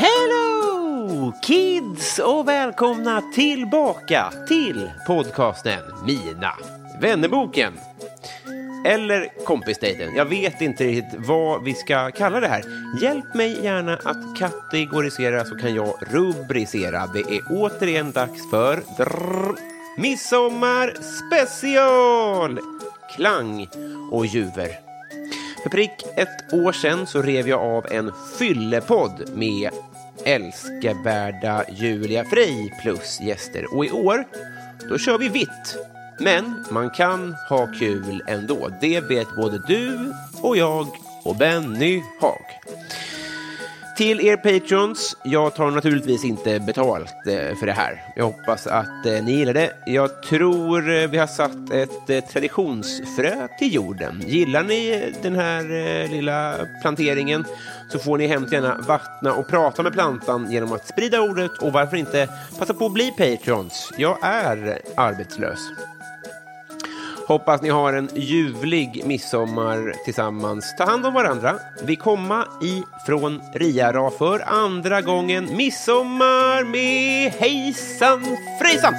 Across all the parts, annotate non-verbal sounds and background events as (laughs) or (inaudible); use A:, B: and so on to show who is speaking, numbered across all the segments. A: Hello kids och välkomna tillbaka till podcasten Mina vännerboken. Eller kompisdejten. Jag vet inte riktigt vad vi ska kalla det här. Hjälp mig gärna att kategorisera så kan jag rubricera. Det är återigen dags för drrr, Midsommar special! Klang och juver. För prick ett år sedan så rev jag av en fyllepodd med älskevärda Julia Frey plus gäster. Och i år, då kör vi vitt. Men man kan ha kul ändå. Det vet både du och jag och Benny Haag. Till er patrons, jag tar naturligtvis inte betalt eh, för det här. Jag hoppas att eh, ni gillar det. Jag tror eh, vi har satt ett eh, traditionsfrö till jorden. Gillar ni eh, den här eh, lilla planteringen så får ni hemskt gärna vattna och prata med plantan genom att sprida ordet och varför inte passa på att bli patrons. Jag är arbetslös. Hoppas ni har en ljuvlig midsommar tillsammans. Ta hand om varandra. Vi komma ifrån Riara för andra gången midsommar med hejsan frejsan!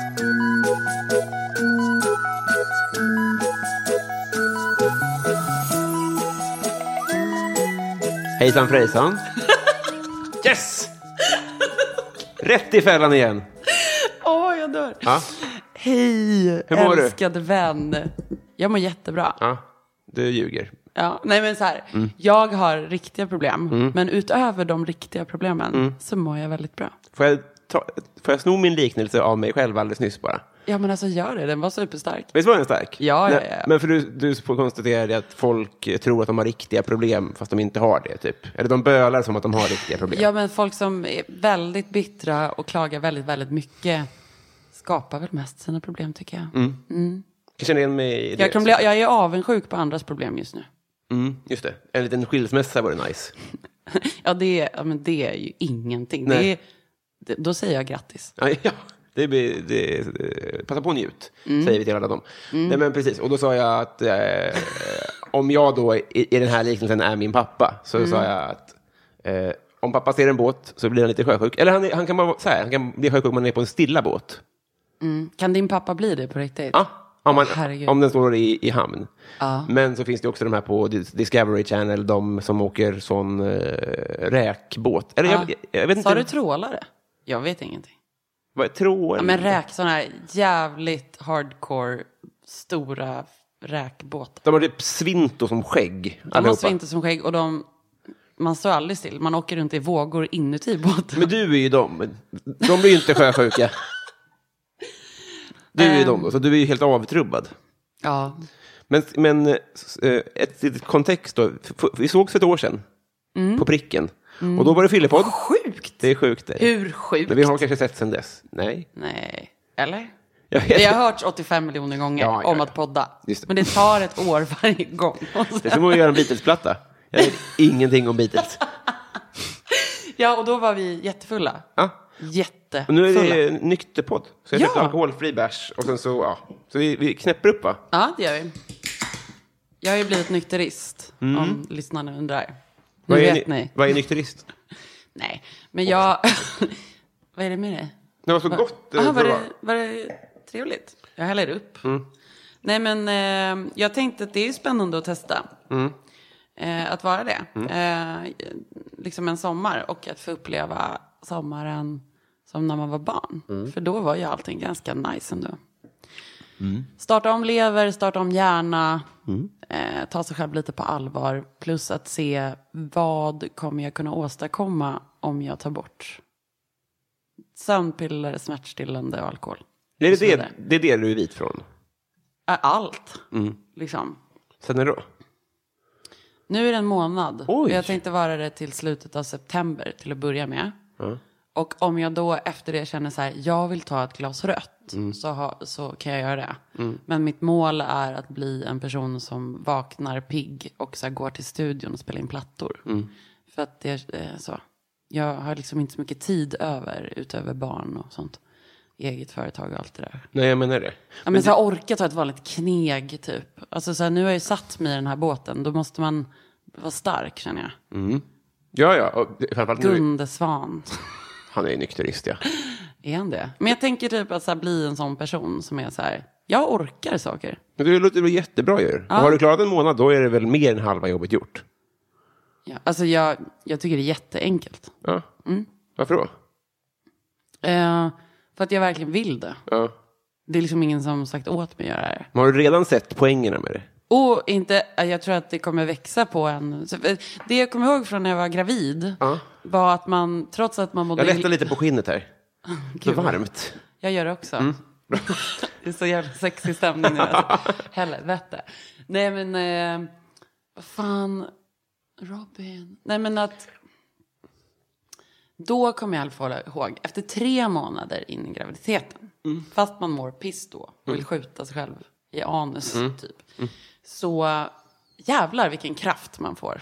A: Hejsan frejsan. Yes! Rätt i fällan igen. Ah,
B: Åh, jag dör.
A: Ja,
B: Hej,
A: Hur mår du?
B: älskade vän. Jag mår jättebra.
A: ja, ah, Mm. du ljuger.
B: Ja, nej men så här, jag har riktiga problem.
A: Mm.
B: Men utöver de riktiga problemen så mår jag väldigt bra.
A: Får jag, ta, får jag sno min liknelse av mig själv alldeles nyss bara?
B: Ja, men alltså gör det. Den var superstark.
A: Visst var den stark?
B: Ja, ja,
A: Nej,
B: ja.
A: Men för du, du konstaterade att folk tror att de har riktiga problem fast de inte har det, typ. Eller de bölar som att de har riktiga problem.
B: Ja, men folk som är väldigt bittra och klagar väldigt, väldigt mycket skapar väl mest sina problem tycker jag.
A: Jag känner igen mig i Mm. det.
B: Jag, kan bli, jag är avundsjuk på andras problem just nu.
A: Mm, just det. En liten skilsmässa vore nice.
B: Ja, det är, ja, men det är ju ingenting.
A: Nej.
B: Det är, det, då säger jag grattis.
A: Ja, (laughs) ja. Det blir, det, eh, passa på och njut,
B: Mm.
A: säger vi till alla dem. Nej, men precis. Och då sa jag att eh, (laughs) om jag då i, i den här liknelsen är min pappa, så
B: Mm.
A: sa jag att eh, om pappa ser en båt så blir han lite sjösjuk. Eller han, är- han kan bara vara så här, han kan bli sjösjuk om man är på en stilla båt.
B: Kan din pappa bli det på riktigt?
A: Ja, om, man,
B: Åh, herregud.
A: om den står i, i hamn.
B: Ja.
A: Men så finns det också de här på Dis- Discovery Channel, de som åker sån eh, räkbåt. Eller
B: Ja.
A: jag, jag, jag vet
B: Sa
A: inte.
B: du trålare? Jag vet ingenting.
A: vad, trål?
B: Ja, men räk, sådana här jävligt hardcore, stora räkbåtar.
A: De har typ svinto som skägg.
B: De har
A: allihopa.
B: svinter som skägg och de, man står aldrig still. Man åker runt i vågor inuti båten.
A: Men du är ju dem. De blir ju inte sjösjuka. Du är ju dem då, så du är ju helt avtrubbad.
B: Ja,
A: Men, men eh, ett litet kontext då. F- Vi sågs för ett år sedan på pricken. Och då var det fyllepodd.
B: Mm. Sjukt!
A: Det är sjukt. Det.
B: hur sjukt?
A: Men vi har kanske sett sedan dess. Nej.
B: Nej, eller?
A: Jag vet
B: Det har
A: inte.
B: hörts 85 miljoner gånger
A: Ja, ja,
B: om
A: ja.
B: att podda.
A: Just det.
B: Men det tar ett år varje gång. Och sen-
A: Det är som att göra en Beatles-platta. Jag vet
B: (laughs)
A: ingenting om Beatles.
B: Ja, och då var vi jättefulla.
A: Ja.
B: Jätte,
A: Och nu är
B: jättefulla.
A: det nykterpodd. Så jag
B: Ja.
A: köpte alkoholfri bärs och sen så, ja. Så vi, vi knäpper upp va?
B: Ja, det gör vi. Jag har ju blivit nykterist, om lyssnarna undrar. Nu
A: Mm. Vad är,
B: vet ni.
A: vad är nykterist?
B: Nej, men jag... (laughs) vad är det med det?
A: Det var så gott. eh,
B: Aha, Ah, var,
A: det
B: det, var det trevligt? Jag häller upp. Nej, men eh, jag tänkte att det är ju spännande att testa. Eh, att vara det. Eh, liksom en sommar och att få uppleva sommaren som när man var barn. För då var ju allting ganska nice ändå. Starta om lever, starta om hjärna, eh, ta sig själv lite på allvar. Plus att se vad kommer jag kunna åstadkomma om jag tar bort sömnpiller, smärtstillande och alkohol.
A: Är det,
B: Och så
A: det,
B: vidare.
A: det är det du är vit från?
B: Ä, Allt, liksom.
A: Sen när då?
B: Nu är det en månad.
A: Oj.
B: Och jag tänkte vara det till slutet av september till att börja med. Och om jag då efter det känner så här, jag vill ta ett glas rött, så, ha, så kan jag göra det. Men mitt mål är att bli en person som vaknar pigg och så här går till studion och spelar in plattor. För att det är så. Jag har liksom inte så mycket tid över, utöver barn och sånt. Eget företag och allt det där.
A: Nej, jag menar det.
B: Ja, men så här, orka ta ett vanligt kneg typ. Alltså så här, nu har jag ju satt mig i den här båten. Då måste man vara stark känner jag.
A: Mm. Ja, ja. och det- Framförallt nu.
B: Gunde Svan.
A: Han är ju nykterist, ja.
B: Är han det? Men jag tänker typ att så här, bli en sån person som är så här. Jag orkar saker.
A: Men det låter väl jättebra ju. Och Har du klarat en månad, då är det väl mer än halva jobbet gjort?
B: Ja, alltså jag, jag tycker det är jätteenkelt.
A: Ja.
B: Mm.
A: Varför då?
B: Eh, för att jag verkligen vill det.
A: Ja.
B: Det är liksom ingen som sagt åt mig att göra det.
A: Men har du redan sett poängerna med det?
B: Och inte, eh, jag tror att det kommer växa på en. Så, eh, Det jag kommer ihåg från när jag var gravid var att man, trots att man mådde
A: Jag
B: ill-
A: lättar lite på skinnet
B: (laughs)
A: här. Så varmt.
B: Jag gör det också. (laughs) det är så jävla sexig stämning nu. Alltså. Helvete. Nej men, eh, vad fan, Robin. Nej men att, då kommer jag i alla fall ihåg, efter tre månader in i graviditeten, fast man mår piss då och vill skjuta sig själv i anus typ, så jävlar vilken kraft man får.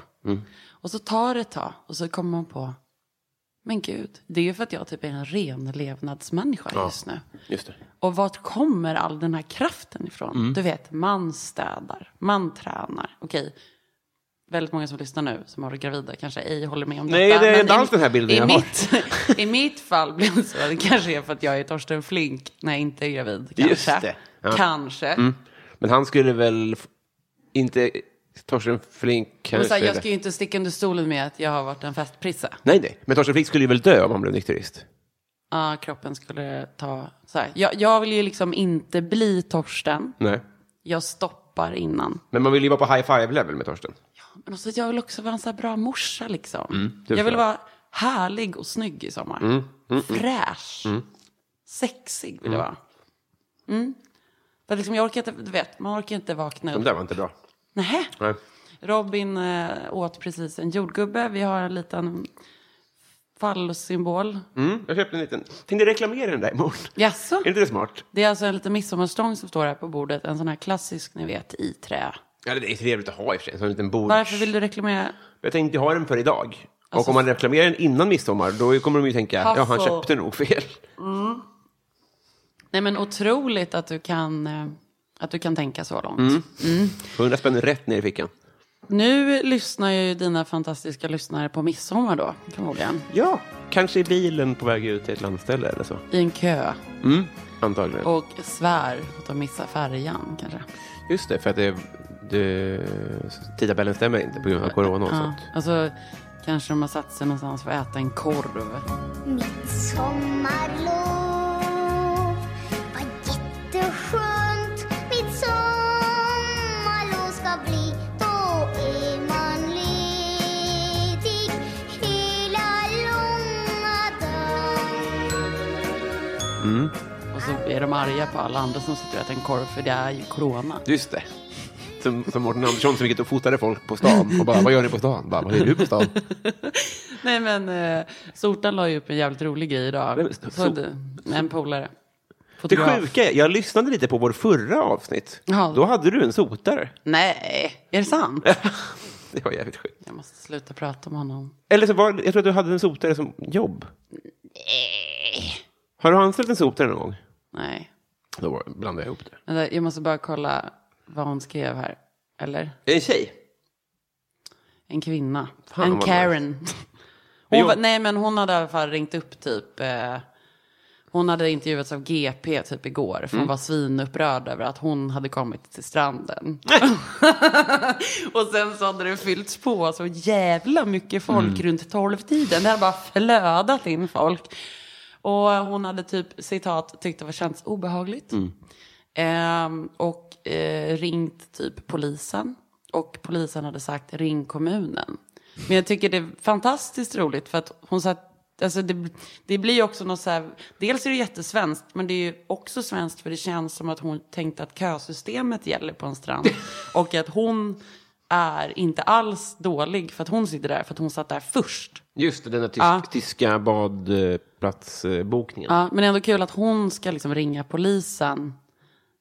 B: Och så tar det ett tag och så kommer man på, men gud, det är ju för att jag typ är en renlevnadsmänniska just nu.
A: Just det.
B: Och vart kommer all den här kraften ifrån?
A: Mm.
B: Du vet, man städar, man tränar. Okej, väldigt många som lyssnar nu som har varit gravida kanske ej håller med om
A: Nej,
B: detta.
A: det är
B: men
A: inte
B: i-
A: alls den här bilden
B: i
A: jag har.
B: mitt, (laughs) I mitt fall blev det så. Det kanske är för att jag är Torsten Flink när jag inte är gravid. Kanske.
A: Just det. Ja. Mm,
B: Kanske.
A: Men han skulle väl f- inte... Torsten Flink
B: Och
A: kanske...
B: så här, jag ska ju inte sticka under stolen med att jag har varit en festprissa.
A: Nej, nej. Men Torsten Flink skulle ju väl dö om han blev nykterist?
B: Ja, kroppen skulle ta... Så här. Jag, jag vill ju liksom inte bli Torsten.
A: Nej.
B: Jag stoppar innan.
A: Men man vill ju vara på high five-level med Torsten.
B: Men också, att jag vill också vara en så här bra morsa liksom.
A: det
B: jag
A: förstår
B: vill
A: jag.
B: vara härlig och snygg i sommar. Fräsch. Sexig vill jag vara. Mm. För liksom, jag orkar inte, du vet, man orkar inte vakna
A: De
B: upp.
A: där var inte bra.
B: Nähä.
A: Nej.
B: Robin eh, åt precis en jordgubbe. Vi har en liten fallosymbol.
A: Mm, jag köpte en liten. Tänkte reklamera den där imorgon.
B: Jaså?
A: Är inte det smart?
B: Det är alltså en liten midsommarstång som står här på bordet. En sån här klassisk, ni vet, i trä.
A: Ja, det är trevligt att ha i och för sig. En sån liten bord.
B: Varför vill du reklamera?
A: Jag tänkte ha den för idag. och
B: Alltså-
A: om man reklamerar den innan midsommar, då kommer de ju tänka, ja, han
B: Hassel.
A: köpte nog fel.
B: Nej men otroligt att du kan, eh, att du kan tänka så långt.
A: 100 spänn rätt ner i fickan.
B: Nu lyssnar ju dina fantastiska lyssnare på midsommar då, förmodligen.
A: Ja, kanske i bilen på väg ut till ett landställe eller så.
B: I en kö
A: Mm. Antagligen.
B: och svär att de missar färjan kanske.
A: Just det, för att det, det, tidtabellen stämmer inte på grund av corona och sånt.
B: Alltså, kanske de har satt sig någonstans för att äta en korv.
C: Sommarlov var jätteskönt Mitt sommarlov ska bli Då är man ledig hela långa dagen
B: Och så är de arga på alla andra som sitter och äter en korv för det är ju corona.
A: Just det. Som, som Mårten Andersson som gick och fotade folk på stan och bara, vad gör ni på stan? Bara, vad gör du på stan?
B: Nej men, eh, Sotan la ju upp en jävligt rolig grej
A: Nej,
B: idag.
A: men-
B: Så, det- en polare.
A: Det
B: Fotograf.
A: sjuka är, jag lyssnade lite på vår förra avsnitt.
B: Ja.
A: Då hade du en sotare.
B: Nej, är det sant?
A: Det var jävligt sjukt.
B: Jag måste sluta prata om honom.
A: Eller så var jag tror att du hade en sotare som jobb.
C: Eh,
A: Har du anställt en soptunna någon gång?
B: Nej.
A: Då var- blandade jag ihop det.
B: Vänta, Jag måste bara kolla vad hon skrev här. Eller?
A: En tjej?
B: En kvinna.
A: Fan,
B: en
A: vad
B: Karen.
A: Jo.
B: (laughs) Hon var, nej, men hon hade i alla fall ringt upp typ. Eh, hon hade intervjuats av GP typ igår. För
A: Mm.
B: hon var svinupprörd över att hon hade kommit till stranden. och sen så hade det fyllts på så jävla mycket folk runt tolvtiden. Det hade bara flödat in folk. Och hon hade typ, citat, tyckte det känns obehagligt. Ehm, och eh, ringt typ polisen. Och polisen hade sagt ring kommunen. Men jag tycker det är fantastiskt roligt för att hon sa att Alltså det, det blir ju också något så här, dels är det jättesvenskt, men det är ju också svenskt för det känns som att hon tänkte att kösystemet gäller på en strand. Och att hon är inte alls dålig för att hon sitter där, för att hon satt där först.
A: Just det, den där tysk, tyska badplatsbokningen.
B: Ja, men ändå kul att hon ska liksom ringa polisen.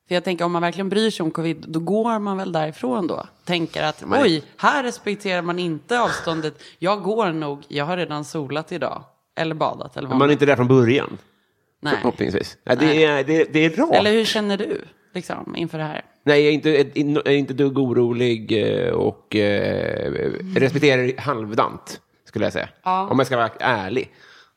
B: För jag tänker om man verkligen bryr sig om covid, då går man väl därifrån då. Tänker att oj, här respekterar man inte avståndet. Jag går nog, jag har redan solat idag. Eller badat eller vad
A: Men man är inte där från början,
B: Nej.
A: förhoppningsvis. Ja, det, är, det, det är rart.
B: Eller hur känner du liksom, inför det här?
A: Nej, jag är inte, ett- in- jag är inte dugg orolig eh, och eh, respekterar halvdant, skulle jag säga. Om jag ska vara ärlig.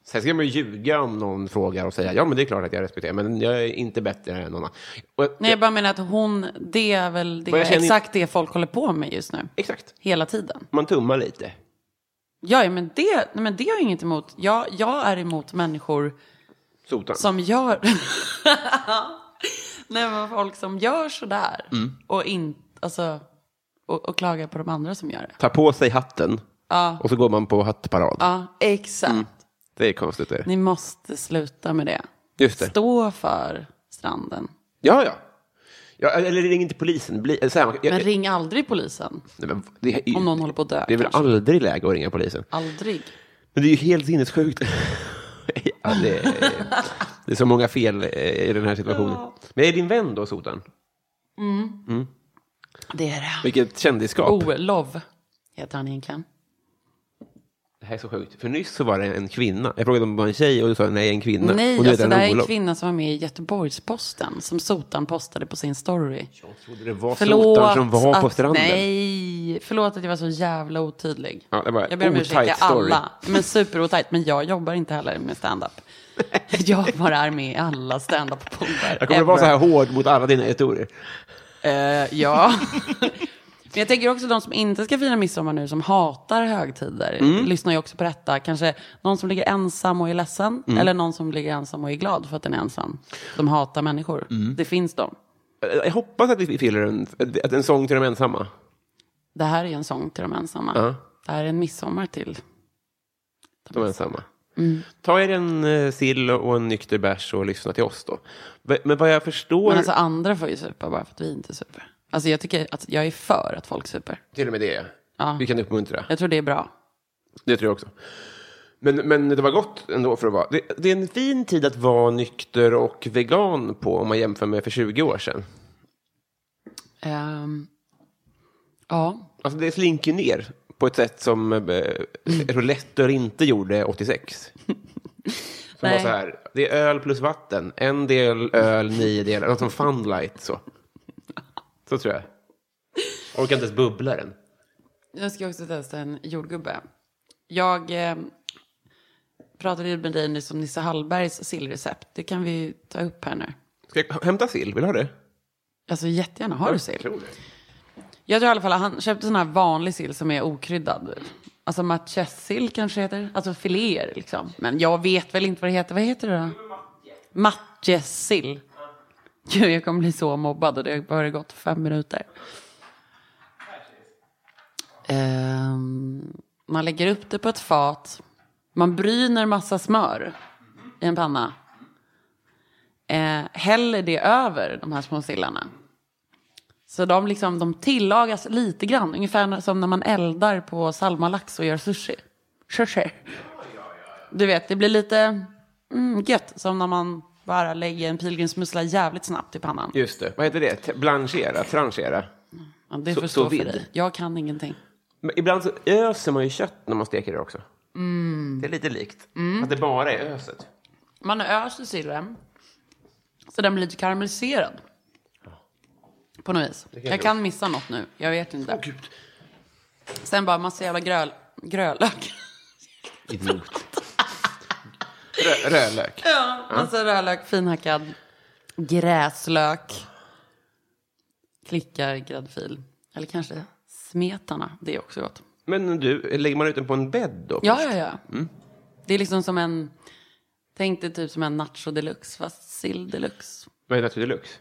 A: Sen ska man ju ljuga om någon frågar och säga ja, men det är klart att jag respekterar, men jag är inte bättre än någon annan. Och,
B: Nej, jag bara menar att hon, det är väl det,
A: Vad jag känner-
B: exakt det folk håller på med just nu.
A: Exakt.
B: Hela tiden.
A: Man tummar lite.
B: Ja, ja, men det, nej, men det har jag inget emot. Jag, jag är emot människor
A: Sotan.
B: som gör... (laughs) Nej, men folk som gör sådär.
A: Mm.
B: Och, in, alltså, och, och klagar på de andra som gör det.
A: Ta på sig hatten och så går man på hattparad.
B: Ja, exakt.
A: Mm. Det är konstigt. Det.
B: Ni måste sluta med det.
A: Just det.
B: Stå för stranden.
A: Ja, ja. ja eller ring inte polisen. Bli, så här, man- jag,
B: Men ring aldrig polisen.
A: Nej, men det, är ju-
B: Om någon håller på att dö.
A: Det är väl
B: kanske.
A: aldrig läge att ringa polisen.
B: Aldrig.
A: Men det är ju helt sinnessjukt. (laughs) ja, det, är, det är så många fel eh, i den här situationen. Men är din vän då, Sotan?
B: Det är det.
A: Vilket kändisskap.
B: Oh. Olov heter han egentligen.
A: Det här är så sjukt. För nyss så var det en kvinna. Jag frågade om det var en tjej och du sa nej, en kvinna.
B: Nej,
A: och nu
B: alltså,
A: den
B: det här är en
A: Olof.
B: kvinna som var med i Göteborgs-Posten som Sotan postade på sin story.
A: Jag trodde det var Sotan som var på
B: att-
A: stranden.
B: Nej, förlåt att jag var så jävla otydlig.
A: Ja, det var
B: jag ber om ursäkt till
A: otajt story.
B: alla. Men superotajt, men jag jobbar inte heller
A: (laughs)
B: med stand-up. Jag bara är med i alla stand-up-poddar.
A: Jag kommer att vara så här hård mot alla dina historier.
B: Eh, ja.
A: (laughs)
B: Men jag tänker också de som inte ska fira midsommar nu, som hatar högtider,
A: Mm.
B: lyssnar ju också på detta. Kanske någon som ligger ensam och är ledsen,
A: Mm.
B: eller någon som ligger ensam och är glad för att den är ensam. De hatar människor.
A: Mm.
B: Det finns de.
A: Jag hoppas att vi fyller en, att en sång till de ensamma.
B: Det här är en sång till de ensamma.
A: Ja.
B: Det här är en midsommar till.
A: De ensamma.
B: Mm.
A: Ta er en eh, sill och en nykter bärs och lyssna till oss då. Men- Men vad jag förstår,
B: Men alltså andra får ju supa bara för att vi inte super. Alltså jag tycker att jag är för att folk super.
A: till och med det,
B: Ja.
A: vi kan uppmuntra.
B: Jag tror det är bra.
A: Det tror jag också. Men, men det var gott ändå för att vara. Det, det är en fin tid att vara nykter och vegan på om man jämför med för 20 år sedan.
B: Ehm, ja,
A: Alltså det slinker ner på ett sätt som eh, jag tror Letter inte gjorde 86. Som var
B: Nej.
A: så här, det är öl plus vatten, en del öl, nio delar, något som Funlight så. Så tror jag. Orkar inte ens bubbla den.
B: Jag ska också testa en jordgubbe. Jag eh, pratade ju med dig nyss om Nisse Hallbergs sillrecept. Det kan vi ju ta upp här nu.
A: Ska jag hämta sill? Vill du ha det?
B: Alltså jättegärna har du sill.
A: tror det.
B: Jag tror i alla fall att han köpte sån här vanlig sill som är okryddad. Alltså matjessill kanske heter. Alltså filéer liksom. Men jag vet väl inte vad det heter. Vad heter det då? Matjessill. Gud, jag kommer bli så mobbad och det har bara gått fem minuter. Ehm, man lägger upp det på ett fat. Man bryner massa smör i en panna. Eh, häller det över de här små sillarna. Så de, liksom, de tillagas lite grann, ungefär som när man eldar på salmalax och gör sushi. Sushi. Du vet, det blir lite mm, gött, som när man bara lägger en pilgrimsmussla jävligt snabbt i pannan.
A: Just det. Vad heter det? T- Blanchera? Tranchera?
B: Ja, det
A: Så-
B: förstår
A: så
B: för
A: vid.
B: dig. Jag kan ingenting.
A: Men ibland så
B: Mm.
A: öser man ju kött när man steker det också. Det är lite likt. Att det bara är öset.
B: Man öser sillen. Så den blir lite karamelliserad. På något vis. Jag kan missa något nu. Jag vet inte.
A: Gud.
B: Sen bara massa jävla gröl, gröllök.
A: Idiot. Rö- rödlök.
B: Ja, (laughs) massa rödlök, finhackad. Gräslök. Klickar, gräddfil. Eller kanske smetana. Det är också gott.
A: Men du, lägger man ut den på en bädd då?
B: Ja, ja, ja. Det är liksom som en... Tänk dig typ som en nacho deluxe, fast sill deluxe.
A: Vad är Natur Deluxe?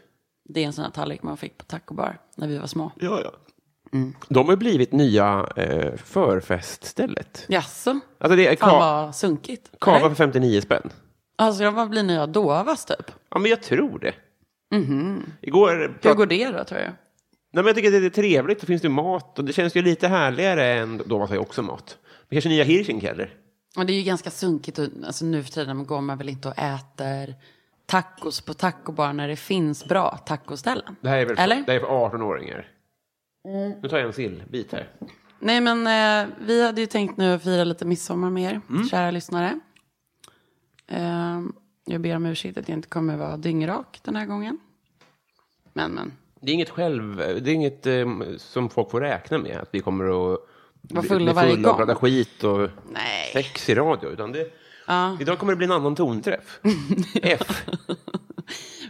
B: Det är en sån här tallrik man fick på taco bar när vi var små.
A: Ja, ja.
B: Mm.
A: De har ju blivit nya eh, förfeststället.
B: Jaså?
A: Alltså det är
B: Fan
A: ka-
B: vad sunkigt.
A: kava
B: Nej.
A: för 59 spänn.
B: Alltså de bara blir nya dovas typ.
A: Ja, men jag tror det. Igår
B: Mhm. Hur
A: prat-
B: går det då tror jag?
A: Nej, men jag tycker att det är trevligt. Då finns det ju mat och det känns ju lite härligare än då man säger också mat. Men kanske nya Hirschenkeller?
B: Och det är ju ganska sunkigt. och- Alltså nu för tiden går man väl inte och äter tacos på taco bar när det finns bra tacoställen.
A: Det här är väl för,
B: Eller? Mm.
A: det här är för 18-åringar? Nu tar jag en sillbit här.
B: Nej men eh, vi hade ju tänkt nu att fira lite midsommar med er,
A: Mm.
B: kära lyssnare. Eh, jag ber om ursäkt att jag inte kommer vara dyngrak den här gången. Men men,
A: Det är inget själv, det är inget eh, som folk får räkna med, att vi kommer att
B: Vara
A: bli-
B: fulla
A: bli
B: varje
A: fulla och
B: gång.
A: prata skit och
B: Nej.
A: sex i radio. Utan det, Idag kommer det bli en annan
B: (laughs)
A: tonträff. F.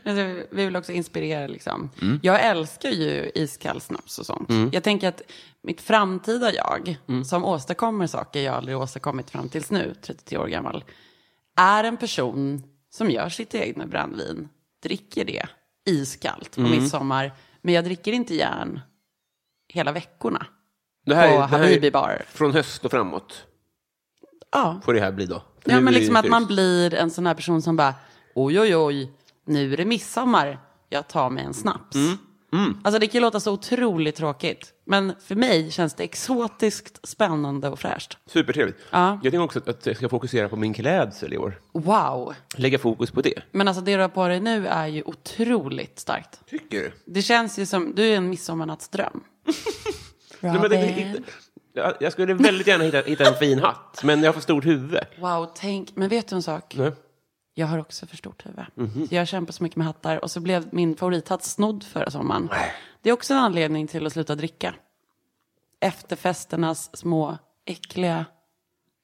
B: men så- vi vill också inspirera liksom. Jag älskar ju iskall snaps och sånt. Jag tänker att mitt framtida jag, som åstadkommer saker jag aldrig åstadkommit fram tills nu, 33 år gammal, är en person som gör sitt egna brännvin, dricker det iskallt på midsommar, men jag dricker inte järn hela veckorna.
A: Det
B: På
A: det är-
B: Habibi bar.
A: Från höst och framåt
B: Ja,
A: får det här bli då. Nu
B: ja
A: är
B: men
A: det
B: liksom att
A: fryst.
B: man blir en sån här person som bara, oj oj oj, nu är det midsommar, jag tar mig en snaps.
A: Mm,
B: Alltså det kan ju låta så otroligt tråkigt, men för mig känns det exotiskt, spännande och fräscht.
A: Supertrevligt.
B: Ja.
A: Jag tänker också att- att jag ska fokusera på min klädsel i år.
B: Wow!
A: Lägga fokus på det.
B: Men alltså det du har på dig nu är ju otroligt starkt.
A: Tycker du?
B: Det känns ju som, du är en midsommarnattsdröm.
A: (laughs) Nej, men det, inte- jag, jag skulle väldigt gärna hitta, hitta en fin hatt, men jag har för stort huvud.
B: Wow, tänk. Men vet du en sak?
A: Nej.
B: Jag har också för stort huvud.
A: Mhm.
B: Så Jag kämpar så mycket med hattar och så blev min favorithatt snodd förra sommaren. Det är också en anledning till att sluta dricka. Efterfesternas små äckliga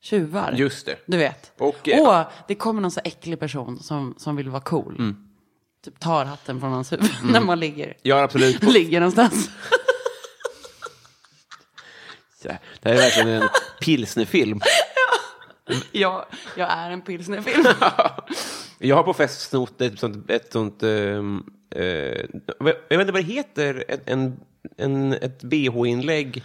B: tjuvar.
A: Just det.
B: Du vet.
A: Och, eh,
B: Åh, det kommer någon så äcklig person som, som vill vara cool.
A: Mm.
B: Typ tar hatten från hans huvud (laughs) när man ligger,
A: Jag har absolut...
B: ligger någonstans. (laughs)
A: Det här är verkligen en pilsnerfilm.
B: jag, jag är en pilsnerfilm.
A: (laughs) Jag har på fest snott ett sånt... Ett sånt ehm, eh, jag vet inte vad det heter. Ett, en, en, ett bh-inlägg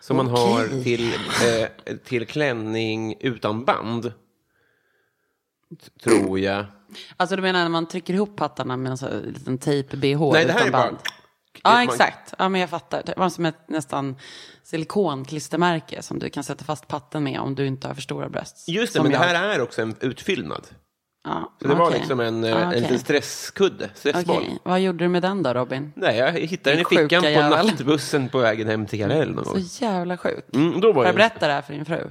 A: som man har till, eh, till klänning utan band. T- Tror jag.
B: Alltså du menar när man trycker ihop hattarna med en sån här liten tejp-bh
A: Nej, det här
B: utan
A: är bara-
B: band? Ja,
A: man-
B: exakt. Ja, men jag fattar. Det var som ett nästan silikonklistermärke som du kan sätta fast patten med om du inte har för stora bröst.
A: Just det,
B: Som
A: men det
B: jag.
A: här är också en utfyllnad.
B: Ja,
A: Så det var
B: okej.
A: liksom en, eh,
B: Ja,
A: en
B: okej.
A: liten stresskudde, stressboll.
B: Okej. Vad gjorde du med den då, Robin?
A: Nej, jag hittade den i
B: Din sjuka
A: fickan på
B: jävel.
A: nattbussen på vägen hem till Kallhäll någon gång.
B: Så jävla sjuk.
A: Mm, då var
B: Har
A: det
B: jag
A: en-
B: berättat det här för din fru?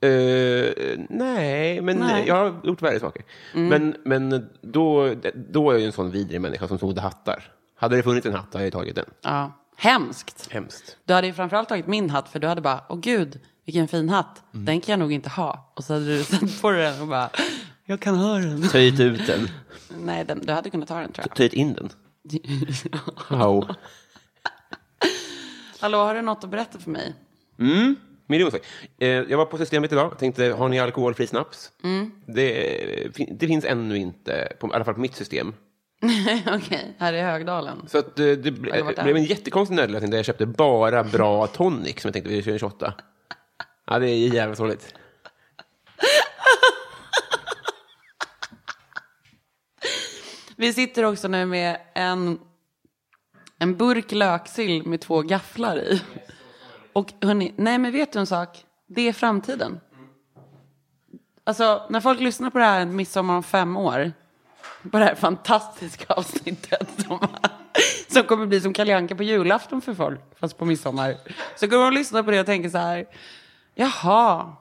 A: Eh, nej, men
B: Nej. Mm.
A: jag har gjort värre saker. Men, men då, då är jag ju en sån vidrig människa som snodde hattar. Hade det funnits en hatt hade jag tagit den.
B: Ja. Hemskt.
A: Hemskt.
B: Du hade ju framförallt tagit min hatt för du hade bara, åh gud, vilken fin hatt.
A: Mm.
B: Den kan jag nog inte ha. Och så hade du (laughs) satt på den och bara, jag kan ha den.
A: Töjt ut den.
B: Nej, den, du hade kunnat ta den tror jag.
A: Töjt in
B: (laughs)
A: den. Wow.
B: Hallå, har du något att berätta för mig? (laughs)
A: Miljon saker. Eh, jag var på Systemet idag tänkte, har ni alkoholfri snaps?
B: Mm.
A: Det, eh, fin- det finns ännu inte, på, i alla fall på mitt system.
B: Okej, här är Högdalen.
A: Så att, eh, det ble,
B: Eller vart är
A: det blev en jättekonstig nödlösning där jag köpte bara bra tonic som jag tänkte vi kör en 28. Ja, det är jävligt dåligt.
B: Vi sitter också nu med en, en burk löksill med två gafflar i. Och hörni, nej men vet du en sak? Det är framtiden. Alltså när folk lyssnar på det här en midsommar om fem år, på det här fantastiska avsnittet som, som kommer bli som Kalle Anka på julafton för folk, fast på midsommar, så kommer de lyssna på det och tänka så här, jaha,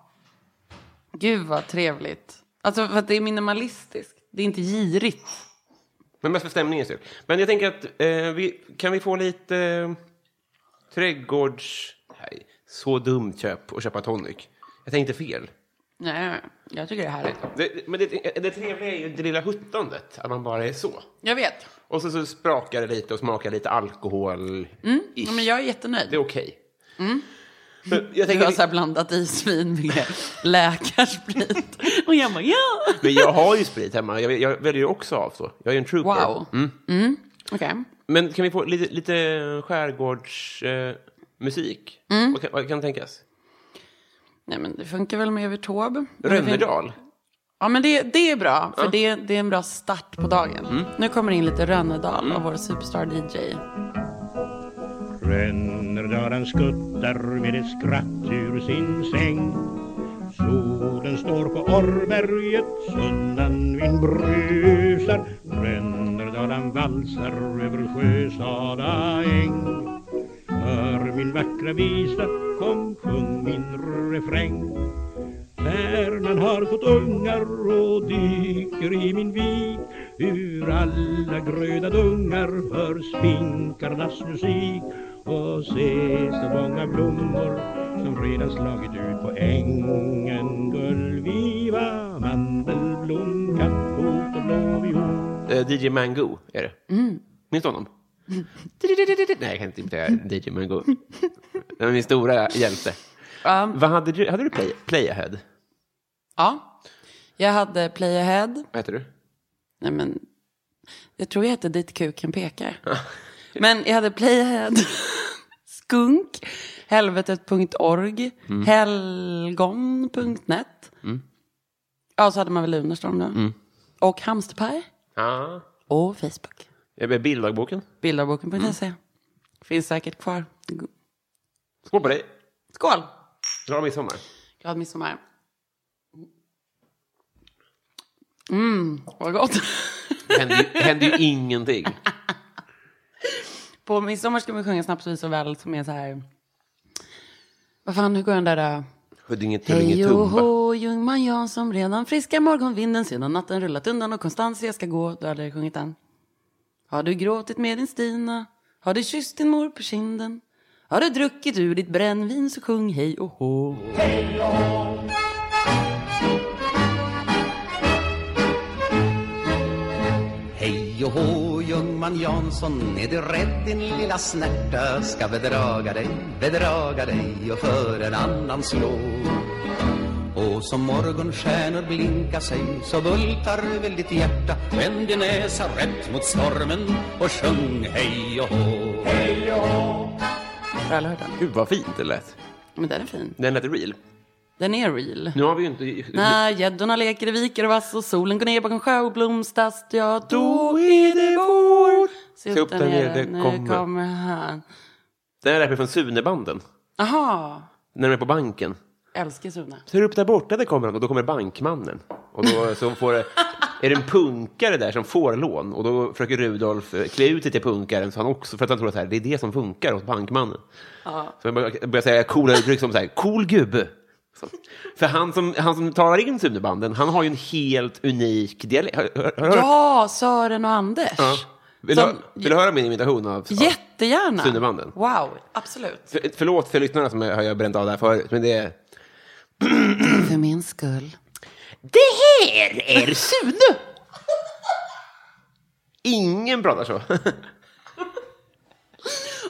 B: gud vad trevligt. Alltså för att det är minimalistiskt. Det är inte girigt.
A: Men mest för stämningens skull. Men jag tänker att eh, vi, kan vi få lite eh, trädgårds... Nej, så dumt köp och köpa tonic. Jag tänkte fel.
B: Nej, jag tycker det är härligt.
A: Det, men det, det trevliga är ju det lilla huttandet, att man bara är så.
B: Jag vet.
A: Och så, så sprakar det lite och smakar lite alkohol.
B: Ja, men jag är jättenöjd.
A: Det är okej. Men Jag,
B: Jag har
A: tänker,
B: så här blandat i svin med läkarsprit. Och jag bara, ja!
A: men jag har ju sprit hemma. Jag, jag väljer ju också av så. Jag är ju en trooper.
B: Wow. Mm. Okej.
A: Men kan vi få lite, lite skärgårdsmusik? Eh, musik?
B: Mm.
A: vad, kan, vad kan tänkas?
B: Nej, men det funkar väl med Övertåb.
A: Rönnerdal?
B: Ja, men det, det är bra. För det, det är en bra start på dagen. Nu kommer det in lite Rönnedal av vår superstar DJ.
D: Rönnerdalen skuttar med ett skratt ur sin säng Solen står på Orrberget, sundanvind brusar Rönnerdalen valsar över Sjösala äng Hör min vackra visa, kom sjung min refräng Färnan har fått ungar och dyker i min vik Ur alla gröna dungar hörs finkarnas musik Och se så många blommor som redan slagit ut på ängen Gullviva, mandelblom, kattfot och blåviol
A: Eh, DJ Mango är det.
B: Mm.
A: Minns du honom? Nej, jag kan inte (laughs) imitera DJ Mango. Det var min stora hjälte.
B: Um.
A: Vad hade du? Hade du play, Playahead?
B: Ja. Jag hade Play Ahead.
A: Vad heter du?
B: Nej, men, jag tror jag hette Dit kuken pekar. men jag hade Playhead, Skunk, Helvetet.org, Helgon.net. Ja, så hade man väl Lunarstorm då. Och Hamsterpaj.
A: Ja.
B: Och Facebook.
A: Jag blev bilddagboken.
B: Bildavboken.se. Finns säkert kvar.
A: Skål på dig.
B: Skål!
A: Glad midsommar.
B: Glad midsommar. Mm, vad gott.
A: Det hände ju- det hände ju ingenting.
B: På midsommar ska man sjunga Snabbt, vis och väl som är så här. Vad fan, hur går den där då?
A: Huddinge, Tullinge,
B: Hej och
A: Tumba.
B: hå, Ljungman jag som redan friska morgonvinden sedan natten rullat undan och konstans jag ska gå. Du har aldrig sjungit den. Har du gråtit med din Stina? Har du kysst din mor på kinden? Har du druckit ur ditt brännvin så sjung hej och hå.
E: Hej och hå, Ljungman Jansson, är du rädd din lilla snärta ska bedraga dig, bedraga dig och för en annan slå. Och som morgonstjärnor blinka sig så bultar väl ditt hjärta, vänd din näsa rätt mot stormen och sjung hej och hå.
B: Har du aldrig hört den?
A: Gud, vad fint det lät.
B: Men den är fin.
A: Den lät real.
B: Den är real.
A: Nu har vi ju inte...
B: När gäddorna leker i viker och vass och solen går ner bakom sjö och blomstast, ja då är det vår.
A: Se upp där nere, det
B: nu
A: kommer.
B: kommer han.
A: Den här rappen är från Sunebanden.
B: Aha,
A: När de är på banken.
B: älskar Sune.
A: Så är det upp där borta, där kommer han och då kommer bankmannen. Och då så får det, är det en punkare där som får lån och då försöker Rudolf eh, klä ut sig till punkaren så han också, för att han tror att så här, det är det som funkar hos bankmannen. Så jag börjar börjar säga coola uttryck som så här, cool gubbe. Så. För han som, han som talar in Sunebanden, han har ju en helt unik dialekt. Hör, hör, hör,
B: Ja, Sören och Anders.
A: Ja. Vill,
B: Som-
A: du, hö- vill du höra min imitation av, av
B: Jättegärna.
A: Sunnebanden?
B: Wow, absolut.
A: För, förlåt för lyssnarna som jag har jag bränt av det här förut, men det är...
B: För min skull.
A: Det här är Sune! Ingen pratar så. (laughs)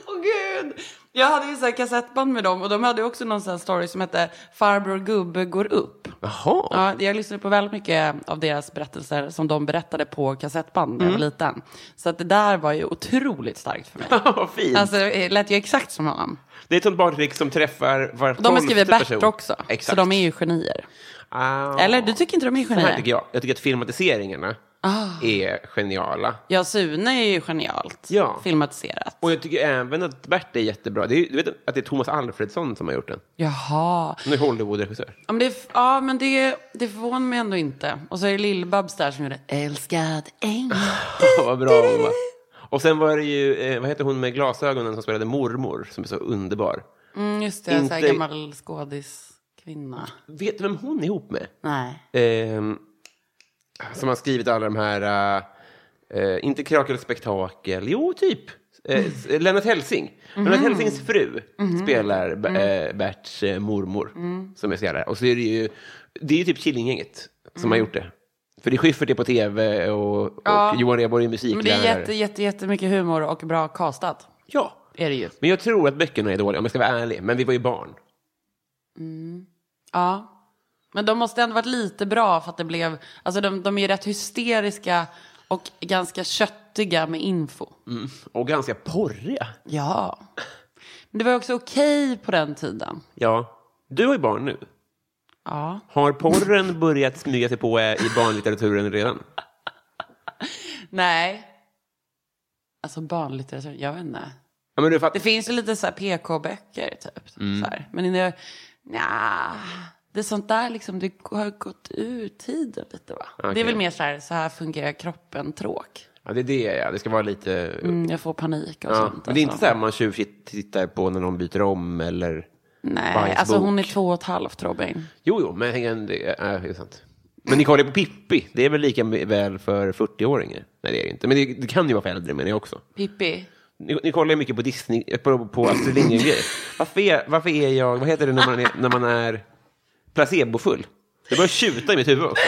B: Åh gud! Jag hade ju så här kassettband med dem och de hade också någon sån här story som hette Farbror Gubbe går upp.
A: Jaha.
B: Ja, jag lyssnade på väldigt mycket av deras berättelser som de berättade på kassettband när jag
A: Mm.
B: var liten. Så att det där var ju otroligt starkt för mig.
A: (laughs) Vad fint.
B: (laughs) Alltså det lät ju exakt som honom.
A: det är ett sånt bartrick som träffar var
B: De har skrivit
A: tolfte
B: Bert
A: person.
B: också.
A: Exakt.
B: Så de är ju genier.
A: Ah.
B: Eller du tycker inte de är
A: Så här
B: genier?
A: tycker jag. Jag tycker att filmatiseringarna
B: Ah.
A: är geniala.
B: Ja, Sune är ju genialt
A: Ja.
B: filmatiserat.
A: Och jag tycker även att Bert är jättebra. Det är, ju- du vet att det är Thomas Alfredsson som har gjort den.
B: Jaha.
A: Han är Hollywood-regissör.
B: Ja, men, det, ja, men det, det förvånar mig ändå inte. Och så är det Lill-Babs där som gjorde Älskad ängel.
A: Fan, vad bra hon var. Och sen var det ju, eh, vad heter hon med glasögonen som spelade mormor, som är så underbar.
B: Mm, just det, så här
A: Inte-
B: gammal skådiskvinna.
A: Vet du vem hon är ihop med?
B: Nej.
A: Ehm, Som har skrivit alla de här, eh, eh, inte Krakel och spektakel, jo typ. Eh, s- Lennart Helsing.
B: Mhm.
A: Lennart Helsings fru spelar B-
B: Mm.
A: eh, Berts eh, mormor som är skräddare. Och så är det ju, det är ju typ Killinggänget som har gjort det. För det är Schyffert är på tv och, och
B: Mm. Ja.
A: Johan Rheborg är musiklärare.
B: Men det är jätte, jätte, jättemycket humor och bra castat.
A: Ja.
B: Är det ju.
A: Men jag tror att böckerna är dåliga om jag ska vara ärlig. Men vi var ju barn.
B: Ja. Men de måste ändå varit lite bra för att det blev, alltså de, de är ju rätt hysteriska och ganska köttiga med info.
A: Och ganska porriga.
B: Ja. Men det var ju också okej på den tiden.
A: Ja. Du har ju barn nu.
B: Ja.
A: Har porren börjat smyga sig på eh, i barnlitteraturen redan?
B: Nej. Alltså barnlitteratur, jag vet inte.
A: Ja, men du
B: Det
A: fattar.
B: finns ju lite så här PK-böcker typ. Så här. Men det, nja, det är sånt där liksom, det har gått ur tiden lite va? Det
A: Okej.
B: är väl mer så här, så här fungerar kroppen, tråk.
A: Ja, det är det, ja. Det ska vara lite...
B: Mm, jag får panik och
A: Ja.
B: sånt.
A: Men det är inte
B: alltså.
A: så här man tjuvkitt- tittar på när någon byter om eller...
B: Nej,
A: bajsbok.
B: alltså hon är två och ett halvt Robin.
A: Jo, jo, men häng- det är, äh, det är sant. Men ni kollar ju på Pippi. Det är väl lika väl för 40-åringar? Nej, det är det inte. Men det, det kan ju vara för äldre, menar jag också.
B: Pippi.
A: Ni, ni kollar ju mycket på Disney, eh, på, på Astrid Lindgren-grejer. Varför är, varför är jag, vad heter det när man är, när man är placebofull? Det börjar tjuta i mitt huvud. också.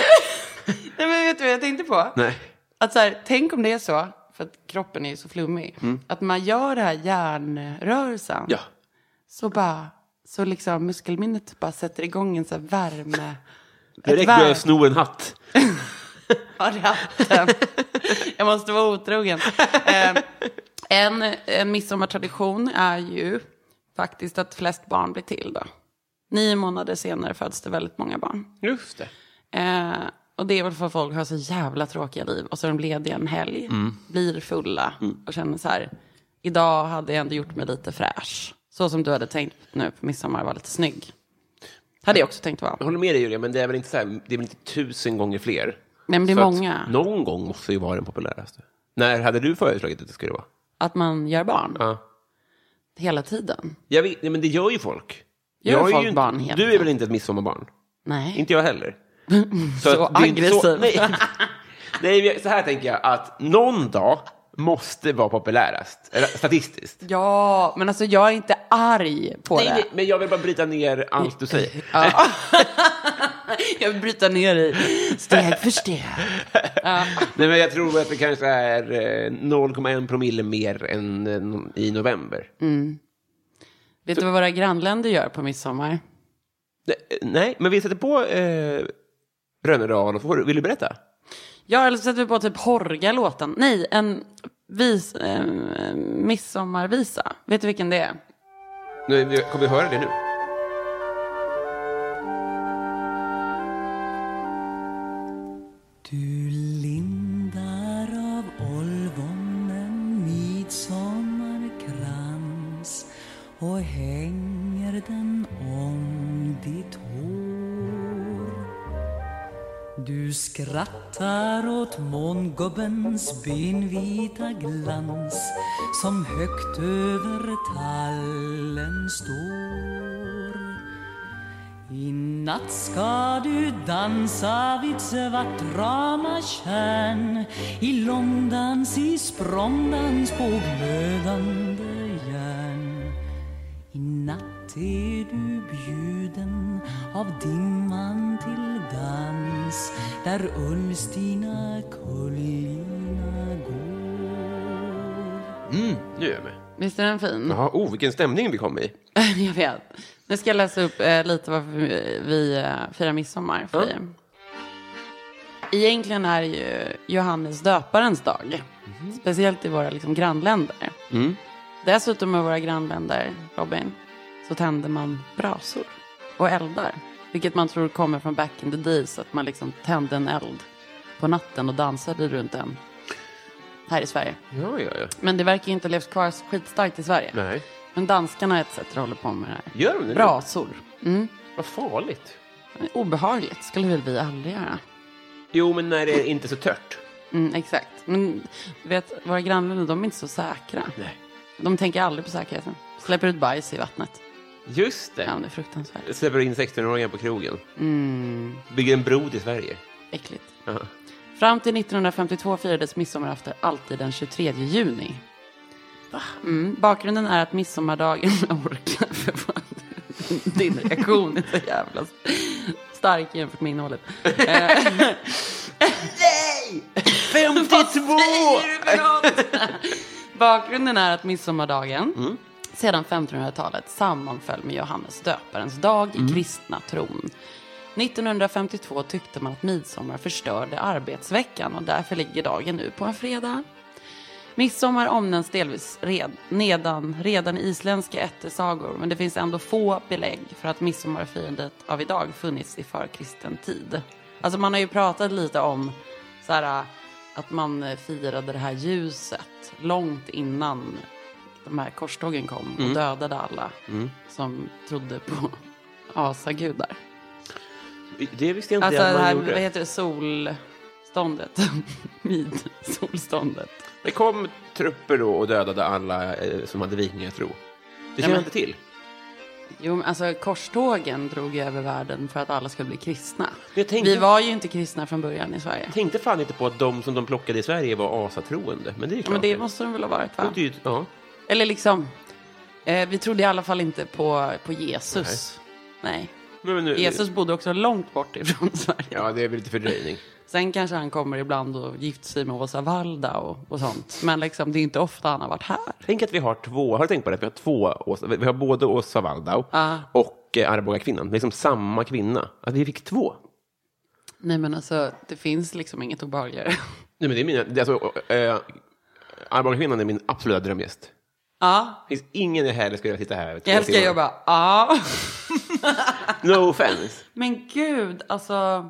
B: Nej men vet du vad jag tänkte på?
A: Nej.
B: Att så här, tänk om det är så, för att kroppen är ju så flummig, att man gör den här hjärnrörelsen.
A: Ja.
B: Så bara, så liksom muskelminnet bara sätter igång en så här värme.
A: Direkt börjar jag sno en hatt.
B: Ja, det har jag inte. Jag måste vara otrogen. Eh, En, en midsommartradition är ju faktiskt att flest barn blir till då. Nio månader senare föds det väldigt många barn.
A: Just det.
B: Eh, och det är väl för att folk har så jävla tråkiga liv och så är de lediga en helg,
A: Mm.
B: blir fulla och känner så här, idag hade jag ändå gjort mig lite fräsch. Så som du hade tänkt nu på midsommar, var lite snygg. Hade jag också tänkt vara.
A: Jag håller med dig Julia, men det är väl inte, så här, det är väl inte tusen gånger fler?
B: Nej, men det är
A: Så att
B: många.
A: Någon gång måste ju vara den populäraste. När hade du föreslagit att det skulle vara?
B: Att man gör barn
A: Ja.
B: hela tiden.
A: Jag vet, nej, men det gör ju folk.
B: Gör
A: jag är
B: folk
A: ju inte,
B: barn hela
A: Du är
B: tiden?
A: väl inte ett midsommarbarn?
B: Nej.
A: Inte jag
B: (laughs)
A: heller.
B: Så
A: att det är inte
B: aggressiv.
A: nej, (laughs) nej, men så här tänker jag att någon dag måste vara populärast, eller statistiskt.
B: Ja, men alltså jag är inte arg på
A: Nej,
B: det.
A: nej, men jag vill bara bryta ner allt du säger.
B: (laughs) Ja. jag vill bryta ner dig steg för steg.
A: Nej, men jag tror att det kanske är eh, 0,1 promille mer än eh, no- i november.
B: Mm. Vet du vad våra grannländer gör på midsommar?
A: Nej, Nej, men vi sätter på eh, Rönnerdal. och får- Vill du berätta?
B: Ja, eller så sätter vi på typ Horga-låten. Nej, en vis, eh, midsommarvisa. Vet du vilken det är?
A: Nu, vi- kommer vi höra det nu?
F: Du lindar av olvonen midsommarkrans och hänger den om ditt hår. Du skrattar åt mångubbens benvita glans som högt över tallen står. I natt ska du dansa vid svart ramatjärn I långdans, i språngdans på glödande järn I natt är du bjuden av dimman till dans där Ulstina kullina går
A: Nu är jag med.
B: Visst är den fin?
A: Jaha, oh, vilken stämning vi kom i.
B: (laughs) jag vet. Nu ska jag läsa upp eh, lite varför vi, vi eh, firar midsommar för dig. Egentligen är det ju Johannes döparens dag. Speciellt i våra liksom, grannländer. Dessutom i våra grannländer, Robin, så tänder man brasor och eldar. Vilket man tror kommer från back in the days, att man liksom tände en eld på natten och dansade runt den här i Sverige.
A: Ja, ja, ja.
B: Men det verkar ju inte ha levt kvar skitstarkt i Sverige.
A: Nej.
B: Men danskarna etc. håller på med det här.
A: Gör de det nu?
B: Brasor. Mm.
A: Vad farligt.
B: Obehagligt skulle väl vi aldrig göra.
A: Jo, men när det är inte så tört.
B: Mm, exakt. Men du vet, våra grannländer de är inte så säkra.
A: Nej.
B: De tänker aldrig på säkerheten. Släpper ut bajs i vattnet.
A: Just
B: Ja, det
A: det.
B: är fruktansvärt. Mm.
A: Släpper in 16-åringar på krogen. Bygger en bro till Sverige.
B: Äckligt.
A: Ja.
B: Fram till 1952 firades midsommarafton alltid den 23 juni. Mm, bakgrunden är att midsommardagen (laughs) orkar för fan. Din reaktion är så jävla stark jämfört med innehållet. Nej! 52! Bakgrunden är att midsommardagen sedan 1500-talet sammanföll med Johannes döparens dag i kristna tron. 1952 tyckte man att midsommar förstörde arbetsveckan och därför ligger dagen nu på en fredag. Midsommar omnämns delvis red, nedan, redan i isländska ättesagor men det finns ändå få belägg för att midsommarfirandet av idag funnits i förkristen tid. Alltså man har ju pratat lite om så här, äh, att man eh, firade det här ljuset långt innan de här korstågen kom och
A: Mm.
B: dödade alla som trodde på (laughs) asagudar.
A: Det visste jag inte
B: Alltså
A: att
B: det
A: man
B: här,
A: gjorde.
B: vad heter det, solståndet? (laughs) Midsolståndet.
A: Det kom trupper då och dödade alla eh, som hade vikingatro. Det känner
B: men-
A: jag inte till.
B: Jo, men alltså korstågen drog ju över världen för att alla skulle bli kristna.
A: Jag tänkte-
B: Vi var ju inte kristna från början i Sverige.
A: Jag tänkte fan inte på att de som de plockade i Sverige var asatroende. Men det är ju klart.
B: Men det måste de väl ha varit, va?
A: Det är ju- Ja.
B: Eller liksom, eh, vi trodde i alla fall inte på, på Jesus. Nej.
A: Men, men nu,
B: Jesus bodde också långt bort ifrån (laughs) Sverige.
A: Ja, det är väl lite fördröjning.
B: Sen kanske han kommer ibland och gifter sig med Åsa Valda och, och sånt. Men liksom, det är inte ofta han har varit här.
A: Tänk att vi har två, har du tänkt på det? Att Vi har två, Åsa- vi har både Åsa Waldau och eh, Arboga-kvinnan. Det är Liksom samma kvinna. Att vi fick två.
B: Nej, men alltså, det finns liksom inget obehagligare.
A: Nej, men det är mina, det är alltså, eh, Arboga-kvinnan är min absoluta drömgäst.
B: Ja,
A: Det finns ingen jag hellre skulle vilja sitta här. två
B: (laughs) jag älskar
A: timmar.
B: jag bara, ja.
A: No offense.
B: Men gud, alltså.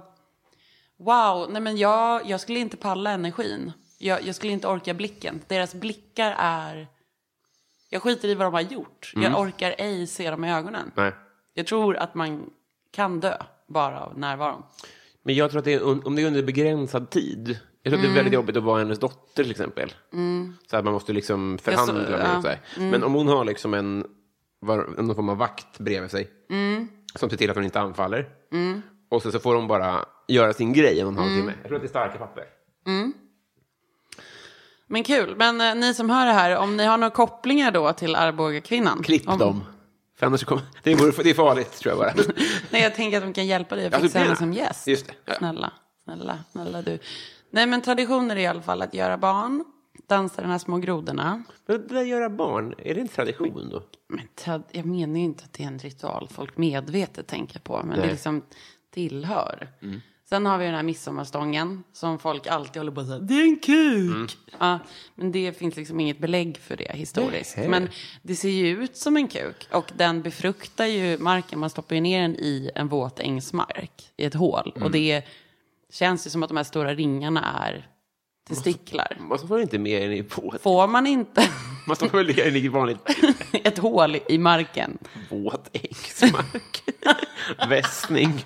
B: Wow, nej men jag, jag skulle inte palla energin. Jag, jag skulle inte orka blicken. Deras blickar är... Jag skiter i vad de har gjort. Jag orkar ej se dem i ögonen.
A: Nej.
B: Jag tror att man kan dö bara av närvaron.
A: Men jag tror att det är, un- om det är under begränsad tid. Jag tror att
B: Mm.
A: det är väldigt jobbigt att vara hennes dotter till exempel. Så att man måste liksom
B: så-
A: förhandla med
B: ja. Mm.
A: sig. Men om hon har liksom en, var, någon form av vakt bredvid sig.
B: Mm.
A: Som ser till att hon inte anfaller. Och sen så får hon bara göra sin grej
B: Mm.
A: en och en halv timme. Jag tror att det är starka papper.
B: Men kul. Men eh, ni som hör det här, om ni har några kopplingar då till Arboga-kvinnan.
A: Klipp
B: om,
A: dem. För annars så kommer, (laughs) det, är, det är farligt tror jag bara.
B: (laughs)
A: (laughs)
B: Nej, jag tänker att de kan hjälpa dig att
A: Ja,
B: fixa henne
A: supplera.
B: som gäst.
A: Just det, ja.
B: Snälla, snälla, snälla du. Nej, men traditioner är i alla fall att göra barn, dansa de här små grodorna.
A: Men det där göra barn, är det en tradition då?
B: Men trad- jag menar ju inte att det är en ritual folk medvetet tänker på, men det liksom tillhör. Sen har vi den här midsommarstången som folk alltid håller på att säga, det är en kuk. Ja, men det finns liksom inget belägg för det historiskt. Men det ser ju ut som en kuk och den befruktar ju marken. Man stoppar ju ner den i en våt ängsmark, i ett hål. Och det känns ju som att de här stora ringarna är testiklar.
A: Man stoppar väl inte med den i båt?
B: Får man inte (laughs)
A: Man stoppar väl ner den i vanligt
B: ett hål i marken?
A: våt (laughs) äggsmak? Västning?
B: (laughs)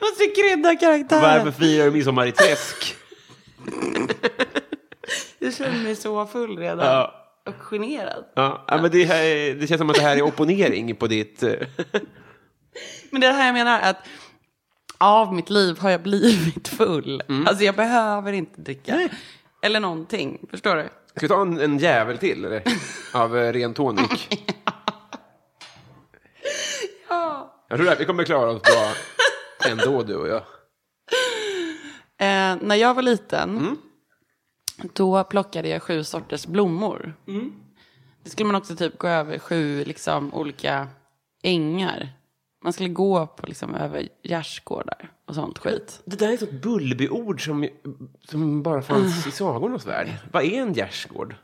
B: Måste krydda karaktären.
A: Varför firar du midsommar i träsk?
B: Jag känner mig så full redan.
A: Ja.
B: Och generad.
A: Ja, ja, men det, här är, det känns som att det här är opponering på ditt... eh,
B: Men det är det här jag menar att av mitt liv har jag blivit full.
A: Mm.
B: Alltså jag behöver inte dricka. Eller någonting. Förstår du?
A: Ska vi ta en, en jävel till eller? av eh, ren tonic? ja. Jag tror det här, vi kommer klara oss bra ändå du och jag.
B: Eh, när jag var liten,
A: Mm.
B: då plockade jag sju sorters blommor.
A: Mm.
B: Det skulle man också typ gå över sju liksom, olika ängar. Man skulle gå på liksom, över gärdsgårdar och sånt skit.
A: Det där är ett sånt Bullbyord som, som bara fanns i sagornas värld. Vad är en gärdsgård?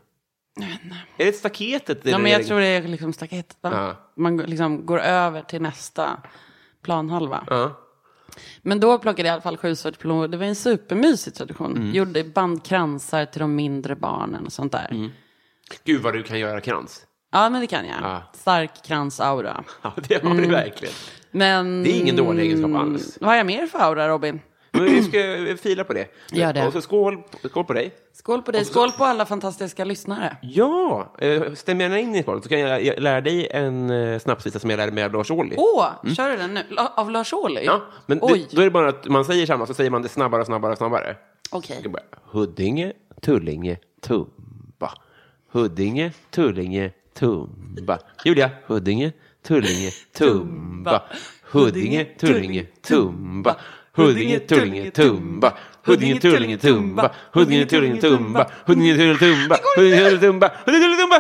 A: Är det staketet?
B: Ja,
A: eller
B: men
A: är
B: jag
A: det-
B: tror det är liksom staketet. Va?
A: Ja.
B: Man går- liksom går över till nästa planhalva.
A: Ja.
B: Men då plockade jag i alla fall sju sorters blommor. Det var en supermysig tradition.
A: Mm.
B: Gjorde bandkransar till de mindre barnen och sånt där.
A: Mm. Gud vad du kan göra krans.
B: Ja, men det kan jag.
A: Ja.
B: Stark kransaura. Mm.
A: Ja, det har du verkligen.
B: Men... Mm.
A: Det är ingen dålig egenskap alls.
B: Vad har jag mer för aura, Robin?
A: Men vi ska fila på det.
B: Gör det.
A: Och så skål, skål på dig.
B: Skål på dig, skål på alla fantastiska lyssnare.
A: Ja, eh, stäm gärna in i skålen så kan jag jag lära dig en eh, snapsvisa som jag lärde mig av Lars Ohly.
B: Åh, kör du den nu? La- Av Lars Ohly?
A: Mm. Ja, men
B: Oj,
A: det, då är det bara att man säger samma, så säger man det snabbare och snabbare och snabbare.
B: okej.
A: Jag bara, Huddinge, Tullinge, Tumba. Huddinge, Tullinge, Tumba. Julia, Huddinge, Tullinge, Tumba. Huddinge, Tullinge, Tumba. Huddinge, Tullinge, Tumba. Huddinge, Tullinge, Tumba. Huddinge, Tullinge, Tumba. Huddinge, Tullinge, Tumba. Huddinge, Tullinge, Tumba. Huddinge, Tullinge, Tumba. Huddinge, Tullinge, Tumba.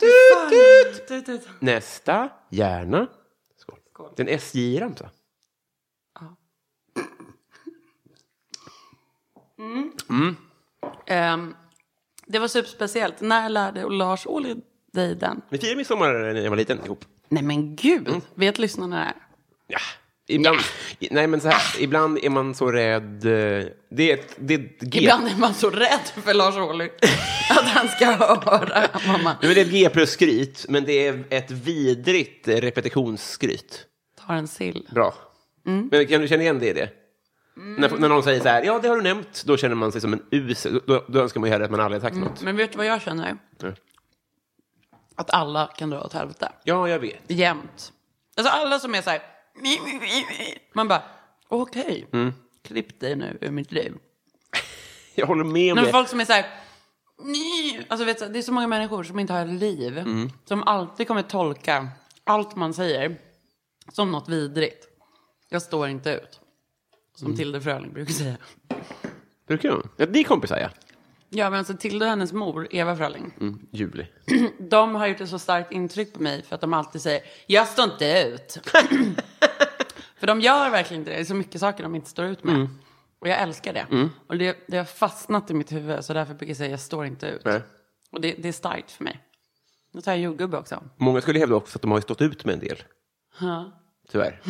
A: Tut, tut.
B: Tut, tut.
A: Nästa, gärna. Skål.
B: Skål.
A: Det är en SJ-ramsa.
B: Ehm, Det var superspeciellt. När lärde Lars Ohly dig den?
A: Vi firade midsommar när jag var liten ihop.
B: Nej men gud, vet lyssnarna det här?
A: Ja. Ibland, i- Nej, men så här, ibland är man så rädd. eh, Det är ett, det är ett G.
B: Ibland är man så rädd för Lars Ohly (laughs) att han ska höra mamma.
A: Nej, men det är ett G plus skryt, men det är ett vidrigt eh, repetitionsskryt.
B: Ta en sill.
A: Bra.
B: Mm.
A: Men kan du känna igen det i det? När, när någon säger så här, ja det har du nämnt, då känner man sig som en usel. Då, då önskar man ju hellre att man aldrig har sagt något.
B: Men vet du vad jag känner?
A: Nej.
B: Att alla kan dra åt helvete.
A: Ja, jag vet. (laughs)
B: Jämt. Alltså alla som är så här. Man bara, okej. Klipp dig nu ur mitt liv.
A: Jag håller med om
B: Nej,
A: det.
B: men folk som är så här. "Nej." Alltså, vet du, det är så många människor som inte har ett liv.
A: Mm.
B: Som alltid kommer tolka allt man säger som något vidrigt. Jag står inte ut. Som
A: Mm.
B: Tilde Fröling brukar säga.
A: Brukar de? Ja, det är kompisar, ja.
B: Ja, men alltså Tilde och hennes mor, Eva Fröling,
A: Mm, juli.
B: de har gjort ett så starkt intryck på mig för att de alltid säger jag står inte ut.
A: (laughs)
B: för de gör verkligen inte det. Det är så mycket saker de inte står ut med.
A: Mm.
B: Och jag älskar det. Och det, det har fastnat i mitt huvud så därför brukar jag säga jag står inte ut.
A: Nej.
B: Och det, det är starkt för mig. Nu tar jag jordgubbe också.
A: Många skulle hävda också att de har ju stått ut med en del.
B: Ja. Mm.
A: Tyvärr.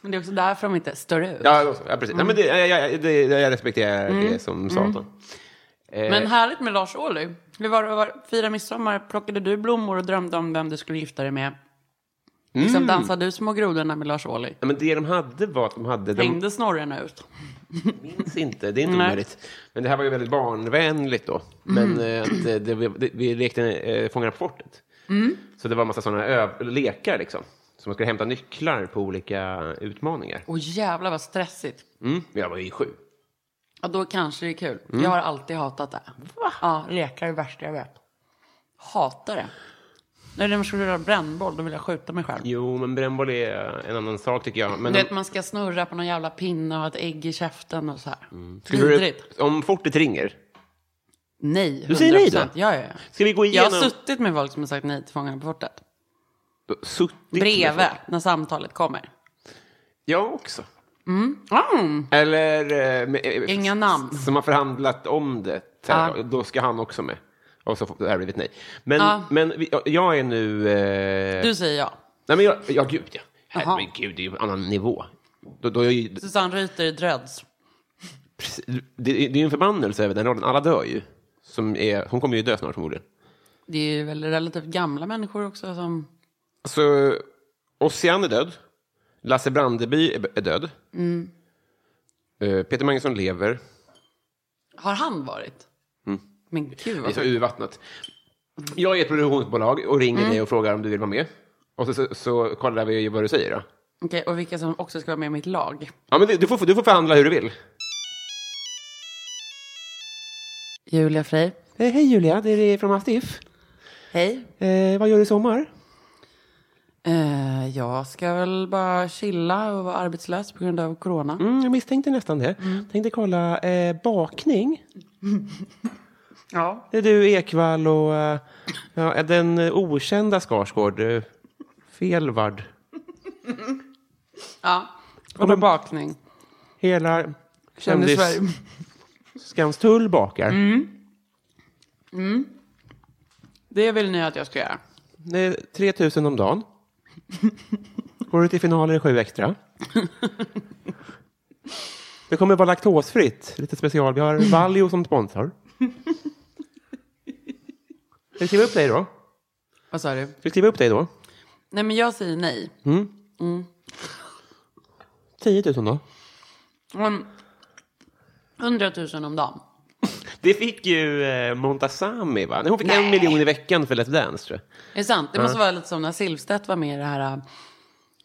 B: Men det är också därför de inte står ut.
A: Ja, då så. ja precis. Nej, men det,
B: Mm.
A: jag, jag, det, jag respekterar det som satan. Eh,
B: Men härligt med Lars Ohly. Hur var det att vara- fira midsommar? Plockade du blommor och drömde om vem du skulle gifta dig med?
A: Mm.
B: Liksom dansade du små grodorna med Lars Ohly?
A: ja, men det de hade var att de hade... De
B: Hängde snorren ut?
A: minns inte, det är inte
B: Nej. Mm.
A: omöjligt. Men det här var ju väldigt barnvänligt då. Men eh, att, eh, det, det, vi lekte eh, Fångarna på fortet.
B: Mm.
A: Så det var en massa sådana öv- lekar liksom. Så man skulle hämta nycklar på olika utmaningar.
B: Åh jävlar vad stressigt.
A: Mm. Jag var ju sju.
B: Ja, då kanske det är kul.
A: Mm.
B: Jag har alltid hatat det. Va? Ja, lekar är det värsta jag vet. Hatar det. När man skulle röra brännboll, då vill jag skjuta mig själv.
A: Jo, men brännboll är en annan sak tycker jag. Men
B: Du vet, man ska snurra på någon jävla pinne och ha ett ägg i käften och så här.
A: Mm. skulle du,
B: Vidrigt.
A: om fortet ringer,
B: Nej,
A: Du säger nej då?
B: 100%. Ja, ja, ja.
A: ska vi gå
B: Jag
A: igenom...
B: har suttit med folk som har sagt nej till Fångarna på fortet.
A: suttit med
B: Bredvid,
A: folk.
B: när samtalet kommer.
A: Jag också.
B: Mm.
A: Eller... eh, med- eh,
B: Inga
A: s-
B: namn.
A: Som har förhandlat om det. Så här,
B: Ja.
A: Då ska han också med. Och så får- det här blivit nej. Men,
B: Ja.
A: men vi- jag- jag är nu... Eh,
B: Du säger ja.
A: Nej, men jag, ja, gud ja.
B: Jaha.
A: Herregud, det är ju en annan nivå. Då, då är jag ju,
B: Susanne Reuter i Dreads.
A: det, det är ju en förbannelse över den rollen. Alla dör ju. Som är, hon kommer ju dö snart förmodligen.
B: Det är ju väl relativt gamla människor också som...
A: Alltså, Ossian är död. Lasse Brandeby är, är död.
B: Mm.
A: Eh, Peter Magnusson lever.
B: Har han varit?
A: Mm.
B: Men gud
A: Det är
B: vad...
A: så urvattnat. Alltså, Jag är ett produktionsbolag och ringer dig och frågar om du vill vara med. Och så, så, så kollar vi vad du säger. Då.
B: Okej, och vilka som också ska vara med i mitt lag.
A: Ja, men det- du, får, du får förhandla hur du vill.
B: Julia Frey.
A: Eh, hej Julia, det är från Mastiff.
B: Hej.
A: vad gör du i sommar?
B: Eh, jag ska väl bara chilla och vara arbetslös på grund av corona.
A: Mm, jag misstänkte nästan det. Tänkte kolla eh, bakning.
B: Ja.
A: Det är du, Ekvall och eh, ja, den okända Skarsgård. eh, Felvard.
B: Ja. Och då bakning.
A: Hela
B: Kändis. Sverige.
A: Skanstull bakar.
B: Det vill ni att jag ska göra.
A: Det är 3 000 om dagen. Går du till finaler är sju extra. Det kommer vara laktosfritt. Lite special. Vi har Valio som sponsor. Ska vi skriva upp dig då? Ska
B: Vad sa du?
A: vi skriva upp dig då?
B: Nej, men jag säger nej.
A: 10 000 då?
B: Men 100 000 om dagen.
A: Det fick ju eh, Montazami, va? Nej, Hon fick en miljon i veckan för Let's Dance, tror jag.
B: Är det sant? Det måste vara lite som när Silvstedt var med i det här äh,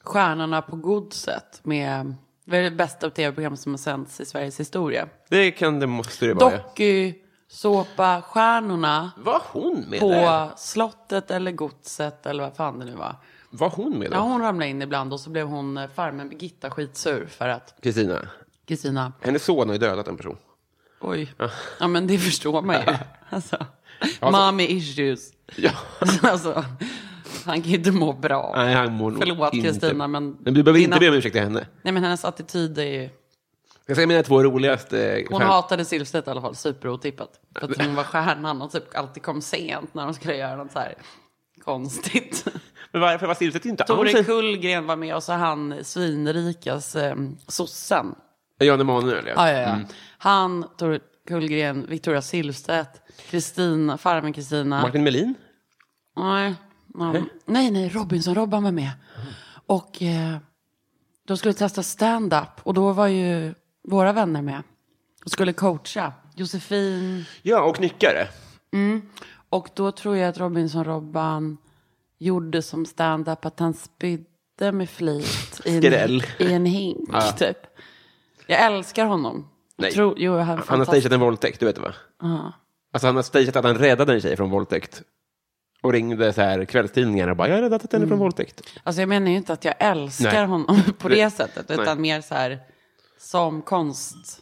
B: Stjärnorna på godset med det, är det bästa tv-program som har sänts i Sveriges historia.
A: Det, kan, det måste det vara, ja.
B: Docu, såpa, stjärnorna
A: Var hon med där?
B: på slottet eller godset eller vad fan det nu var.
A: Var hon med
B: Ja,
A: då?
B: hon ramlade in ibland och så blev hon eh, farmen Birgitta skitsur för att
A: Kristina?
B: Kristina,
A: Hennes son har ju dödat en person.
B: oj, ja men det förstår man
A: (laughs)
B: ju. Alltså,
A: så-
B: mommy issues.
A: Ja.
B: Alltså, han kan ju inte må bra.
A: Nej, han mår nog
B: Förlåt
A: inte-
B: Kristina, men...
A: Men du behöver
B: dina-
A: inte be om ursäkt till henne.
B: Nej, men hennes attityd är ju...
A: Jag ska mina två roligaste...
B: Hon
A: stjärn-
B: hatade Silvstedt i alla fall, superotippat. För att hon var stjärnan och typ alltid kom sent när de skulle göra något så här
A: (laughs)
B: konstigt.
A: Men varför var Silvstedt inte alls
B: Tore
A: en...
B: Kullgren var med och så han svinrikas eh, sossen.
A: Jan Emanuel, ja.
B: Ja, ja, ja. Han, Tore Kullgren, Victoria Silvstedt, Kristina, farmen Kristina.
A: Martin Melin?
B: Nej, nej, nej, nej Robinson-Robban var med. Och eh, de skulle testa stand-up och då var ju våra vänner med. Och skulle coacha Josefin.
A: Ja, och Knyckare.
B: Och då tror jag att Robinson-Robban gjorde som stand-up att han spydde med flit i en,
A: Skrell.
B: i en hink typ. Jag älskar honom. Jag
A: Nej.
B: Tror, jo, han är
A: Han har
B: fantastisk.
A: stageat en våldtäkt, du vet det va? Alltså han har stageat att han räddade en tjej från våldtäkt. Och ringde så här kvällstidningar och bara, jag har räddat henne från våldtäkt.
B: Alltså jag menar ju inte att jag älskar
A: Nej.
B: honom (laughs) på det
A: Nej.
B: sättet,
A: Nej.
B: utan mer så här som konst.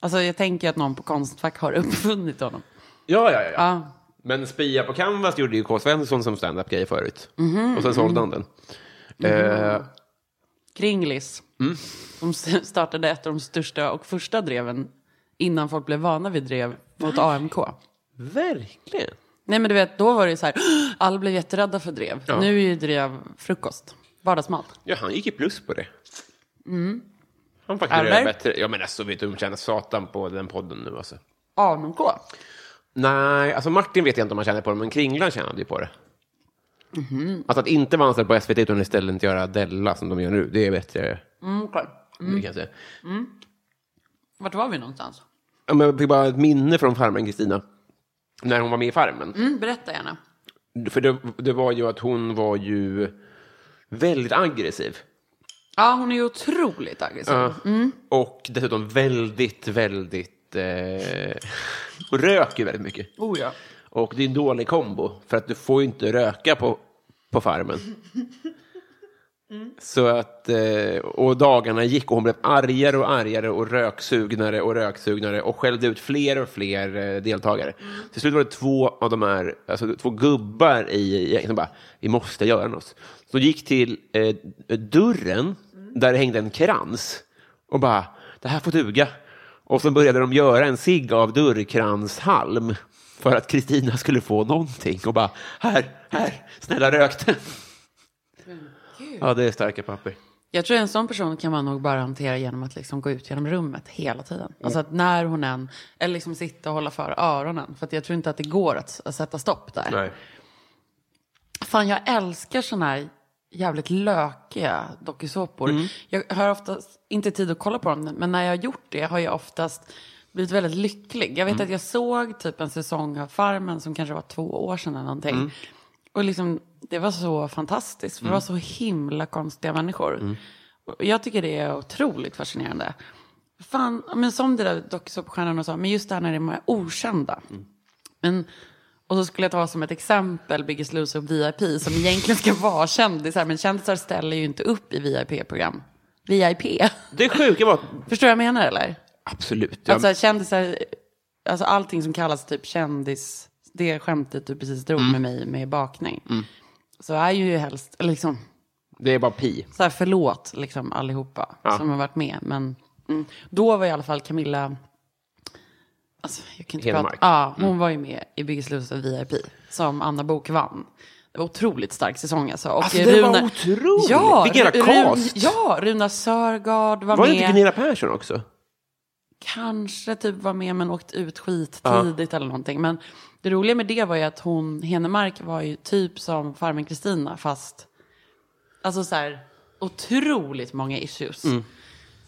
B: Alltså jag tänker att någon på Konstfack har (laughs) uppfunnit honom.
A: Ja, ja, ja. ja.
B: Ja,
A: Men Spia på Canvas gjorde ju K. Svensson som stand-up-grej förut.
B: Mhm,
A: Och sen sålde han den. Eh,
B: Kringlis.
A: Mm.
B: De s- startade ett av de största och första dreven innan folk blev vana vid drev mot AMK.
A: verkligen.
B: Nej men du vet, då var det ju så här, (gasps) alla blev jätterädda för drev.
A: Ja.
B: Nu är ju drev frukost, vardagsmat.
A: Ja, han gick i plus på det. Han faktiskt
B: Arberg?
A: är bättre. Ja, men alltså, vet du hur de tjänar satan på den podden nu alltså?
B: AMK?
A: Nej, alltså Martin vet jag inte om han tjänar på det, men Kringlan tjänade ju på det. Alltså att inte vara anställd på SVT utan istället göra Della som de gör nu, det är bättre.
B: Mm, okej.
A: Det kan jag säga.
B: Vart var vi någonstans?
A: Ja, men jag fick bara ett minne från Farmen Kristina, när hon var med i Farmen.
B: Mm, berätta gärna.
A: För det, det var ju att hon var ju väldigt aggressiv.
B: Ja, hon är ju otroligt aggressiv.
A: Eh, Och dessutom väldigt, väldigt... Eh, hon röker ju väldigt mycket.
B: Oh ja.
A: Och det är en dålig kombo, för att du får ju inte röka på, på farmen. Så att, eh, och dagarna gick och hon blev argare och argare och röksugnare och röksugnare och skällde ut fler och fler eh, deltagare. Till slut var det två av de här, alltså två gubbar i gänget som bara, vi måste göra något. Så de gick till eh, dörren där det hängde en krans och bara, det här får duga. Och så började de göra en cigg av dörrkranshalm för att Kristina skulle få någonting och bara, här, här, snälla rök den. Ja, det är starka papper.
B: Jag tror en sån person kan man nog bara hantera genom att liksom gå ut genom rummet hela tiden. Alltså att när hon än, eller liksom sitta och hålla för öronen. För att jag tror inte att det går att, att sätta stopp där. Fan, jag älskar såna här jävligt lökiga dokusåpor. Jag har oftast inte tid att kolla på dem, men när jag har gjort det har jag oftast blivit väldigt lycklig. Jag vet att jag såg typ en säsong av Farmen som kanske var två år sedan eller någonting. Och liksom, det var så fantastiskt, för det var så himla konstiga människor. Och jag tycker det är otroligt fascinerande. Fan, men som det där dokusåpstjärnan och så, men just det här när det är många okända. Men, och så skulle jag ta som ett exempel Biggest Loser och VIP som egentligen ska vara kändisar. Men kändisar ställer ju inte upp i VIP-program. VIP.
A: Det sjuka var...
B: Förstår jag vad jag menar eller?
A: Absolut. Ja,
B: Alltså kändisar, alltså allting som kallas typ kändis, det skämtet du precis drog med mig med bakning. Så är ju helst, eller liksom,
A: det är bara pi.
B: så här förlåt liksom allihopa som har varit med. Men mm, då var i alla fall Camilla, alltså jag kan inte
A: Hedemark.
B: prata. Ja, hon
A: Mm.
B: var ju med i Biggest Loser VIP som Anna Bok vann. Det var otroligt stark säsong alltså. Och
A: Alltså, det var otroligt.
B: Ja,
A: Vilken jävla
B: Ru- Ru-
A: cast.
B: Ja, Runa Sörgard var,
A: Var det
B: med.
A: inte Gunilla Persson också?
B: Kanske typ var med men åkt ut skit tidigt eller någonting. Men det roliga med det var ju att hon, Henemark var ju typ som Farmen Kristina fast alltså så här otroligt många issues.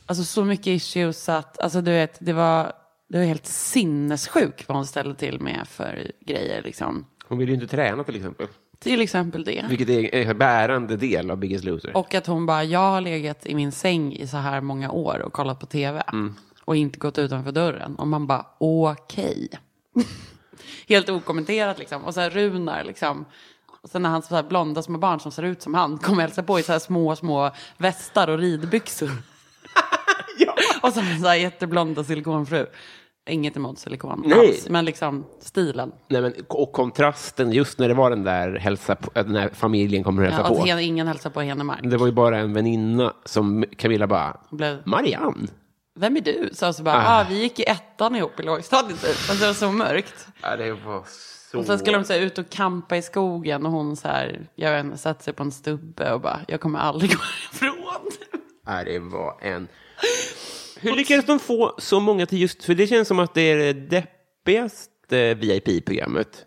B: Alltså så mycket issues att, alltså du vet, det var, det var helt sinnessjuk vad hon ställde till med för grejer liksom.
A: Hon vill ju inte träna till exempel.
B: Till exempel det.
A: Vilket är en bärande del av Biggest Loser.
B: Och att hon bara, jag har legat i min säng i så här många år och kollat på tv.
A: Mm.
B: Och inte gått utanför dörren. Och man bara, okej. (laughs) Helt okommenterat liksom. Och så här Runar liksom. Och sen när hans så här blonda små barn som ser ut som han kommer hälsa på i så här små, små västar
A: (laughs)
B: och ridbyxor. Och så, så här jätteblonda silikonfru. Inget emot silikon
A: Nej.
B: alls, men liksom stilen.
A: Nej, men, och kontrasten just när det var den där hälsa på, den här familjen kommer att
B: Ja,
A: hälsa på.
B: att
A: Mm.
B: hen, ingen hälsar på Henemark.
A: Det var ju bara en väninna som Camilla bara,
B: Blev-
A: Marianne.
B: Vem är du? Så, så bara,
A: Ah.
B: ah. vi gick i ettan ihop i lågstadiet typ. Alltså, det var så mörkt.
A: Ja, det var så...
B: Och sen skulle de så här, ut och kampa i skogen och hon så här, jag vet inte, satte sig på en stubbe och bara, jag kommer aldrig (laughs) gå ifrån.
A: Ja, det var en... Hur lyckades de få så många till just... För det känns som att det är det deppigaste VIP-programmet.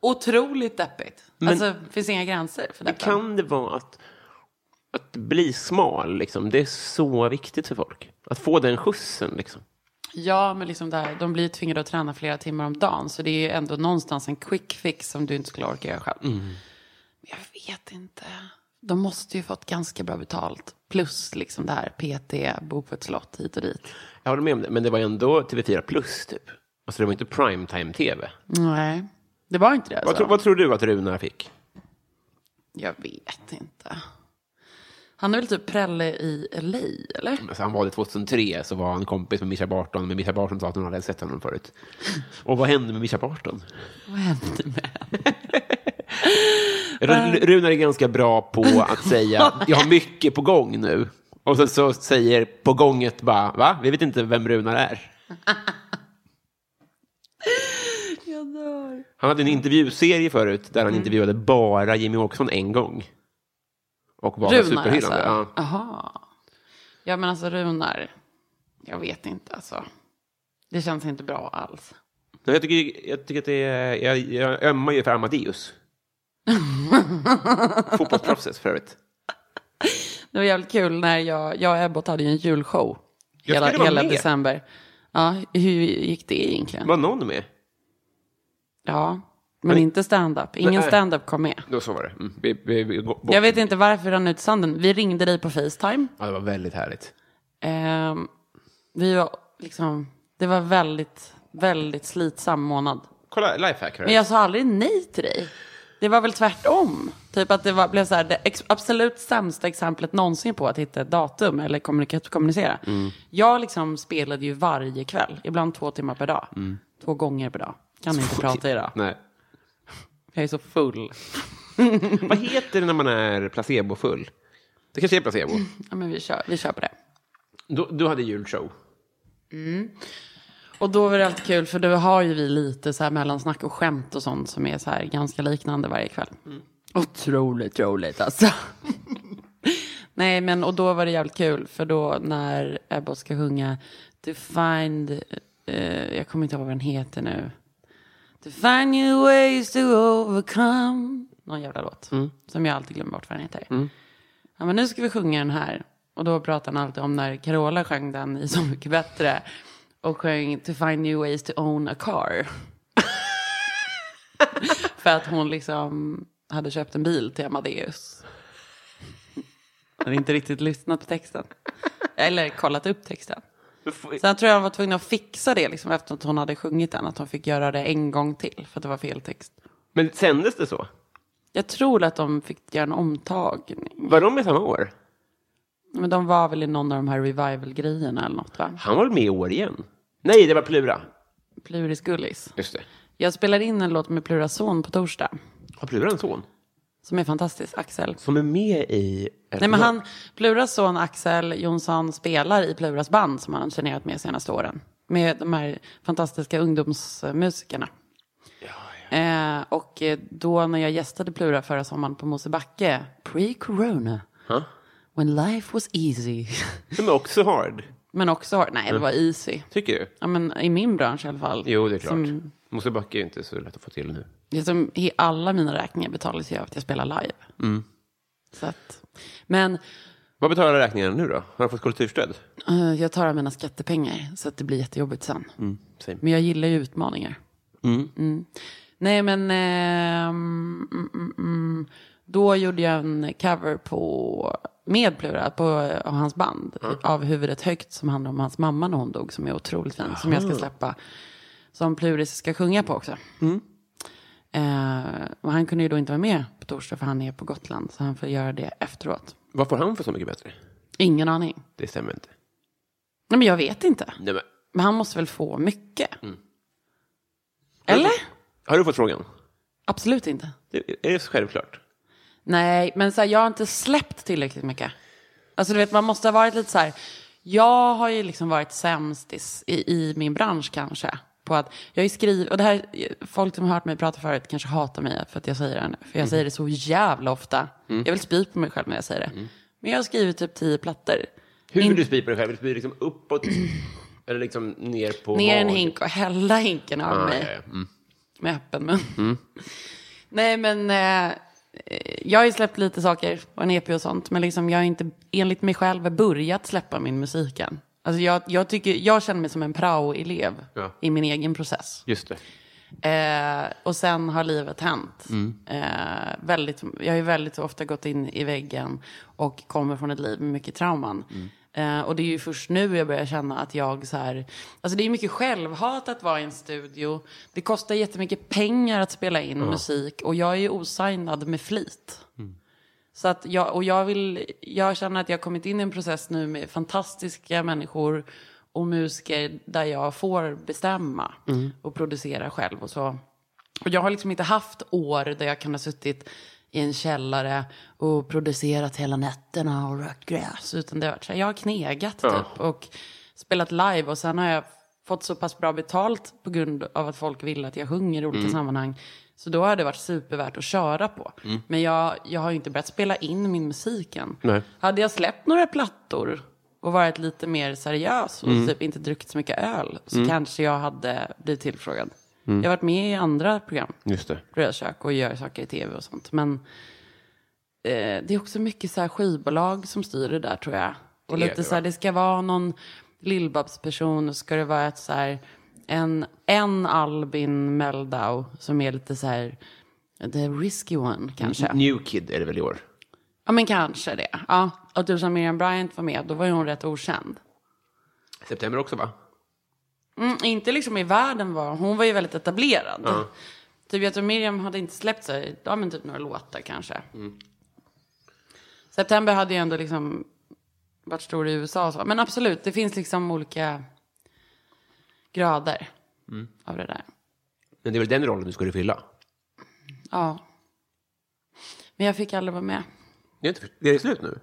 B: Otroligt deppigt.
A: Men-
B: alltså, det finns inga gränser för deppen.
A: Kan det vara att, att bli smal, liksom, det är så viktigt för folk? Att få den skjutsen, liksom.
B: Ja, men liksom där, de blir tvingade att träna flera timmar om dagen. Så det är ju ändå någonstans en quick fix som du inte skulle orka göra själv.
A: Mm.
B: Men jag vet inte. De måste ju fått ganska bra betalt. Plus liksom det här PT, bo på ett slott hit och dit.
A: Jag håller med om det, men det var ändå TV4 Plus, typ. Alltså, det var inte primetime-tv.
B: Nej, det var inte det.
A: Vad, tro-
B: Alltså.
A: vad tror du att Runar fick?
B: Jag vet inte. Han är väl typ prälle i LA, eller?
A: Alltså, han valde 2003, så var han kompis med Mischa Barton, men Mischa Barton sa att hon hade sett honom förut. Och vad hände med Mischa Barton?
B: Vad hände med
A: Ru- Runar är ganska bra
B: (laughs)
A: på att säga jag har mycket på gång nu. Och sen så säger på gånget bara va? Vi vet inte vem Runar är.
B: (laughs) Jag dör. Mm.
A: Han hade en intervjuserie förut där han intervjuade bara Jimmy Åkesson en gång. Och var
B: Runar alltså?
A: superhyllande. Ja.
B: Aha. Ja, men alltså Runar. Jag vet inte alltså. Det känns inte bra alls.
A: Nej, Jag, tycker, jag tycker att det är, jag, jag ömmar ju för
B: (laughs)
A: Amadeus. Fotbollsproffset för övrigt.
B: Det var jävligt kul när jag, jag och Ebbot hade ju en julshow.
A: Jag
B: Hela,
A: skulle vara
B: hela
A: med.
B: december. Ja, hur gick det egentligen?
A: Var någon med?
B: Ja, men
A: Men-
B: inte stand-up. Ingen
A: Nej.
B: stand-up kom med.
A: Då så var det. Mm. Vi, vi, vi, går bort.
B: Jag vet inte varför det rann ut i sanden. Vi ringde dig på Facetime.
A: Ja, det var väldigt härligt.
B: Ehm, vi var liksom, det var väldigt, väldigt slitsam månad.
A: Kolla, lifehack. hörru.
B: Men jag sa aldrig nej till dig. Det var väl tvärtom. Typ att det var, blev så här, det ex, absolut sämsta exemplet någonsin på att hitta ett datum eller kommunika- kommunicera. Jag liksom spelade ju varje kväll, ibland två timmar per dag. Två gånger per dag. Kan inte prata idag.
A: Nej.
B: Jag är så full.
A: (laughs) Vad heter det när man är placebofull? Det kanske är placebo.
B: Ja, men vi, kör, vi kör på det.
A: Du, du hade julshow.
B: Och då var det alltid kul för då har ju vi lite så här mellansnack och skämt och sånt som är så här ganska liknande varje kväll. Otroligt roligt alltså. (laughs) Nej men och då var det jävligt kul för då när Ebba ska sjunga To find, eh, jag kommer inte ihåg vad den heter nu. To find new ways to overcome. Någon jävla låt. Som jag alltid glömmer bort vad den heter. Ja, men nu ska vi sjunga den här. Och då pratar han alltid om när Carola sjöng den i Så mycket bättre. Och sjöng To find new ways to own a car. (laughs) För att hon liksom hade köpt en bil till Amadeus. Hon hade inte riktigt lyssnat på texten. Eller kollat upp texten. Sen tror jag hon var tvungen att fixa det liksom efter att hon hade sjungit den. Att hon fick göra det en gång till för att det var fel text.
A: Men sändes det så?
B: Jag tror att de fick göra en omtagning.
A: Var de med samma år?
B: Men de var väl i någon av de här revival-grejerna eller något va?
A: Han var väl med i år igen? Nej, det var Plura.
B: Pluris Gullis.
A: Just det.
B: Jag spelar in en låt med Pluras son på torsdag.
A: Har Plura en son?
B: Som är fantastisk, Axel.
A: Som är med i...
B: Nej men han, Pluras son Axel Jonsson spelar i Pluras band som han har turnerat med de senaste åren. Med de här fantastiska ungdomsmusikerna. Eh, och eh, då när jag gästade Plura förra sommaren på Mosebacke, pre-corona, when life was easy. (laughs)
A: Som är också hard,
B: men också, nej det var easy.
A: tycker du?
B: Ja, men i min bransch i alla fall.
A: Jo, det är klart.
B: Som,
A: Mosebacke är ju inte så lätt att få till nu.
B: det är som, i alla mina räkningar betalas ju av att jag spelar live. Så att, men
A: Vad betalar räkningen nu då? Har du fått kollektivstöd?
B: Eh, Jag tar av mina skattepengar så att det blir jättejobbigt sen.
A: same.
B: Men jag gillar ju utmaningar. Mm. Nej men, ehm, mm, mm, mm. då gjorde jag en cover på, med Plura, på, av hans band. Av Huvudet högt som handlar om hans mamma när hon dog. Som är otroligt fin. Som jag ska släppa. Som Pluris ska sjunga på också. Eh, och han kunde ju då inte vara med på torsdag för han är på Gotland. Så han får göra det efteråt.
A: Vad får han för så mycket bättre?
B: Ingen aning.
A: Det stämmer inte.
B: Nej men jag vet inte.
A: Nej, men,
B: Men han måste väl få mycket?
A: Mm.
B: Eller?
A: har du fått frågan?
B: Absolut inte.
A: Det är det så självklart?
B: Nej, men så här, jag har inte släppt tillräckligt mycket. Alltså du vet, man måste ha varit lite så här. Jag har ju liksom varit sämst i, s- i, i min bransch kanske. På att jag skriver, och det här, folk som har hört mig prata förut kanske hatar mig för att jag säger det nu.
A: Mm.
B: För jag säger det så jävla ofta. Jag vill spy på mig själv när jag säger det.
A: Mm.
B: Men jag har skrivit typ tio plattor.
A: Hur
B: Min-
A: du spyr på dig själv? Du spyr liksom uppåt (clears throat) eller liksom ner på
B: Ner en
A: magen.
B: hink och hälla hinken av
A: Ah,
B: mig.
A: ja, ja. Mm.
B: med öppen mun. (laughs) Nej, men eh, jag har ju släppt lite saker och en EP och sånt. Men liksom, jag har inte enligt mig själv börjat släppa min musik än. Alltså jag, jag, tycker, jag känner mig som en prao-elev
A: Ja.
B: i min egen process.
A: Just det.
B: Eh, och sen har livet hänt. Eh, väldigt, jag har ju väldigt ofta gått in i väggen och kommer från ett liv med mycket trauman. Eh, och det är ju först nu jag börjar känna att jag så här, alltså det är mycket självhat att vara i en studio. Det kostar jättemycket pengar att spela in musik och jag är ju osignad med flit. Så att jag, och jag, vill, jag känner att jag har kommit in i en process nu med fantastiska människor och musiker där jag får bestämma och producera själv och så. Och jag har liksom inte haft år där jag kan ha suttit i en källare och producerat hela nätterna och rökt gräs. Utan det har varit så här, jag har knegat typ och spelat live och sen har jag fått så pass bra betalt på grund av att folk vill att jag sjunger i olika sammanhang. Så då har det varit supervärt att köra på. Men jag, jag har ju inte börjat spela in min musik än.
A: Nej.
B: Hade jag släppt några plattor och varit lite mer seriös och typ inte druckit så mycket öl så kanske jag hade blivit tillfrågad. Jag har varit med i andra program,
A: Just det.
B: Rödkök och gör saker i tv och sånt. Men eh, det är också mycket så här skivbolag som styr det där tror jag. Och
A: Det är
B: lite
A: det,
B: så här, det ska vara någon Lill-Babs-person och ska det vara ett så här, en, en Albin Meldau som är lite så här, the risky one kanske.
A: New Kid är det väl i år?
B: Ja men kanske det. Ja. Och du som Miriam Bryant var med, då var ju hon rätt okänd.
A: September också va?
B: Mm, inte liksom i världen var hon, var ju väldigt etablerad. Typ jag tror Miriam hade inte släppt sig, ja men typ några låtar kanske.
A: Mm.
B: September hade ju ändå liksom varit stor i USA och så. Men absolut, det finns liksom olika grader
A: Mm.
B: av det där.
A: Men det är väl den rollen du skulle fylla?
B: Ja. Men jag fick aldrig vara med.
A: Det är, inte, det är slut nu?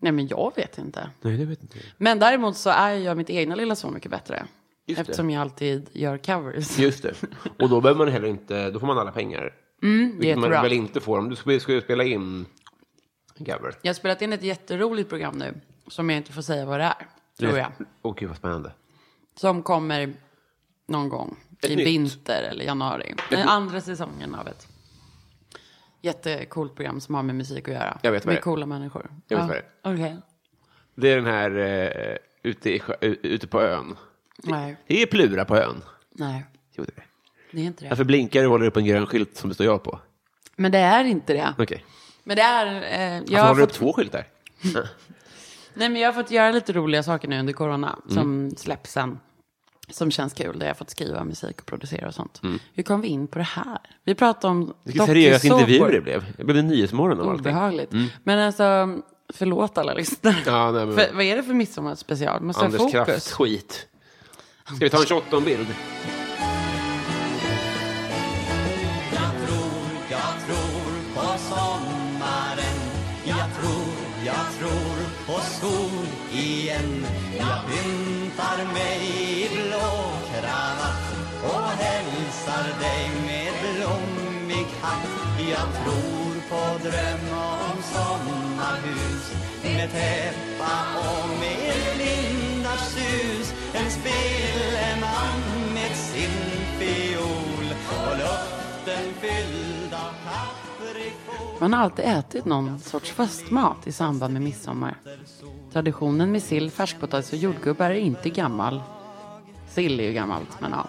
B: Nej men jag vet inte.
A: Nej, det vet inte
B: Men däremot så är jag mitt egna lilla så mycket bättre.
A: Just det.
B: eftersom jag alltid gör covers.
A: Just det. Och då behöver man heller inte, då får man alla pengar. Mm, vilket man
B: jättebra.
A: väl inte får om du skulle, skulle spela in en cover.
B: Jag har spelat in ett jätteroligt program nu som jag inte får säga vad det är, tror jag.
A: Åh gud vad spännande.
B: Som kommer någon gång
A: Ett
B: i
A: nytt.
B: vinter eller januari. Den andra säsongen av ett jättecoolt program som har med musik att göra.
A: Jag vet vad
B: med
A: det är.
B: coola människor.
A: Jag vet vad det
B: är. Okej.
A: Det är den här eh, ute, i, sjö- ute på ön.
B: Nej,
A: Det är Plura på ön.
B: nej,
A: Jo, det är det.
B: det är inte det.
A: Varför blinkar du och håller upp en grön skylt som det står jag på?
B: Men det är inte det.
A: Okej.
B: Men det är... Eh, jag
A: Varför
B: har
A: håller du
B: fått
A: upp två skyltar?
B: Nej, men jag har fått göra lite roliga saker nu under corona
A: Mm.
B: som släpps sen. Som känns kul, där jag har fått skriva musik och producera och sånt. Hur kom vi in på det här? Vi pratade om
A: Mm. Vilken seriös
B: dokusåpor.
A: intervju det blev. Det blev en Nyhetsmorgon
B: Oh,
A: av allting.
B: Obehagligt. Men alltså, förlåt alla lyssnare.
A: Ja, nej, men-
B: för, vad är det för midsommarspecial? Måste ha
A: Anders
B: fokus.
A: Krafts skit. Ska vi ta en 28 bild?
B: Man har alltid ätit någon sorts festmat i samband med midsommar. Traditionen med sill, färskpotatis och jordgubbar är inte gammal. Sill är ju gammalt, men ja.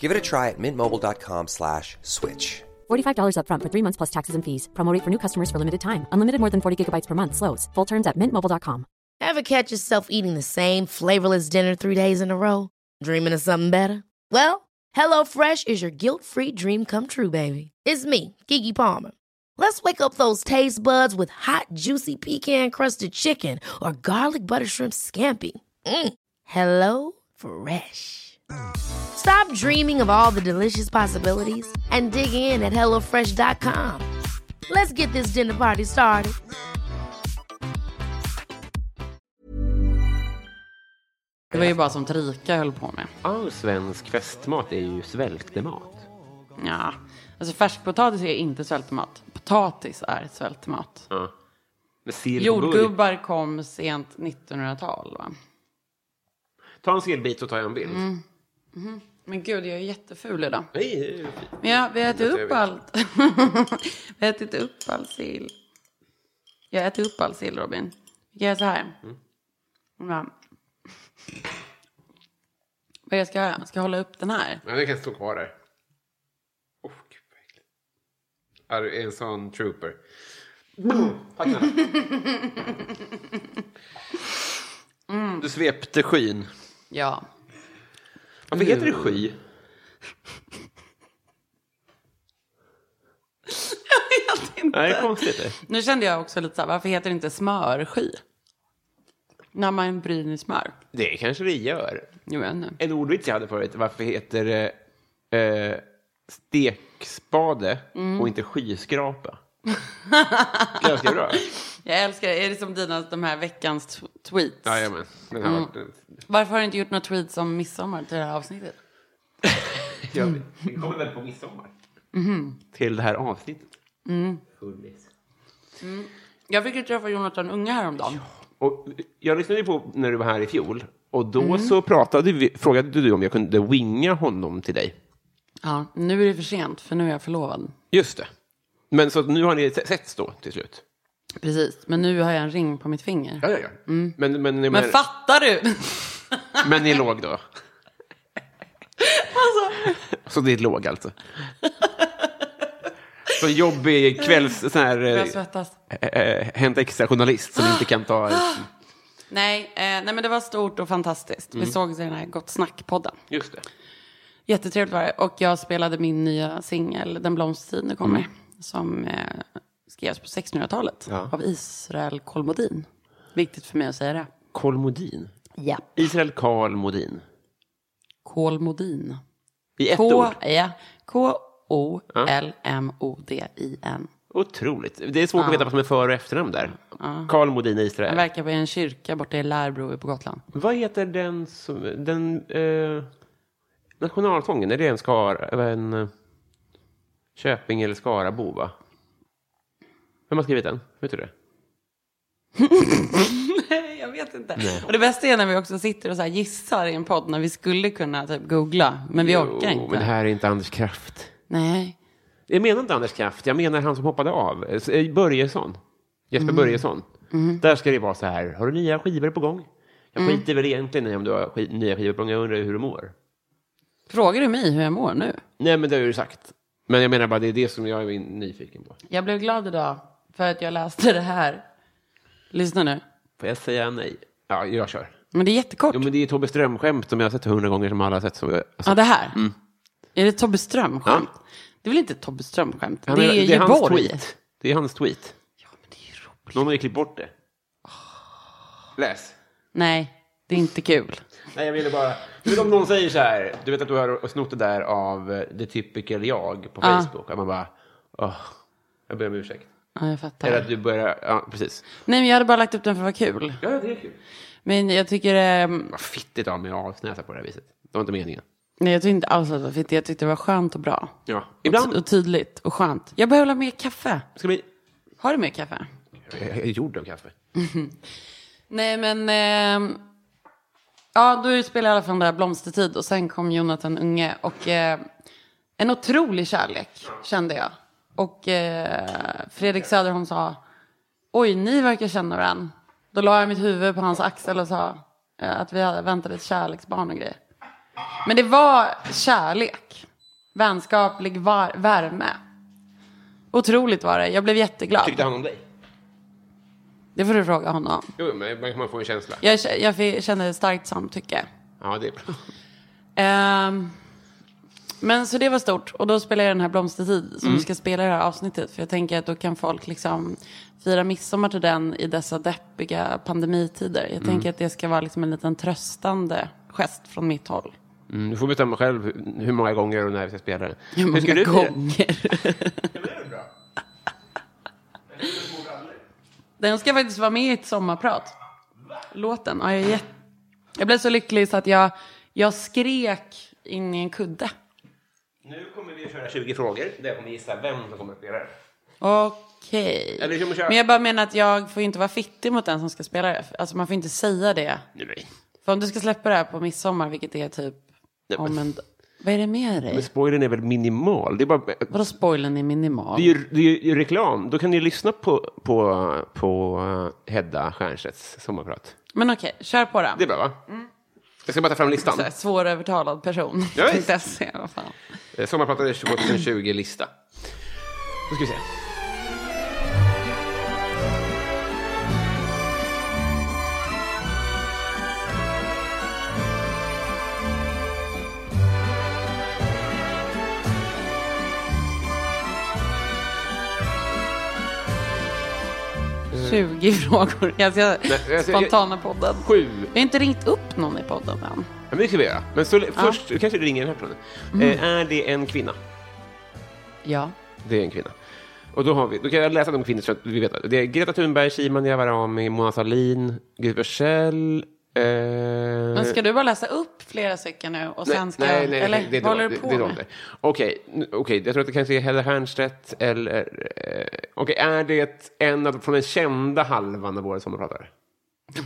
G: Give it a try at mintmobile.com slash switch.
H: $45 upfront for three months plus taxes and fees. Promote for new customers for limited time. Unlimited more than 40 gigabytes per month. Slows. Full terms at mintmobile.com.
I: Ever catch yourself eating the same flavorless dinner three days in a row? Dreaming of something better? Well, HelloFresh is your guilt free dream come true, baby. It's me, Gigi Palmer. Let's wake up those taste buds with hot, juicy pecan crusted chicken or garlic butter shrimp scampi. Mm. Hello Fresh. Stop dreaming of all the delicious possibilities and dig in at HelloFresh.com. Let's get this dinner party started.
B: Det var ju bara sånt rika höll på med.
A: All svensk festmat är ju svältemat.
B: Ja, alltså färskpotatis är inte svältmat. Potatis är svältmat.
A: Ja. Med sill på burk.
B: Jordgubbar kom sent 1900-tal, va?
A: Ta en sillbit och ta en bild.
B: Mm. Men gud, jag är jätteful idag.
A: Nej, det är ju fint.
B: Men ja, vi har ätit
A: Vad
B: upp allt. (laughs) vi har ätit upp all sill. Jag äter upp all sill, Robin. Vi kan göra så här. Ja. Vad är det jag ska göra? Ska jag hålla upp den här?
A: Men den kan stå kvar där. Åh, gud vad äckligt. Ja, du är en sån trooper. Tack, Nanna. Du svepte skyn.
B: Ja.
A: Varför heter det sky?
B: (laughs) Jag vet inte.
A: Nej, det är konstigt. det.
B: Nu kände jag också lite så här, varför heter det inte smörsky? När man bryn i smör.
A: Det kanske det gör.
B: Jo, jag vet inte.
A: En ordvits jag hade förut. Varför heter det eh, stekspade och inte skyskrapa? Ganska bra.
B: Jag älskar det. Är det som dina, de här veckans tw- tweets?
A: Jajamän. Den har varit...
B: Varför har du inte gjort några tweets om midsommar till det här avsnittet?
A: Ja, vi kommer väl på midsommar. Till det här avsnittet. Fullis.
B: Jag fick ju träffa Jonathan Unge häromdagen.
A: Och jag lyssnade ju på när du var här i fjol. Och då så pratade vi, frågade du om jag kunde winga honom till dig.
B: Ja, nu är det för sent, för nu är jag förlovad.
A: Just det. Men så att nu har ni se- setts då till slut.
B: Precis, men nu har jag en ring på mitt finger.
A: Ja, ja, ja. Men, men, men,
B: Men fattar du? (laughs)
A: men ni låg då? Så det låg alltså? Så jobbig kvälls... Sån här,
B: Jag
A: eh,
B: svettas.
A: eh, Hänt Extra-journalist som inte kan
B: Ah!
A: ta...
B: Nej, eh, nej, men det var stort och fantastiskt.
A: Mm.
B: Vi sågs i den här Gott Snack-podden.
A: Just det.
B: Jättetrevligt var det. Och jag spelade min nya singel Den blomstertid nu kommer. Som eh, skrevs på 1600-talet
A: Ja.
B: av Israel Kolmodin. Viktigt för mig att säga det.
A: Kolmodin.
B: Ja.
A: Israel Karl Modin.
B: Kolmodin.
A: I ett
B: K,
A: ord.
B: ja, K-O-L-M-O-D-I-N.
A: Otroligt. Det är svårt
B: Ah.
A: att veta vad som är för och efternamn där. Karl Modin i Israel.
B: Han verkar vara i en kyrka borta i Lärbro på Gotland.
A: Vad heter den som... Den, eh, nationalsången, är det en Skara... En, eh, Köping eller Skarabo, va? Vem har skrivit den? Vet du det?
B: Nej, (laughs) jag vet inte. Och det bästa är när vi också sitter och så här gissar i en podd när vi skulle kunna typ googla, men vi orkar inte.
A: men det här är inte Anders Kraft.
B: Nej,
A: Jag menar inte Anders Kraft, jag menar han som hoppade av. Eh, Börjesson. Jesper
B: Mm.
A: Börjesson. Där ska det vara så här, har du nya skivor på gång? Jag
B: Mm.
A: skiter väl egentligen i om du har sk- nya skivor på gång, jag undrar hur du mår.
B: frågar du mig hur jag mår nu?
A: Nej, men det har du sagt. Men jag menar bara, det är det som jag är nyfiken på.
B: Jag blev glad idag för att jag läste det här. Lyssna nu.
A: Får jag säga nej? Ja, jag kör.
B: Men det är jättekort.
A: Jo, men det är Tobbe Ström-skämt som jag har sett hundra gånger som alla har sett. Så jag, alltså,
B: Ja, det här. Är det Tobbe Ström-skämt? Det är väl inte ett Tobbe Ström-skämt? Det
A: han
B: är
A: det är hans
B: Göteborg.
A: tweet. Det är hans tweet.
B: Ja, men det är ju roligt.
A: Någon har ju klippt bort det. Läs.
B: Nej, det är inte kul.
A: Nej, jag ville bara... Du vet om någon säger så här, du vet att du har snott det där av eh, det typical jag på Facebook. Att man bara, åh, jag ber om ursäkt.
B: Ja, jag fattar.
A: Eller att du börjar, ja precis.
B: Nej, men jag hade bara lagt upp den för att vara kul.
A: Ja, det är kul.
B: Men jag tycker, ehm,
A: Vad fittigt av mig att avsnäsa på det här viset. Det var inte meningen.
B: nej jag tyckte inte alls att det var fittigt. Jag tyckte det var skönt och bra.
A: Ja.
B: Och,
A: Ibland
B: ty- och tydligt och skönt. Jag behöver mer kaffe.
A: ska vi...
B: Har du mer kaffe?
A: Jag är gjord av kaffe.
B: Nej, men... ehm, ja, då utspelade i alla fall den där Blomstertid och sen kom Jonathan Unge. Och eh, en otrolig kärlek kände jag. Och eh, Fredrik Söderholm sa, oj, ni verkar känna varandra. Då la jag mitt huvud på hans axel och sa eh, att vi hade väntat ett kärleksbarn och grejer. Men det var kärlek. Vänskaplig var- värme. Otroligt var det. Jag blev jätteglad.
A: Tyckte han om dig?
B: Det får du fråga honom.
A: Jo, men ibland kan man få en känsla.
B: Jag, k- jag fick- kände ett starkt samtycke.
A: Ja, det är bra.
B: Ehm, men så det var stort. Och då spelade jag den här Blomstertid som vi ska spela i det här avsnittet. För jag tänker att då kan folk liksom fira midsommar till den i dessa deppiga pandemitider. Jag tänker att det ska vara liksom en liten tröstande gest från mitt håll.
A: Mm, du får bestämma själv hur- hur många gånger och när vi ska spela den.
B: Hur många
A: ska du fira?
B: gånger? Den ska faktiskt vara med i ett sommarprat. Låten. Ja, jag, är jätte- jag blev så lycklig så att jag, jag skrek in i en kudde.
A: Nu kommer vi att köra 20 frågor där jag kommer gissa vem som kommer att spela den.
B: Okej.
A: Eller hur man kör.
B: Men jag bara menar att jag får inte vara fittig mot den som ska spela det. Alltså man får inte säga det.
A: Nej.
B: För om du ska släppa det här på midsommar, vilket är typ
A: Nej, men-
B: om en... Vad är det med
A: Men
B: dig?
A: spoilern är väl minimal? Det är bara...
B: Vadå spoilern är minimal?
A: Det är, ju, det är ju reklam. Då kan ni lyssna på, på, på eh, Hedda Stiernstedts sommarprat.
B: Men okej, kör på då.
A: Det är bra, va? Jag ska bara ta fram listan.
B: Så här, svårövertalad person.
A: Ja, visst.
B: Tänkte jag säga, vad fan.
A: Eh, Sommarpratare 2020-lista. Då ska vi se. Eh.
B: 20 frågor. Jag ska
A: jag ska-
B: spontana podden.
A: Sju.
B: Jag har inte ringt upp någon i podden än.
A: Ja, men det ska vi göra. Men så, först, du kanske ringer den här personen. Eh, är det en kvinna?
B: Ja.
A: Det är en kvinna. Och då, har vi, då kan jag läsa de kvinnor som vi vet. Det är Greta Thunberg, Shiman Yavarami, Mona Sahlin, Gud Forssell. Eh...
B: Men ska du bara läsa upp flera stycken nu och sen ska...
A: nej, nej, nej,
B: eller
A: nej, det är
B: vad håller
A: då-
B: du på
A: det, det är då
B: med?
A: det. Okej, nu- okej, jag tror att det kanske är Hedda Stiernstedt eller... Eh, okej, är det en av, från den kända halvan av våra sommarpratare?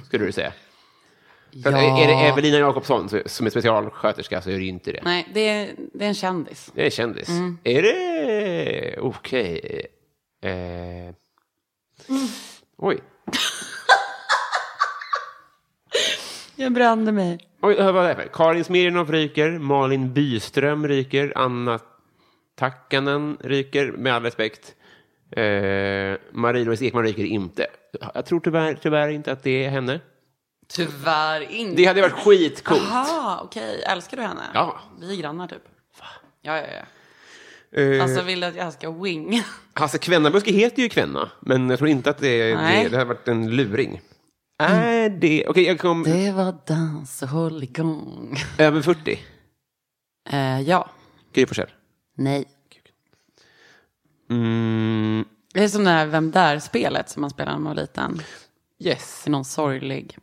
A: Skulle du säga? För att, är- är det Evelina Jakobsson så- som är specialsköterska så är det ju inte det.
B: Nej, Mm. det är, det är en kändis.
A: Det är kändis. Är det... Okej. Eh...
B: Mm.
A: Oj.
B: Jag brände mig.
A: Oj, vad var det här för? Karin Smirnoff ryker, Malin Byström ryker, Anna Takkanen ryker, med all respekt. Eh, Marie-Louise Ekman ryker inte. Jag tror tyvärr, tyvärr inte att det är henne.
B: Tyvärr inte.
A: Det hade varit skitcoolt.
B: Aha, okej. Älskar du henne?
A: Ja.
B: Vi är grannar typ. Va? Ja, ja, ja.
A: Eh,
B: Alltså vill du att jag ska wing?
A: Hasse Kvennabuske heter ju Kvenna, men jag tror inte att det,
B: Nej. Mm.
A: det, det hade varit en luring. Är det... Okej, jag kom
B: (laughs) Det var dans och håll igång.
A: över 40.
B: Eh, ja.
A: Gry Forssell.
B: Nej.
A: Mm,
B: Det är som det här Vem där-spelet som man spelade när man var liten.
A: yes.
B: I någon sorglig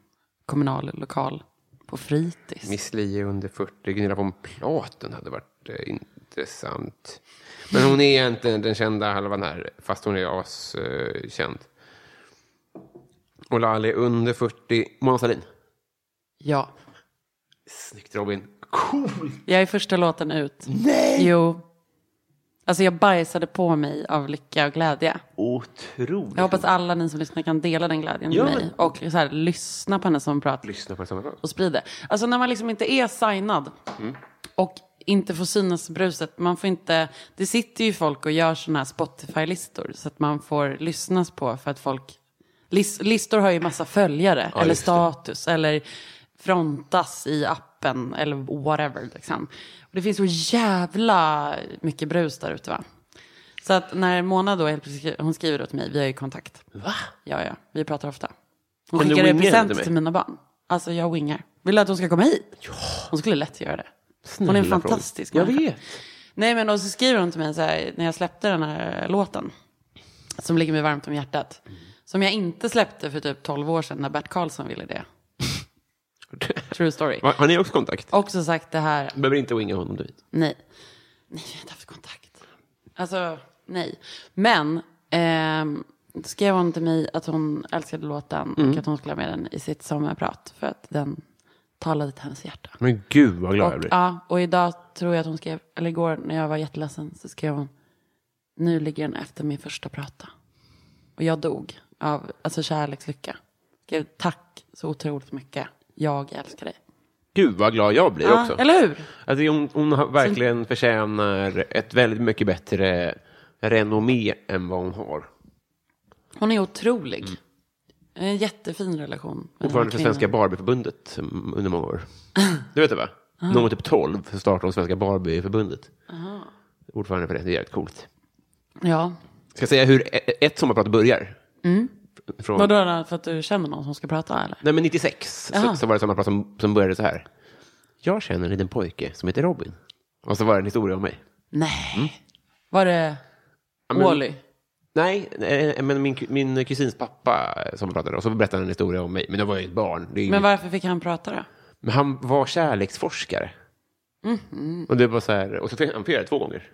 B: kommunal lokal på fritids.
A: Miss Li är under 40. Gunilla von Platen hade varit eh, intressant. Men hon är inte den kända halvan här, fast hon är askänd. Eh, känd. och Lali är under 40. Mona Sahlin.
B: Ja.
A: Snyggt Robin. Cool!
B: Jag är första låten ut. Nej! Jo. Alltså jag bajsade på mig av lycka och glädje.
A: Otroligt.
B: Jag hoppas alla ni som lyssnar kan dela den glädjen med
A: Ja,
B: mig. Och så här, lyssna på henne som pratar
A: Lyssna på det samma gång.
B: och sprid det. Alltså när man liksom inte är signad och inte får synas i bruset. Man får inte, det sitter ju folk och gör sådana här Spotify-listor så att man får lyssnas på för att folk... Lis, listor har ju massa följare eller
A: just det.
B: status eller frontas i appen eller whatever. Liksom. Och det finns så jävla mycket brus där ute va? Så att när Mona då helt plötsligt, skri- hon skriver då till mig, vi har ju kontakt. Va? Ja, ja, vi pratar ofta. Hon
A: Kan du
B: skickar
A: winga henne till
B: presenter
A: mig?
B: till mina barn. Alltså jag wingar. Vill du att hon ska komma hit? Ja. Hon skulle lätt göra det. hon är
A: Snälla
B: en
A: fråga.
B: fantastisk
A: Jag
B: människa.
A: vet.
B: Nej men och så skriver hon till mig så här, när jag släppte den här låten. som ligger mig varmt om hjärtat. Som jag inte släppte för typ 12 år sedan när Bert Karlsson ville det. True story.
A: Har har ni också kontakt?
B: Också sagt det här,
A: Du behöver inte winga honom, du vet.
B: nej. Nej, vi har inte haft kontakt. Alltså, nej. Men, ehm, skrev hon till mig att hon älskade låten och att hon skulle ha med den i sitt sommarprat. För att den talade till hennes hjärta.
A: Men gud vad glad jag
B: Och,
A: blir.
B: ja, och idag tror jag att hon skrev, eller igår när jag var jätteledsen så skrev hon, nu ligger den efter min första prata. Och jag dog av alltså, kärlekslycka. Skrev tack så otroligt mycket, jag älskar dig.
A: Gud vad glad jag blir
B: Ja,
A: också.
B: eller hur?
A: Alltså, hon, hon har verkligen förtjänar ett väldigt mycket bättre renommé än vad hon har.
B: Hon är otrolig. En jättefin relation. med den här
A: Ordförande för
B: kvinnan.
A: Svenska Barbieförbundet mm, under många år. Du vet det va?
B: Ah.
A: När hon var typ 12 så startade hon Svenska Barbieförbundet. Ordförande för det, det är jävligt coolt.
B: Ja.
A: Ska jag säga hur e- ett sommarprat börjar? Fr- Från,
B: Mm. Vadå, då, för att du känner någon som ska prata eller?
A: Nej, men 96 så,
B: Jaha.
A: så var det sommarprat som, som började så här. Jag känner en liten pojke som heter Robin. Och så var det en historia om mig.
B: Nej. Var det
A: Mm. Ja, men-
B: Wally?
A: Nej, eh, men min, ku- min kusins pappa eh, som pratade och så berättade han en historia om mig. Men då var jag ju ett barn. Det är
B: Men
A: inget...
B: varför fick han prata då?
A: men han var kärleksforskare.
B: Mm-hmm.
A: Och det var så här, och så fick han fick göra det två gånger.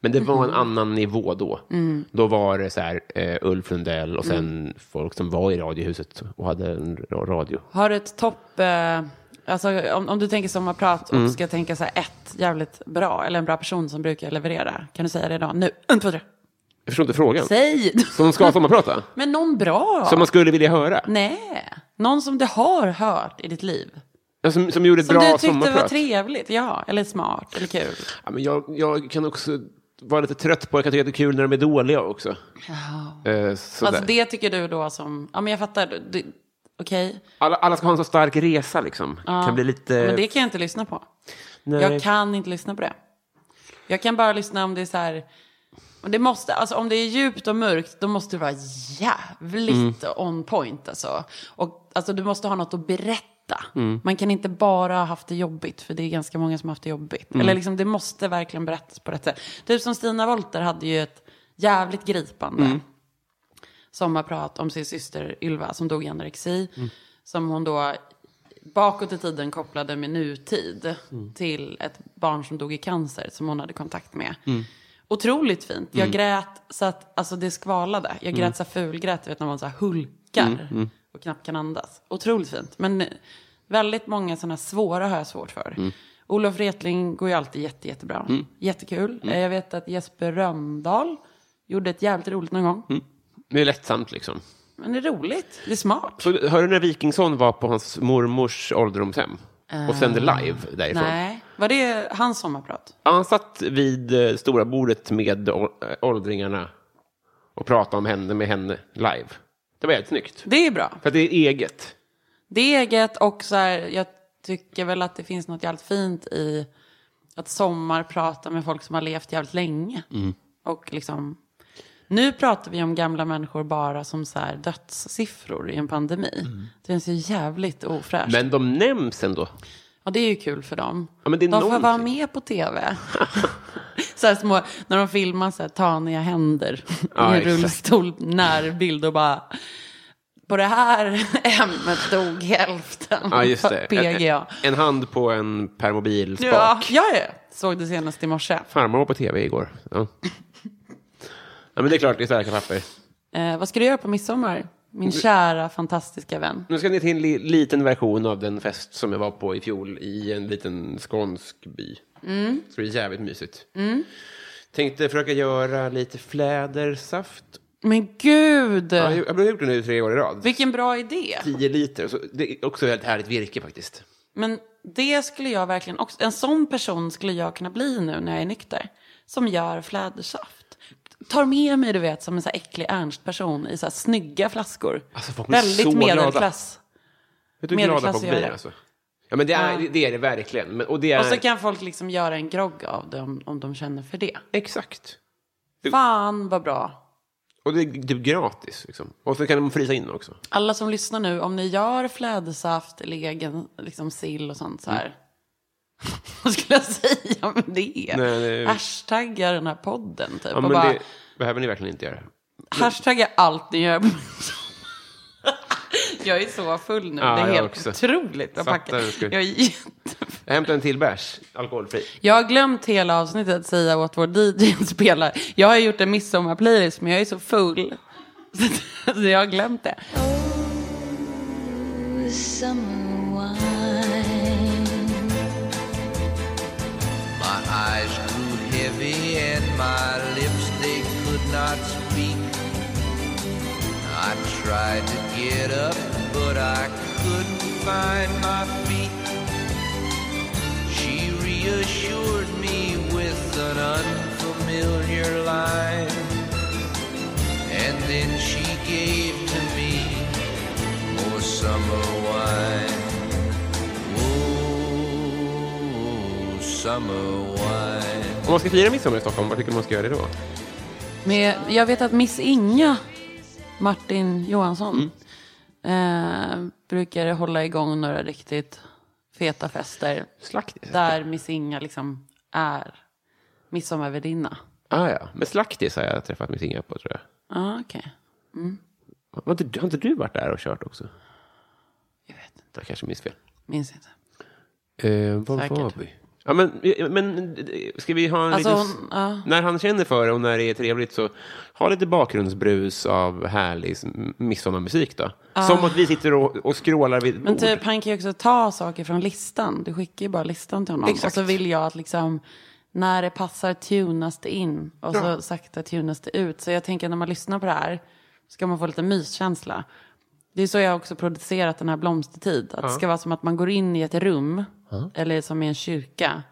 A: Men det
B: Mm-hmm.
A: var en annan nivå då.
B: Mm.
A: Då var det så här eh, Ulf Lundell och sen folk som var i radiohuset och hade en ra- radio.
B: Har du ett topp... Eh, alltså, om, om du tänker sommarprat
A: Mm.
B: och ska tänka så här ett jävligt bra, eller en bra person som brukar leverera. Kan du säga det idag? Nu. En, två, tre.
A: Jag förstår inte frågan.
B: Säg!
A: Som ska sommarprata?
B: Men någon bra.
A: Som man skulle vilja höra?
B: Nej. Någon som du har hört i ditt liv.
A: Ja, Som, som gjorde ett
B: Som
A: bra
B: du tyckte var
A: sommarprat?
B: trevligt. Ja, eller smart, eller kul.
A: Ja, men jag, jag kan också vara lite trött på, jag kan tycka att det är kul när de är dåliga också. Eh, sådär.
B: Alltså det tycker du då som... Ja, men jag fattar. Du- du- Okej.
A: alla, alla ska ha en så stark resa liksom. Kan bli lite...
B: Men det kan jag inte lyssna på.
A: Nej.
B: Jag kan inte lyssna på det. Jag kan bara lyssna om det är så här... Det måste, alltså om det är djupt och mörkt, då måste det vara jävligt on point. Alltså. Och, alltså, du måste ha något att berätta. Man kan inte bara ha haft det jobbigt, för det är ganska många som har haft det jobbigt. Eller liksom, det måste verkligen berättas på rätt sätt. Typ som Stina Wolter hade ju ett jävligt gripande sommarprat om sin syster Ylva som dog i anorexi. Som hon då bakåt i tiden kopplade med nutid till ett barn som dog i cancer som hon hade kontakt med. Otroligt fint. Jag grät så att alltså, det skvalade. Jag grät så här fulgrät, du vet när man så här hulkar och knappt kan andas. Otroligt fint. Men eh, väldigt många sådana svåra har jag svårt för. Olof Retling går ju alltid jätte, jättebra. Jättekul. Eh, Jag vet att Jesper Röndahl gjorde ett jävligt roligt någon gång.
A: det är lättsamt liksom.
B: Men det är roligt. Det är smart.
A: Så, hörde du när Wikingsson var på hans mormors ålderdomshem? Och sände live därifrån?
B: Eh, Nej. Var det hans sommarprat?
A: Ja, Han satt vid eh, stora bordet med å- eh, åldringarna och pratade om henne med henne live. Det var helt snyggt.
B: Det är bra.
A: För att det är eget.
B: Det är eget och så här, jag tycker väl att det finns något jävligt fint i att sommarprata med folk som har levt jävligt länge. Och liksom, nu pratar vi om gamla människor bara som så här dödssiffror i en pandemi. Det känns ju jävligt ofräscht.
A: Men de nämns ändå.
B: Ja, det är ju kul för dem.
A: Ja, men det är
B: de får
A: någonting.
B: vara med
A: (laughs)
B: på tv. så här små, när de filmar så här taniga händer
A: (laughs) Ja,
B: i en
A: exakt.
B: rullstol, närbild och bara... På det här (laughs) ämnet dog hälften.
A: Ja, just
B: (laughs)
A: det.
B: PGA.
A: En, en hand på en permobilspak.
B: Ja, ja, ja. Såg det senast i morse.
A: Farmor var på tv igår.
B: (laughs)
A: Ja. ja, men det är klart, det är starka papper.
B: Eh, vad ska du göra på midsommar?
A: Mm.
B: Min kära, fantastiska vän.
A: Nu ska ni till en li- liten version av den fest som jag var på i fjol i en liten skånsk by.
B: Mm.
A: Det ska bli jävligt mysigt. Tänkte försöka göra lite flädersaft.
B: Men gud!
A: Ja, jag jag har gjort det nu tre år i rad.
B: Vilken bra idé.
A: 10 liter. Så det är också väldigt härligt virke faktiskt.
B: Men det skulle jag verkligen också, en sån person skulle jag kunna bli nu när jag är nykter. Som gör flädersaft. Tar med mig, du vet, som en så här äcklig Ernst-person i så här snygga flaskor.
A: Alltså, folk blir så
B: Väldigt medelklass.
A: Vet du hur glada
B: Medelklass
A: folk
B: gör
A: blir
B: det.
A: alltså? Ja, men det är
B: Ja.
A: det, är det verkligen. Men, och det är...
B: Och så kan folk liksom göra en grogg av det om, om de känner för det.
A: Exakt.
B: Fan vad bra.
A: Och det är typ gratis. Liksom. Och så kan de frysa in också.
B: Alla som lyssnar nu, om ni gör flädersaft eller egen liksom, sill och sånt så här. (laughs) Vad skulle jag säga om det?
A: Mm. Nej, det är-
B: Hashtagga den här podden typ.
A: Ja,
B: och
A: men
B: bara,
A: det behöver ni verkligen inte göra.
B: Hashtagga allt ni gör. jag är så full nu.
A: Ja,
B: det är
A: jag
B: helt
A: också.
B: otroligt att
A: Fattar
B: packa.
A: hur skoj.
B: Jag, är jätte-
A: Jag hämtar en till bärs, alkoholfri.
B: jag har glömt hela avsnittet att säga åt vår DJ att spela. Jag har gjort en midsommarplaylist men jag är så full. Så jag har glömt det.
J: summer wine.
K: My eyes grew heavy and my lips they could not speak. I tried to get up, but I couldn't find my feet. She reassured me with an unfamiliar line. And then she gave to me more summer wine. Oh, summer wine.
A: Om man ska fira midsommar i Stockholm, vad tycker du man ska göra det då?
B: Men jag vet att Miss Inga, Martin Johansson,
A: Mm.
B: eh, brukar hålla igång några riktigt feta fester.
A: Slaktis?
B: Där Miss Inga liksom är midsommarvärdinna.
A: Ah, ja. Men Slaktis har jag träffat mitt inga på, tror jag.
B: Ja, ah, okej. Mm.
A: Har inte, har inte du varit där och kört också? Jag vet inte. Jag kanske minns fel.
B: Minns inte.
A: Eh, var
B: Säkert.
A: var vi? Ja, men, men eh, ska vi ha en
B: Alltså,
A: liten...
B: hon- ja.
A: När han känner för det och när det är trevligt så ha lite bakgrundsbrus av härlig s- midsommarmusik då.
B: Ja.
A: Som att vi sitter och, och skrålar vid ett
B: Ah. Men
A: bord.
B: typ, han kan ju också ta saker från listan. Du skickar ju bara listan till honom.
A: Exakt.
B: Och så vill jag att liksom, när det passar tunas det in och
A: Ja.
B: så sakta tunas det ut. Så jag tänker när man lyssnar på det här ska man få lite myskänsla. Det är så jag också producerat den här Blomstertid. Att
A: Ja.
B: det ska vara som att man går in i ett rum,
A: Ja. Mm.
B: eller som i en kyrka,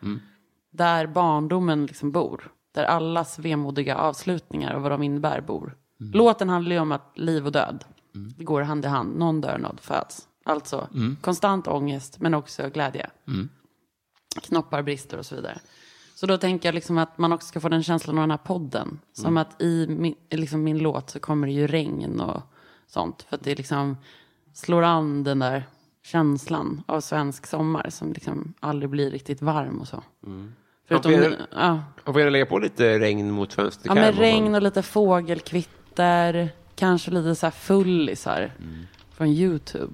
B: där barndomen liksom bor. Där allas vemodiga avslutningar och vad de innebär bor.
A: Mm.
B: Låten handlar ju om att liv och död det går hand i hand. Någon dör, någon föds. Alltså
A: Mm.
B: konstant ångest, men också glädje.
A: Mm.
B: Knoppar, brister och så vidare. Så då tänker jag liksom att man också ska få den känslan av den här podden. Som
A: Mm.
B: att i min, i liksom min låt så kommer det ju regn och sånt. För att det liksom slår an den där känslan av svensk sommar som liksom aldrig blir riktigt varm och så.
A: Mm.
B: Förutom,
A: Ja, för-
B: ja,
A: Och får jag lägga på lite regn mot fönstret?
B: ja, men regn och lite fågelkvitter, kanske lite så här fullisar
A: Mm.
B: från YouTube.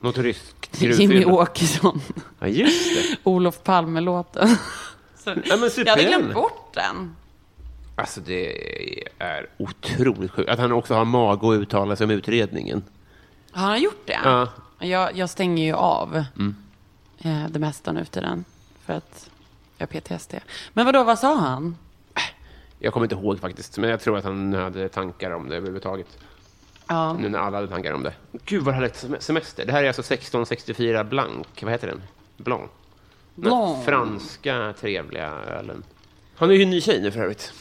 A: Något ryskt
B: (laughs) Jimmy Åkesson.
A: Ja, just det.
B: Olof Palme-låten.
A: (laughs)
B: Så-
A: Ja, men
B: jag hade
A: supergärna.
B: glömt bort den.
A: Alltså det är otroligt sjukt. Att han också har mag att uttala sig om utredningen.
B: Har han gjort det?
A: Ja.
B: Jag, jag stänger ju av
A: Mm.
B: eh, det mesta nu för den. För att jag har PTSD. Men vadå, vad sa han?
A: Jag kommer inte ihåg faktiskt, men jag tror att han hade tankar om det överhuvudtaget.
B: Ja.
A: Nu när alla hade tankar om det. Gud vad härligt sem- semester. Det här är alltså 1664 Blanc. Vad heter den? Blanc. Den här
B: Blanc.
A: franska trevliga ölen. Han är ju en ny tjej nu för övrigt.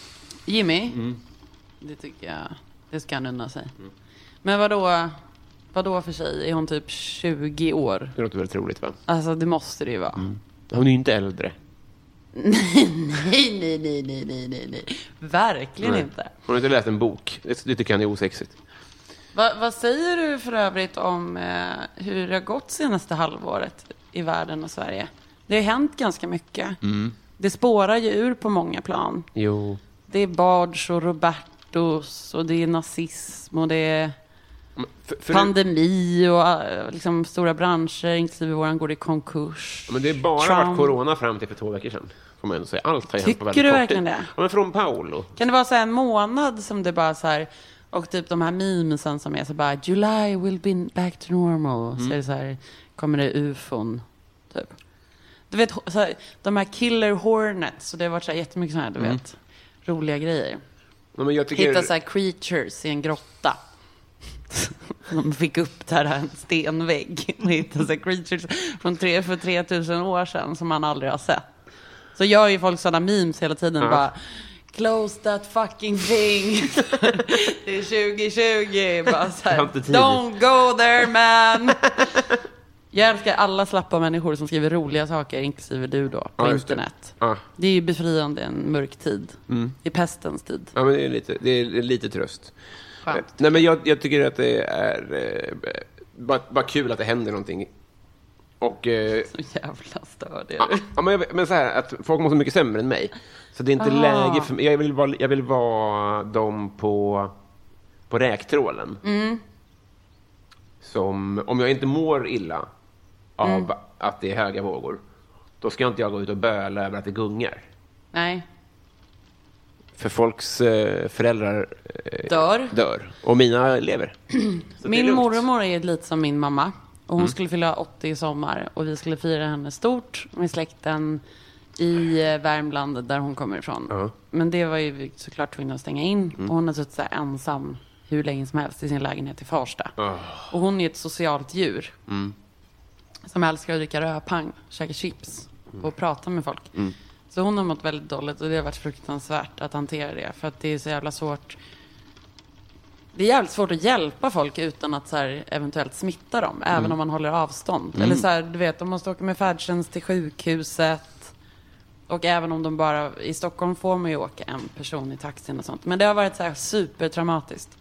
B: Jimmy?
A: Mm.
B: Det tycker jag. Det ska han unna sig. Men vadå, vadå för tjej? Är hon typ 20 år?
A: Det låter väldigt roligt va?
B: Alltså det måste det ju vara.
A: Mm. Hon är ju inte äldre.
B: (laughs) Nej, nej, nej, nej, nej, nej, nej. Verkligen
A: Nej.
B: inte.
A: Hon har inte läst en bok. Det, det tycker han är osexigt.
B: Va, vad säger du för övrigt om eh, hur det har gått senaste halvåret i världen och Sverige? Det har ju hänt ganska mycket.
A: Mm.
B: Det spårar ju ur på många plan.
A: Jo.
B: Det är Bards och Robertos och det är nazism och det är
A: för-
B: pandemi och eh, liksom stora branscher, inklusive våran, går i konkurs.
A: Men det är bara
B: Trump.
A: varit corona fram till för två veckor sedan. Får man ändå säga. Allt har ju hänt på väldigt
B: Tycker du
A: kort
B: verkligen
A: tid.
B: det?
A: Ja, men från Paolo.
B: Kan det vara så här en månad som det bara så här, och typ de här memesen som är så bara July will be back to normal.
A: Mm.
B: Så är det så här, kommer det ufon, typ. Du vet, så här, de här killer hornets, och det har varit så här jättemycket sådana här, du
A: Mm.
B: vet, roliga grejer.
A: Ja, men jag tycker...
B: Hitta så här creatures i en grotta. (laughs) De fick upp där en stenvägg. och hittade så här creatures från tre, för 3000 år sedan som man aldrig har sett. Så gör ju folk sådana memes hela tiden.
A: Ja.
B: Bara, Close that fucking thing. (laughs) det är 2020. Bara så här,
A: Jag har inte tid.
B: Don't go there man. Jag älskar alla slappa människor som skriver roliga saker, inklusive du då, på
A: Ja, just det. Ah.
B: internet.
A: Ja.
B: Det är ju befriande i en mörk tid.
A: Mm.
B: I pestens tid.
A: Ja, men det är lite, det är lite tröst.
B: Skönt.
A: Nej, men jag, jag tycker att det är eh, bara, bara kul att det händer någonting. Och, eh,
B: (laughs) Så jävla störd är
A: ja,
B: du.
A: ja, men, jag, men så här, att folk mår så mycket sämre än mig. Så det är inte
B: Aha.
A: läge för mig. Jag vill vara, jag vill vara dem på på räktrålen.
B: Mm.
A: Som, om jag inte mår illa av
B: Mm.
A: att det är höga vågor, då ska inte jag gå ut och böla över att det gungar.
B: Nej.
A: För folks eh, föräldrar eh,
B: Dör.
A: dör. Och mina lever. Så det är
B: Min
A: lugnt.
B: mormor är lite som min mamma. Och hon
A: Mm.
B: skulle fylla 80 i sommar. Och vi skulle fira henne stort med släkten i eh, Värmland där hon kommer ifrån. Men det var ju vi såklart tvungna att stänga in.
A: Mm.
B: Och hon har suttit så här ensam hur länge som helst i sin lägenhet i Farsta.
A: Ah.
B: Och hon är ett socialt djur
A: Mm.
B: som älskar att dricka rödpang, käka chips
A: Mm.
B: och prata med folk.
A: Mm.
B: Så hon har mått väldigt dåligt och det har varit fruktansvärt att hantera det. För att det är så jävla svårt. Det är jävligt svårt att hjälpa folk utan att så här eventuellt smitta dem. Även
A: Mm.
B: om man håller avstånd.
A: Mm.
B: Eller så här, du vet, de måste åka med färdtjänst till sjukhuset. Och även om de bara, i Stockholm får man ju åka en person i taxin och sånt. Men det har varit så här supertraumatiskt.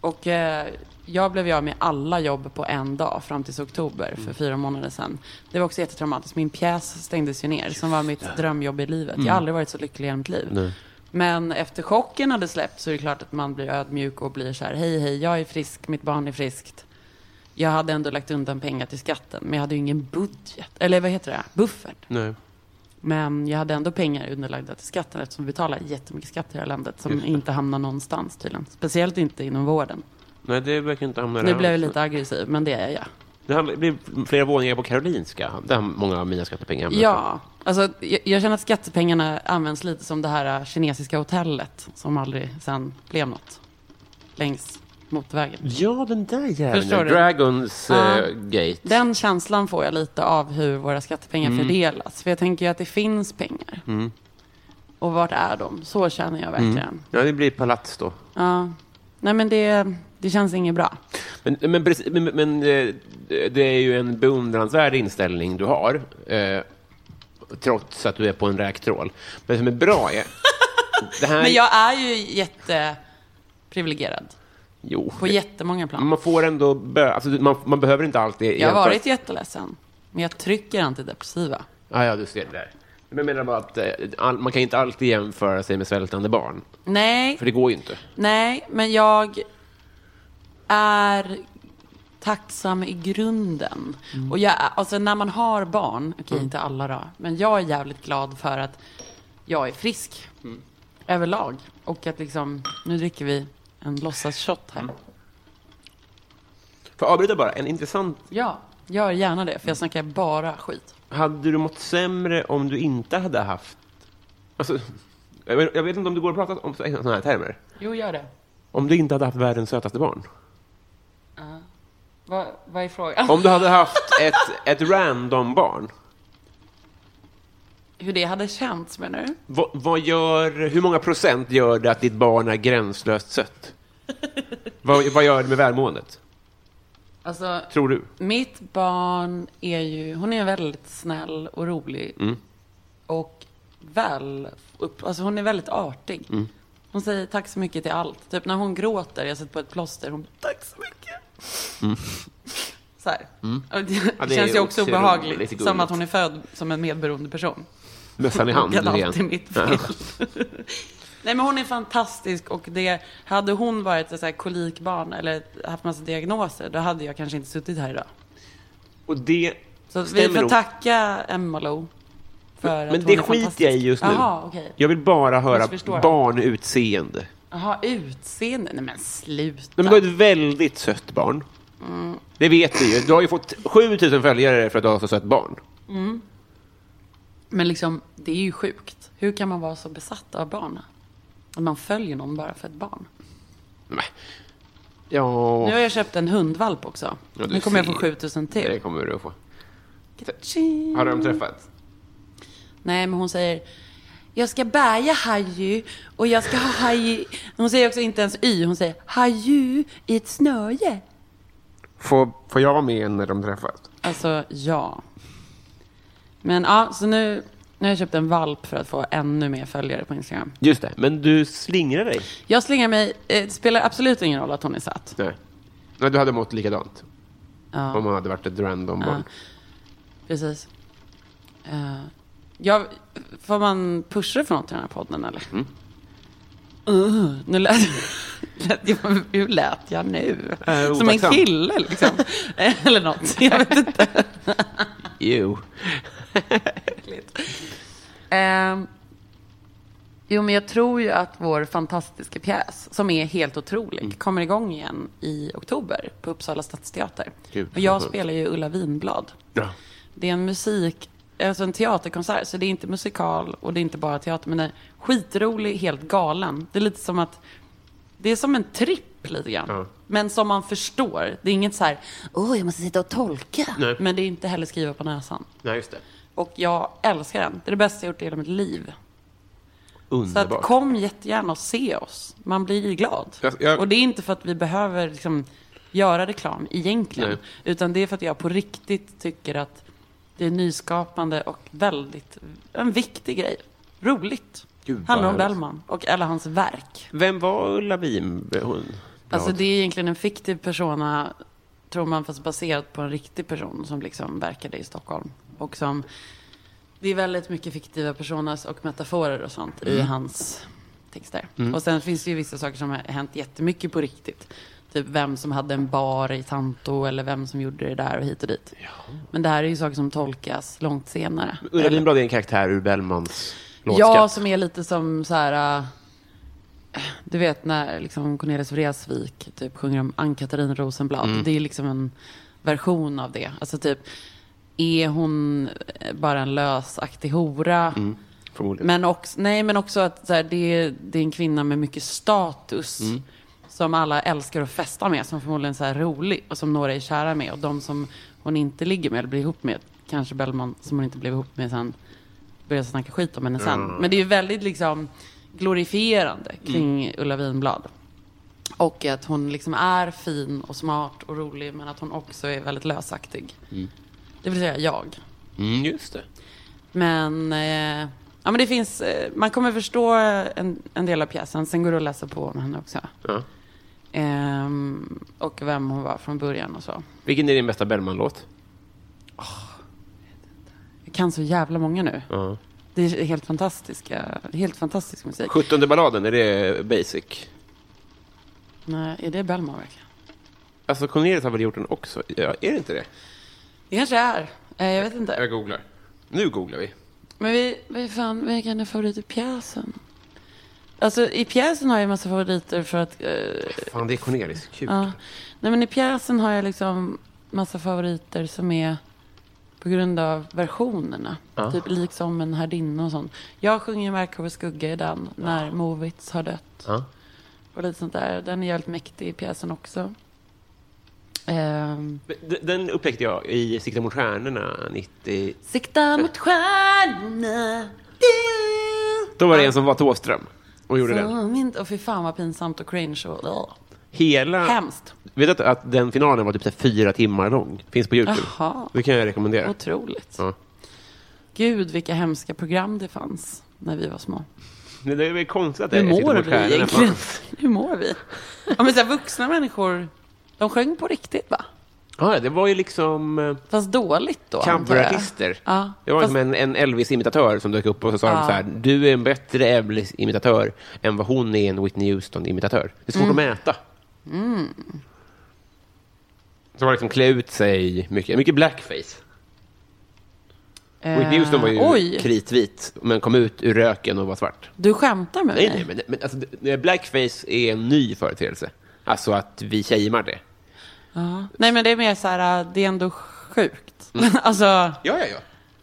B: Och eh, jag blev ju av med alla jobb på en dag fram till oktober för
L: Mm.
B: fyra månader sedan. Det var också jättetraumatiskt. Min pjäs stängdes ju ner som var mitt drömjobb i livet. Jag
L: Mm.
B: har aldrig varit så lycklig i hela mitt liv.
L: Nej.
B: Men efter chocken hade släppt så är det klart att man blir ödmjuk och blir så här, hej hej, jag är frisk, mitt barn är friskt. Jag hade ändå lagt undan pengar till skatten, men jag hade ju ingen budget, eller vad heter det, buffert.
A: Nej.
B: Men jag hade ändå pengar underlagda till skatten eftersom vi betalar jättemycket skatt i det här landet
A: Just
B: som
A: det.
B: inte hamnar någonstans tydligen. Speciellt inte inom vården.
A: Nej, det verkar inte hamna
B: Nu
A: där
B: blev jag
A: alls.
B: lite aggressiv, men det är jag.
A: Det här blir flera våningar på Karolinska, där många av mina skattepengar hamnar.
B: Ja, alltså, jag, jag känner att skattepengarna används lite som det här eh, kinesiska hotellet som aldrig sen blev något. Längs motorvägen.
A: Ja, den där jäveln.
B: Förstår du?
A: Dragons
B: Ja.
A: eh, Gate.
B: Den känslan får jag lite av hur våra skattepengar
A: Mm.
B: fördelas. För jag tänker ju att det finns pengar.
A: Mm.
B: Och vart är de? Så känner jag verkligen.
A: Mm. Ja, det blir palats då.
B: Ja. Nej, men det, det känns inget bra.
A: Men, men, precis- men, men eh, det är ju en beundransvärd inställning du har, eh, trots att du är på en räktrål. Men det som är bra
B: (laughs)
A: är... Det här,
B: Men jag är ju jätteprivilegierad.
A: jo,
B: På jättemånga plan.
A: man får ändå... Bö, alltså, man, man behöver inte alltid...
B: Jag har
A: jämföra-
B: varit jätteledsen. Men jag trycker antidepressiva.
A: Ja, ja, du ser det där. Men jag menar bara att eh, all, man kan inte alltid jämföra sig med svältande barn.
B: Nej.
A: För det går ju inte.
B: Nej, men jag är tacksam i grunden. Och jag, alltså när man har barn, okej
L: Mm.
B: inte alla då, men jag är jävligt glad för att jag är frisk överlag. Och att liksom, nu dricker vi en låtsasshot här.
A: Får jag avbryta bara? En intressant...
B: Ja, jag gör gärna det, för jag snackar bara skit.
A: Hade du mått sämre om du inte hade haft... Alltså, jag, vet, jag vet inte om det går att prata om sådana här termer.
B: Jo, gör det.
A: Om du inte hade haft världens sötaste barn.
B: Ja. Vad, vad är frågan?
A: Om du hade haft ett, ett random barn.
B: Hur det hade känts menar du?
A: Vad, vad gör, hur många procent gör det att ditt barn är gränslöst sött? vad, vad gör det med välmåendet?
B: Alltså,
A: Tror du?
B: Mitt barn är ju, hon är väldigt snäll och rolig
A: Mm.
B: och väl, upp, alltså hon är väldigt artig.
A: Mm.
B: Hon säger tack så mycket till allt. Typ när hon gråter, jag sätter på ett plåster, hon tack så mycket.
A: Mm.
B: (laughs) Så här.
A: Mm.
B: Och Det,
A: Ja, det
B: det känns
A: är
B: ju
A: också roligt,
B: också
A: lite
B: obehagligt,
A: gulligt.
B: som att hon är född som en medberoende person.
A: Mössan i hand
B: Kan
A: igen.
B: alltid mitt fel. (laughs) Nej men hon är fantastisk och det, hade hon varit ett så här kolikbarn eller haft massa diagnoser, då hade jag kanske inte suttit här idag.
A: Och det
B: Så vi
A: stämmer
B: får
A: nog.
B: tacka Emma Lo för att
A: Men
B: hon
A: det
B: är
A: skiter jag i
B: fantastisk.
A: just nu.
B: Jaha, okej.
A: Jag vill bara höra
B: Missförstår jag.
A: barnutseende.
B: Jaha, utseende. Nej men sluta.
A: Men du har ett väldigt sött barn.
B: Mm.
A: Det vet du ju. Du har ju fått 7000 följare för att du har så sött barn.
B: Mm. Men liksom, det är ju sjukt. Hur kan man vara så besatt av barn? Att man följer någon bara för ett barn.
A: Ja,
B: Nu har jag köpt en hundvalp också.
A: Ja, du
B: nu kommer jag
A: ser.
B: få 7000 till.
A: det kommer du att få. Har de träffats?
B: Nej, men hon säger jag ska bärga haju och jag ska ha haju. Hon säger också inte ens y, hon säger haju i ett snöre.
A: Får, får jag vara med när de träffas?
B: Alltså, ja. Men ja, så nu, nu har jag köpt en valp för att få ännu mer följare på Instagram.
A: Just det, men du slingrar dig.
B: Jag slänger mig, eh, det spelar absolut ingen roll att hon är satt.
A: Nej. Nej, du hade mått likadant.
B: Ja.
A: Om man hade varit ett random
B: Ja.
A: barn.
B: Precis. Eh, jag, får man pusha för något i den här podden eller?
A: Mm.
B: Uh, nu lät, (laughs) lät jag, hur lät jag nu?
A: Eh,
B: Som en
A: otacksam. (laughs)
B: kille liksom. Eh, Eller något. Jag vet inte.
A: Jo.
B: Äckligt. Ehm, jo, men jag tror ju att vår fantastiska pjäs, som är helt otrolig,
A: Mm.
B: kommer igång igen i oktober på Uppsala stadsteater.
A: Gud,
B: och jag
A: vad skönt.
B: spelar ju Ulla Winblad.
A: Ja.
B: Det är en musik, alltså en teaterkonsert, så det är inte musikal och det är inte bara teater, men den är skitrolig, helt galen. Det är lite som att, det är som en tripp lite grann. Men som man förstår. Det är inget så här, åh, jag måste sitta och tolka.
A: Nej.
B: Men det är inte heller skriva på näsan.
A: Nej, just det.
B: Och jag älskar den. Det är det bästa jag gjort i hela mitt liv. Så
A: Underbart.
B: att kom jättegärna och se oss. Man blir glad.
A: Jag- jag-
B: Och det är inte för att vi behöver liksom göra reklam egentligen.
A: Nej.
B: Utan det är för att jag på riktigt tycker att det är nyskapande och väldigt, en viktig grej. Roligt.
A: Gud, vad
B: Handlar om
A: härligt.
B: Bellman och alla hans verk.
A: Vem var Ulla Wim? Hon?
B: Alltså det är egentligen en fiktiv persona, tror man, fast baserat på en riktig person som liksom verkade i Stockholm. Och som, det är väldigt mycket fiktiva personas och metaforer och sånt i
A: Mm.
B: hans texter.
A: Mm.
B: Och sen finns det ju vissa saker som har hänt jättemycket på riktigt. Typ vem som hade en bar i Tanto eller vem som gjorde det där och hit och dit. Men det här är ju saker som tolkas långt senare.
A: Ulla Lindblad är en karaktär ur Bellmans låtskatt.
B: Ja, som är lite som så här... äh, Du vet när liksom Cornelis Vreeswijk typ sjunger om Ann-Katarin Rosenblad.
A: Mm.
B: Det är liksom en version av det. Alltså typ, är hon eh, bara en lösaktig hora?
A: Mm, förmodligen.
B: Men också, nej, men också att så här, det, är, det är en kvinna med mycket status.
A: Mm.
B: Som alla älskar att festa med, som förmodligen så här är rolig och som några är kära med. Och de som hon inte ligger med eller blir ihop med, kanske Bellman som hon inte blev ihop med sen, börjar snacka skit om henne sen.
A: Mm.
B: Men det är ju väldigt liksom glorifierande kring
A: Mm.
B: Ulla Winblad. Och att hon liksom är fin och smart och rolig, men att hon också är väldigt lösaktig.
A: Mm.
B: Det vill säga jag.
A: Mm, just det.
B: Men, eh, ja, men det finns, eh, man kommer förstå en, en del av pjäsen. Sen går det att läsa på om henne också.
A: Ja.
B: Ehm, och vem hon var från början och så.
A: Vilken är din bästa Bellman-låt?
B: Jag kan så jävla många nu.
A: Ja.
B: Det är helt, fantastiska, helt fantastisk musik.
A: 17 balladen, är det basic?
B: Nej, är det Bellman verkligen?
A: Alltså Cornelis har väl gjort den också? Ja, är det inte det?
B: Det kanske är. Eh, jag vet inte.
A: Jag googlar. Nu googlar vi.
B: Men vi, vi fan, vilken är favorit i pjäsen? Alltså i pjäsen har jag en massa favoriter för att... eh,
A: Fan, det är Cornelis. Kul.
B: Ja. Nej, men i pjäsen har jag liksom massa favoriter som är på grund av versionerna.
A: Ja.
B: Typ liksom en härdinna och sånt. Jag sjunger Markovs skugga i den när Movits har dött.
A: Ja.
B: Och lite sånt där. Den är jävligt mäktig i pjäsen också. Ehm,
A: D- Den upptäckte jag i Sikta mot stjärnorna 90...
B: Sikta mot stjärnorna.
A: Då var det en som var Thåström och gjorde den.
B: Som inte... Och fy fan vad pinsamt och cringe och... ja.
A: Hela...
B: Hemskt.
A: Vet du att, att den finalen var typ så här fyra timmar lång? Finns på Youtube.
B: Jaha.
A: Det kan jag rekommendera.
B: Otroligt.
A: Ja.
B: Gud vilka hemska program det fanns när vi var små.
A: Men Det är väl konstigt att det
B: Hur
A: är Sikta
B: mår
A: mot
B: vi
A: stjärnorna.
B: egentligen?
A: fan.
B: Hur mår vi? Ja, men så här, vuxna människor, de sjöng på riktigt va?
A: Ja, det var ju liksom... eh,
B: Fast dåligt då. antar jag.
A: Coverartister.
B: Ja,
A: Det var
B: fast-
A: som en, en Elvis-imitatör som dök upp och så sa
B: Ja.
A: de så här, du är en bättre Elvis-imitatör än vad hon är en Whitney Houston-imitatör. Det är svårt
B: Mm.
A: att mäta.
B: Mm.
A: Så var det liksom klä ut sig mycket, mycket blackface. Whitney Houston var ju
B: Eh, Oj,
A: kritvit, men kom ut ur röken och var svart.
B: du skämtar med
A: Nej, nej,
B: mig?
A: men, men alltså, det- blackface är en ny företeelse. Alltså att vi tjejmar det.
B: Ja. nej, men det är mer så här, äh, det är ändå sjukt. (laughs) alltså,
A: Ja, ja, ja.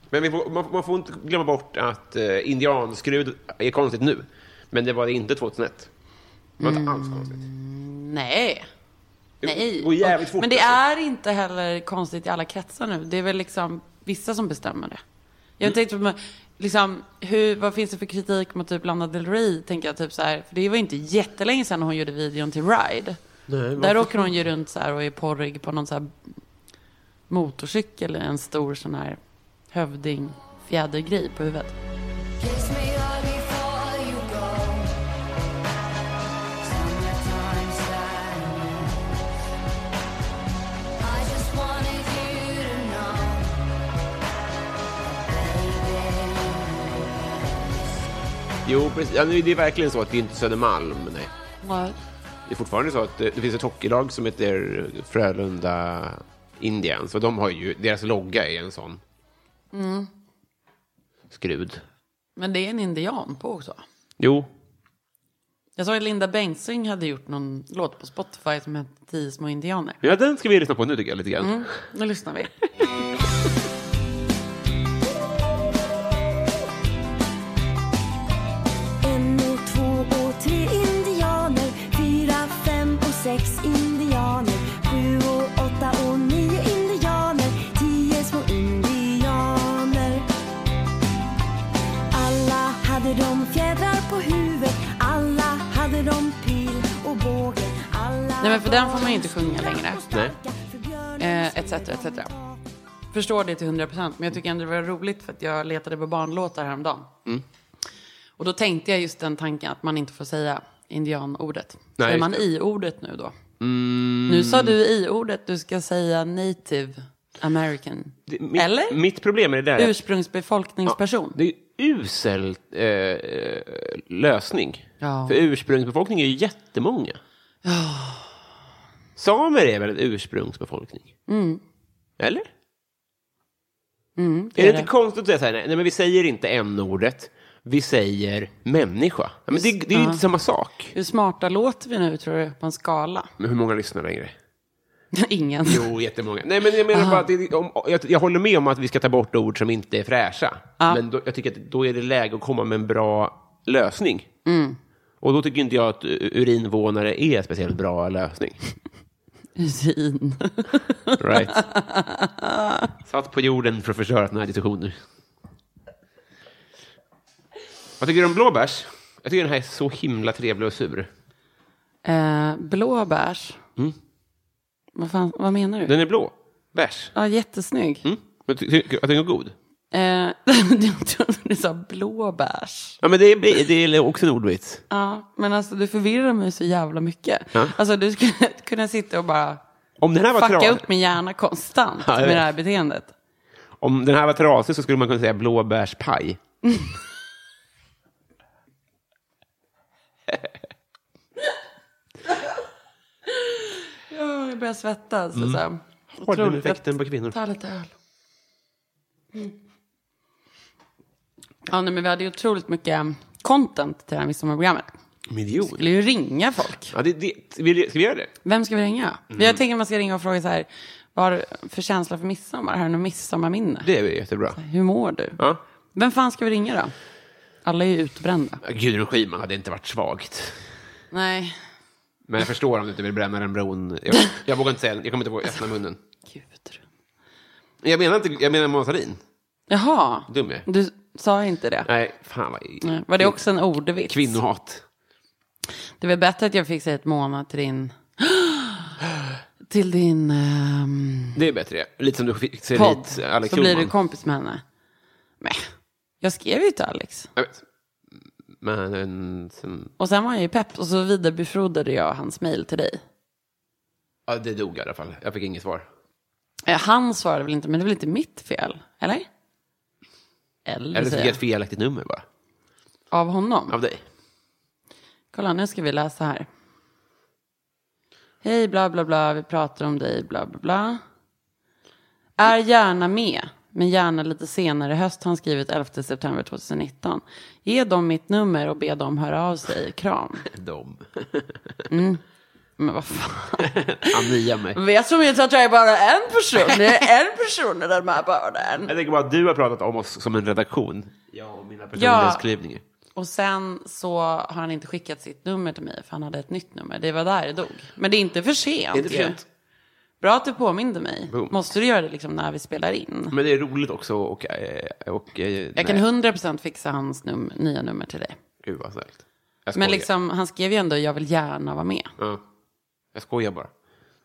A: Men vi får, man, man får inte glömma bort att eh, indianskrud är konstigt nu. Men det var det inte 2001. Det var
B: Mm.
A: inte alls konstigt.
B: nej. Nej.
A: går jävligt
B: Och-
A: fort,
B: men det
A: alltså.
B: är inte heller konstigt i alla kretsar nu. Det är väl liksom vissa som bestämmer det. Jag
A: Mm.
B: tänkte på, liksom, hur, vad finns det för kritik mot typ Lana Del Rey? Tänker jag typ så här, för det var inte jättelänge sedan hon gjorde videon till Ride.
A: Nej,
B: Där
A: varför-
B: åker hon ju runt så här och är porrig på någon så här motorcykel, en stor sån här hövding fjädergrej på huvudet.
J: Kiss me all before you go. Summertime sadness. I just wanted you to know, baby.
A: Jo, precis. Ja, nu, det är verkligen så att det är inte Södermalm. Nej.
B: Nej.
A: Det är fortfarande så att eh, det finns ett hockeylag som heter Frölunda Indians och de har ju, deras logga är en sån
B: Mm.
A: skrud.
B: Men det är en indian på också.
A: Jo,
B: Jag såg att Linda Bengtzing hade gjort någon låt på Spotify som hette Tio små indianer.
A: ja, den ska vi lyssna på nu tycker jag lite grann.
B: Mm, nu lyssnar vi.
L: En och två och tre indianer Fyra, fem och sex indianer Sju och åtta och nio indianer Tio små indianer Alla hade de fjädrar på huvudet Alla hade de pil och båge Alla
B: Nej men för den får man ju inte sjunga längre.
A: Nej.
B: Eh, etc, etc. Förstår det till 100 procent. Men jag tycker ändå det var roligt för att jag letade på barnlåtar häromdagen.
A: Mm.
B: Och då tänkte jag just den tanken att man inte får säga indianordet.
A: Nej,
B: Säger
A: just
B: man
A: det.
B: i-ordet nu då?
A: Mm.
B: Nu sa du i-ordet, du ska säga native american.
A: Mitt,
B: Eller?
A: Mitt problem är det där.
B: Ursprungsbefolkningsperson.
A: det är usel eh, eh, lösning.
B: Ja.
A: För ursprungsbefolkning är ju jättemånga.
B: Ja.
A: Samer är väl en ursprungsbefolkning?
B: Mm.
A: Eller?
B: Mm,
A: Är det inte konstigt att säga så här, nej, nej men vi säger inte n-ordet, vi säger människa. Ja, men det, det är ju
B: Ja.
A: inte samma sak.
B: Hur smarta låter vi nu tror du på en skala? (laughs)
A: Men hur många lyssnar längre?
B: Ingen. (laughs)
A: Jo, jättemånga. Nej, men jag menar
B: Aha.
A: bara att det, om, jag, jag håller med om att vi ska ta bort ord som inte är fräscha.
B: Ja.
A: Men då, jag tycker att då är det läge att komma med en bra lösning.
B: Mm.
A: Och då tycker inte jag att u- urinvånare är en speciellt bra lösning.
B: Urin.
A: Right.
B: (laughs)
A: Satt på jorden för att förstöra den här diskussionen. Vad tycker du om blåbärs? Jag tycker den här är så himla trevlig och sur.
B: Eh, blåbärs.
A: Mm.
B: Vad, fan, vad menar du?
A: Den är blå. Bärs.
B: Ja, jättesnygg.
A: Mm. Men ty- tycker du att den är god?
B: Eh, (laughs) jag trodde du sa blåbärs.
A: Ja, men det är, det är också en ordvits.
B: Ja, men alltså du förvirrar mig så jävla mycket.
A: Ja.
B: Alltså du skulle (laughs) kunna sitta och bara
A: Om den här var
B: fucka
A: klar-
B: upp min hjärna konstant
A: Ja, jag
B: med
A: vet.
B: det här beteendet.
A: Om den här var trasig så skulle man kunna säga blåbärspaj.
B: Ja, jag börjar svettas.
A: Mm.
B: Alltså.
A: Har den
B: Otroligt.
A: effekten
B: Jag
A: på kvinnor?
B: tar lite öl. Mm. Ja, nej, men vi hade ju otroligt mycket content till det här midsommarprogrammet.
A: Miljon.
B: Skulle ju ringa folk.
A: Ja, det, det, vill, ska vi göra det?
B: Vem ska vi ringa?
A: Mm.
B: Jag tänker att man ska ringa och fråga så här, vad har du för känsla för midsommar? Har du något midsommarminne?
A: Det är väl jättebra.
B: Hur mår du?
A: Ja.
B: Vem fan ska vi ringa då? Alla är ju utbrända.
A: Ja, Gudrun Schyman hade inte varit svagt.
B: Nej.
A: Men jag förstår om du inte vill bränna den bron. Jag, jag vågar inte säga den. Jag kommer inte våga öppna munnen. Gudrun. Jag menar inte, jag menar Mona Sahlin.
B: Jaha,
A: Dum jag är.
B: du sa inte det.
A: Nej, fan vad...
B: Nej, Var det också en ordvits?
A: Kvinnohat.
B: Det var bättre att jag fick säga ett månad till din... (gasps) till din... ehm,
A: Det är bättre. Lite som du fick se
B: podd.
A: dit eh, Alex
B: Så blir du
A: Schulman.
B: kompis med henne. Nej, jag skrev ju till Alex.
A: Jag vet. Men en- sen...
B: Och sen var jag ju pepp och så vidarebefordrade jag hans mejl till dig.
A: Ja, det dog i alla fall. Jag fick inget svar.
B: Eh, Han svarade väl inte, men det är väl inte mitt fel? Eller? Eller,
A: Eller så fick
B: säger
A: jag
B: jag.
A: ett felaktigt nummer bara.
B: Av honom?
A: Av dig.
B: Kolla, nu ska vi läsa här. Hej, bla, bla, bla, vi pratar om dig, bla, bla, bla. Är gärna med, men gärna lite senare i höst, har han skrivit 11 september 2019. Ge dem mitt nummer och be dem höra av sig. Kram. (laughs)
A: Dom.
B: Mm. Men vad fan.
A: (laughs) Ania mig.
B: Jag tror inte att jag är bara en person. Det är en person i den här världen.
A: Jag tänker bara att du har pratat om oss som en redaktion. Jag och mina
B: personlighetskluvningar. Och sen så har han inte skickat sitt nummer till mig för han hade ett nytt nummer. Det var där det dog. Men det är inte för sent.
A: Det är inte för
B: ju.
A: sent.
B: Bra att du påminde mig.
A: Boom.
B: Måste du göra det liksom när vi spelar in?
A: Men det är roligt också och... eh, och eh, nej.
B: Jag kan 100% fixa hans num- nya nummer till dig.
A: Gud vad snällt. Jag skojar.
B: Men liksom, han skrev ju ändå jag vill gärna vara med.
A: Ja. Jag skojar bara.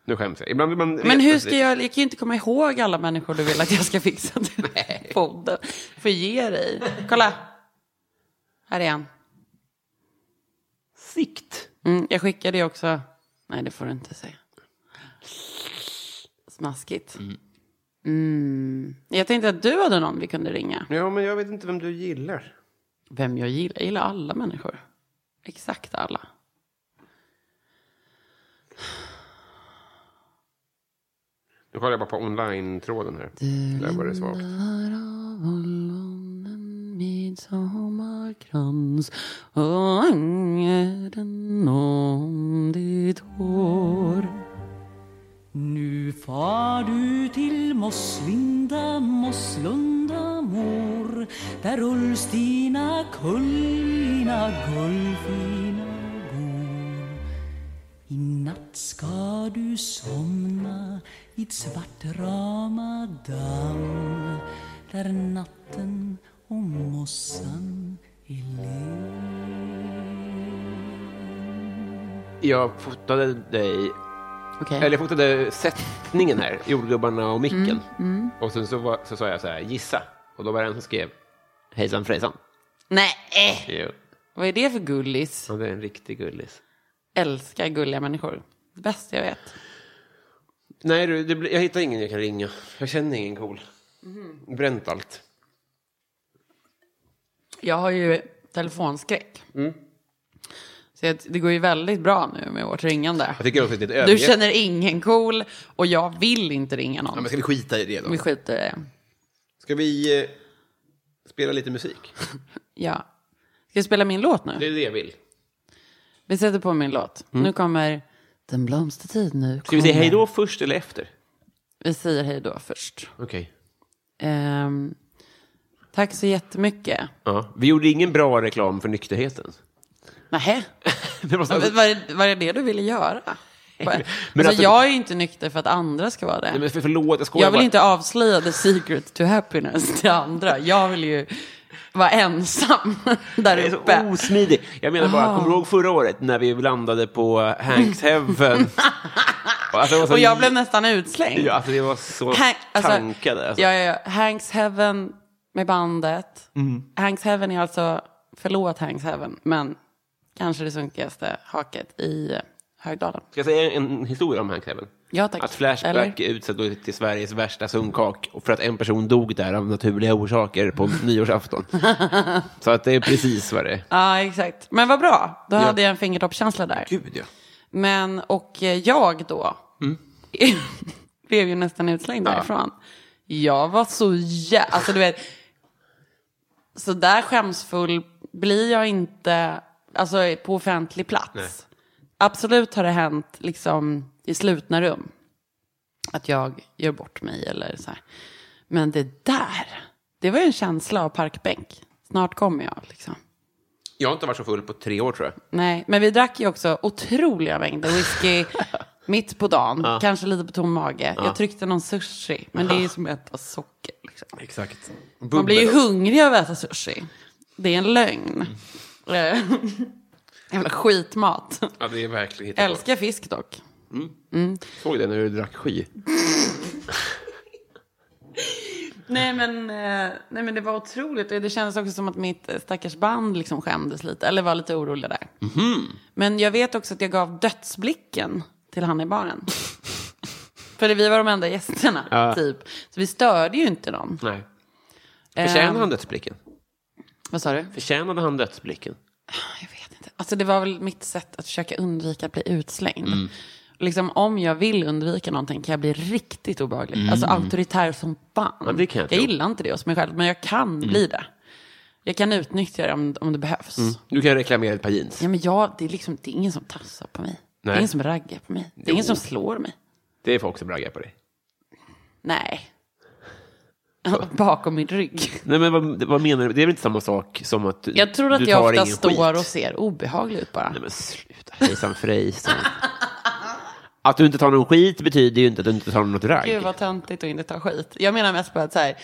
A: Nu skäms jag. Ibland vill man...
B: Men hur ska jag, jag kan ju inte komma ihåg alla människor du vill att jag ska
A: (laughs)
B: fixa till podden. Får ge dig. Kolla. Här är han.
A: Sikt.
B: Mm, jag skickade ju också. Nej, det får du inte säga. Smaskigt. Mm. Jag tänkte att du hade någon vi kunde ringa.
A: Ja, men jag vet inte vem du gillar.
B: Vem jag gillar? Jag gillar alla människor. Exakt alla.
A: Nu kollar jag bara på online-tråden här. Där var det svagt.
B: Krans och ångern om ditt hår
F: Nu far du till Mosslinda, Mosslunda mor där Ulstina kullina gullfina bor I natt ska du somna vid Svartrama damm där natten och mossan är len
A: Jag fotade dig. Eller jag fotade sättningen här, jordgubbarna och micken.
B: Mm, mm.
A: Och sen så, var, så sa jag så här, gissa. Och då var det en som skrev, hejsan frejsan.
B: Nej,
A: Jo.
B: vad är det för gullis?
A: Ja, det är en riktig gullis.
B: Älskar gulliga människor. Det bästa jag vet.
A: Nej, du, det, blir- jag hittar ingen jag kan ringa. Jag känner ingen cool.
B: Mhm.
A: Bränt allt.
B: Jag har ju telefonskräck.
A: Mm.
B: Så jag- det går ju väldigt bra nu med vårt ringande.
A: Jag tycker också att det är ett
B: Du
A: övergrepp.
B: känner ingen cool och jag vill inte ringa någon.
A: Ja, men ska vi skita i det då?
B: Vi skiter i det.
A: Ska vi eh, spela lite musik?
B: Ja. Ska jag spela min låt
A: Det
B: nu?
A: är det jag vill.
B: Vi sätter på min låt.
A: Mm.
B: Nu kommer Den blomstertid nu.
A: Ska vi säga
B: kommer.
A: hej då först eller efter?
B: Vi säger hej då först.
A: Okej.
B: Ehm, tack så jättemycket.
A: Ja. Vi gjorde ingen bra reklam för nykterheten.
B: Nähä?
A: (laughs) Det måste-
B: Ja, men Var (laughs) det, var det det du ville göra? Men alltså,
A: alltså-
B: jag är ju inte nykter för att andra ska vara det.
A: Nej, men för, förlåt, jag skojar
B: Jag vill
A: bara.
B: inte avslöja the secret to happiness till andra. Jag vill ju vara ensam (laughs)
A: Jag
B: där
A: är så alltså,
B: uppe.
A: osmidig. Jag menar bara,
B: Ah.
A: kommer du ihåg förra året när vi landade på Hanks
B: (laughs)
A: Heaven? Och alltså, det var så-
B: Och jag blev nästan utslängd.
A: Ja, alltså det var så
B: Hank- alltså,
A: tankade. Alltså.
B: Ja, ja, ja. Hanks Heaven med bandet.
A: Mm.
B: Hanks Heaven är alltså, förlåt Hanks Heaven, men kanske det sunkigaste haket i eh, Högdalen.
A: Ska jag säga en historia om Hanks Heaven?
B: Ja, tack.
A: Att Flashback utsåg då till Sveriges värsta sunkak och för att en person dog där av naturliga orsaker
B: (laughs)
A: på nyårsafton. så att det är precis vad det är.
B: Ja, exakt. Men vad bra. Då
A: Ja.
B: hade jag en fingertoppskänsla där.
A: Gud, ja.
B: Men, och eh, jag då, (laughs) blev ju nästan utslängd
A: Mm. Ja.
B: därifrån. Jag var så jä... Alltså du vet, så där skämsfull blir jag inte alltså, på offentlig plats.
A: Nej.
B: Absolut har det hänt liksom, i slutna rum. Att jag gör bort mig eller så här. Men det där, det var ju en känsla av parkbänk. Snart kommer jag liksom.
A: Jag har inte varit så full på tre år tror jag.
B: Nej, men vi drack ju också otroliga mängder whisky (laughs) mitt på dagen.
A: Ja.
B: Kanske lite på tom mage.
A: Ja.
B: Jag tryckte någon sushi, men det är ju som att äta socker. Liksom.
A: Exakt.
B: Man blir ju hungrig av att äta sushi. Det är en lögn. Eh, (laughs) Jävla skitmat.
A: Ja, det är verkligen hittepå.
B: Älskar fisk dock.
A: Mm. Såg det när du drack sky.
B: Nej men, eh, nej men det var otroligt. Och Det kändes också som att mitt eh, stackars band liksom skämdes lite. Eller var lite oroliga där. Mhm. Men jag vet också att jag gav dödsblicken till han i baren. För vi var de enda gästerna,
A: Ja.
B: typ. Så vi störde ju inte någon.
A: (laughs) Nej. Förtjänade
B: Ehm,
A: han dödsblicken?
B: Vad sa du?
A: Förtjänade han dödsblicken?
B: Alltså det var väl mitt sätt att försöka undvika att bli utslängd.
A: Mm.
B: Liksom om jag vill undvika någonting kan jag bli riktigt obehaglig.
A: Mm.
B: Alltså auktoritär som fan.
A: Ja, det kan jag
B: jag
A: tro.
B: gillar inte det hos mig själv, men jag kan bli det. Jag kan utnyttja det om, om det behövs.
A: Mm. Du kan reklamera ett par jeans.
B: Ja, men jag, det, är liksom, det är ingen som tassar på mig. Det
A: Nej.
B: är ingen som raggar på mig. Det är
A: Jo.
B: ingen som slår mig.
A: Det är folk som raggar på dig.
B: Nej. (laughs) Bakom min rygg.
A: Nej, men vad, vad menar du? Det är väl inte samma sak som att
B: Jag tror att
A: du
B: jag
A: tar
B: ofta
A: ingen
B: står
A: skit.
B: och ser obehaglig ut bara.
A: Nej, men sluta. Hejsan frejsan. att du inte tar någon skit betyder ju inte att du inte tar något ragg.
B: Gud vad töntigt att inte ta skit. Jag menar mest på att så här,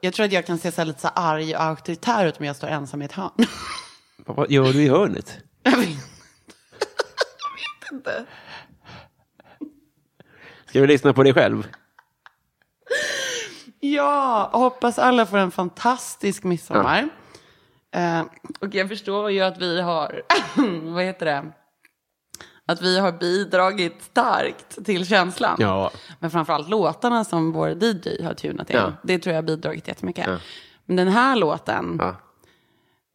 B: jag tror att jag kan se så här lite så här arg och auktoritär ut om jag står ensam i ett hörn. (laughs)
A: Vad- Vad gör du i hörnet? Ska vi lyssna på dig själv?
B: ja, och hoppas alla får en fantastisk midsommar. Eh, och jag förstår ju att vi har, (clears throat) vad heter det, att vi har bidragit starkt till känslan.
A: Ja.
B: Men framförallt låtarna som vår DJ har tunat in.
A: Ja.
B: Det tror jag har bidragit jättemycket.
A: Ja.
B: Men den här låten,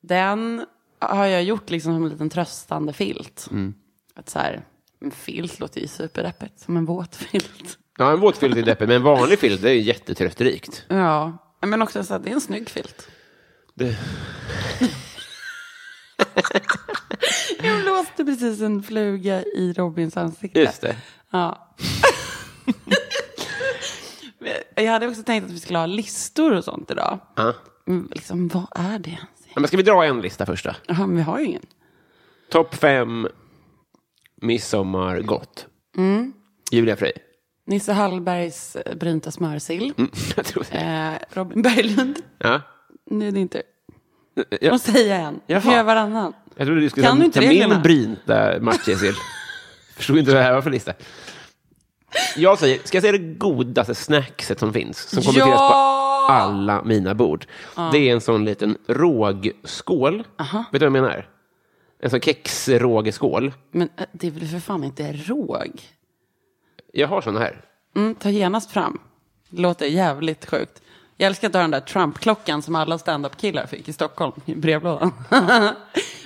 B: Den har jag gjort liksom som en liten tröstande filt.
A: Mm.
B: Att så här, en filt låter ju superdeppigt, som en våt filt.
A: Ja, en våt filt är deppigt, men en vanlig filt det är ju jättetrösterikt.
B: Ja, men också så att det är en snygg filt.
A: Det...
B: Jag blåste precis en fluga i Robins ansikte.
A: Just det.
B: Ja. (laughs) jag hade också tänkt att vi skulle ha listor och sånt idag.
A: Ja.
B: Mm, Liksom, vad är det?
A: Ja, Men ska vi dra en lista först då?
B: Jaha, men vi har ju ingen.
A: Topp fem midsommargott.
B: Mm.
A: Julia Frey. (laughs)
B: Nisse Hallbergs eh, brynta smörsill.
A: Mm, jag tror det.
B: Eh, Robin Berglund,
A: Ja.
B: nu är det inte
A: Ja.
B: Måste säga en. Vi får
A: Jaha.
B: göra varannan.
A: Jag trodde du skulle
B: Kan
A: ta,
B: du inte
A: ta min
B: reglerna?
A: brynta
B: (laughs)
A: matjessill. Förstod inte vad det här var för lista. Jag säger, ska jag säga det godaste snackset som finns? Som kommer
B: Ja!
A: finnas på alla mina bord.
B: Ja.
A: Det är en sån liten rågskål. Vet du vad jag menar? En sån kexrågeskål.
B: Men eh, det är väl för fan inte råg?
A: Jag har såna här.
B: Mm, ta genast fram. Det låter jävligt sjukt. Jag älskar att ha den där Trump-klockan som alla stand-up-killar fick i Stockholm i brevlådan. (laughs)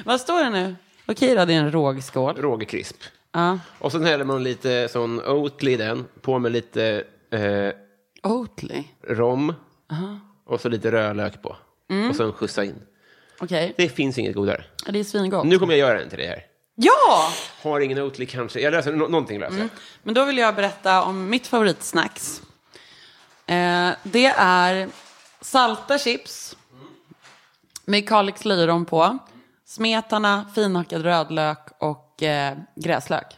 B: Vad står det nu? Okej då, det är en rågskål.
A: Rågekrisp.
B: Ja.
A: Och sen häller man lite sån Oatly i den. På med lite eh,
B: Oatly?
A: rom.
B: Aha.
A: Och så lite rödlök på.
B: Mm.
A: Och sen skjutsa in.
B: Okej,
A: Det finns inget godare.
B: det är svingott.
A: Nu kommer jag göra en till dig här.
B: Ja!
A: Har ingen Oatly kanske. Jag löser, nå- någonting löser jag.
B: Men då vill jag berätta om mitt favoritsnacks. Eh, det är salta chips med Kalix löjrom på, smetana, finhackad rödlök och eh, gräslök.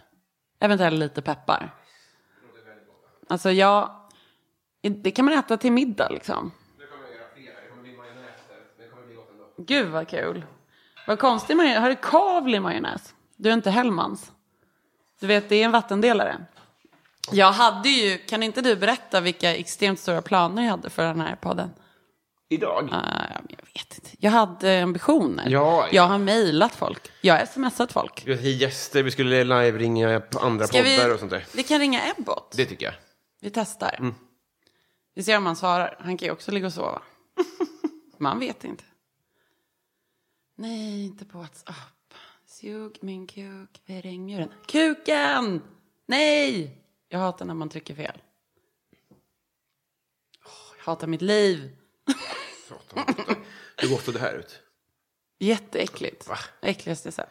B: Eventuellt lite peppar. Alltså ja, det kan man äta till middag liksom. Gud vad kul. Vad konstig majonnäs. Har du kavl i majonnäs? Du är inte Hellmans. Du vet, det är en vattendelare. Jag hade ju, kan inte du berätta vilka extremt stora planer jag hade för den här podden? Ah,
A: Idag?
B: jag vet inte. Jag hade ambitioner.
A: Ja, ja.
B: Jag har mejlat folk. Jag har smsat folk.
A: Vi hade gäster, vi skulle live-ringa på andra
B: Ska
A: poddar
B: vi,
A: och sånt där.
B: vi kan ringa Ebbot.
A: Det tycker jag.
B: Vi testar.
A: Mm.
B: Vi ser om han svarar. Han kan ju också ligga och sova. Man vet inte. Nej, inte på WhatsApp. Sug min kuk vid regnmuren. Kuken! Nej! Jag hatar när man trycker fel. Åh, jag hatar mitt liv.
A: Hur gott såg det här ut?
B: Jätteäckligt. Äckligaste sätt.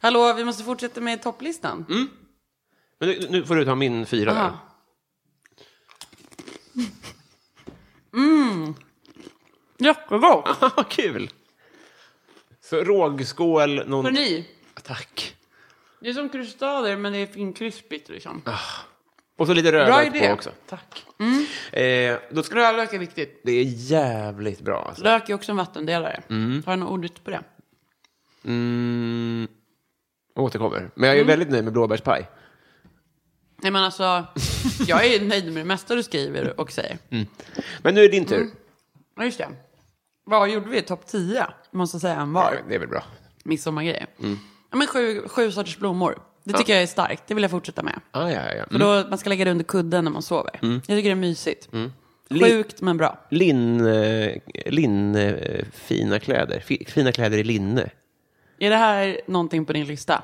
B: Hallå, vi måste fortsätta med topplistan.
A: Men nu, nu får du ta min fyra där. (laughs)
B: Aha. Mm. Jättegott.
A: Aha, kul! Så rågskål, någon...
B: Geni.
A: Tack.
B: Det är som krustader, men det är finkrispigt liksom.
A: Och så lite
B: Bra
A: rödlök
B: idé.
A: på också. Tack.
B: Mm.
A: Eh, då ska...
B: Rödlök är viktigt.
A: Det är jävligt bra. Alltså.
B: Lök är också en vattendelare.
A: Mm.
B: Har du något ordvits på det?
A: Mm. Jag återkommer. Men
B: Mm.
A: jag är väldigt nöjd med blåbärspaj.
B: Nej
A: (laughs)
B: men alltså, jag är nöjd med det mesta du skriver och säger.
A: Mm. Men nu är det din tur.
B: Mm. Ja just det. Vad gjorde vi? Topp 10? Måste säga en var.
A: Det är väl bra.
B: Midsommargrejer.
A: Mm.
B: Ja men sju, sju sorters blommor. Det
A: Ja.
B: tycker jag är starkt. Det vill jag fortsätta med.
A: Ah, ja, ja, ja.
B: För då, man ska lägga det under kudden när man sover.
A: Mm.
B: Jag tycker det är mysigt.
A: Mm.
B: Sjukt men bra.
A: Lin, eh, lin, eh, fina kläder. Fi- Fina kläder i linne.
B: Är det här någonting på din lista?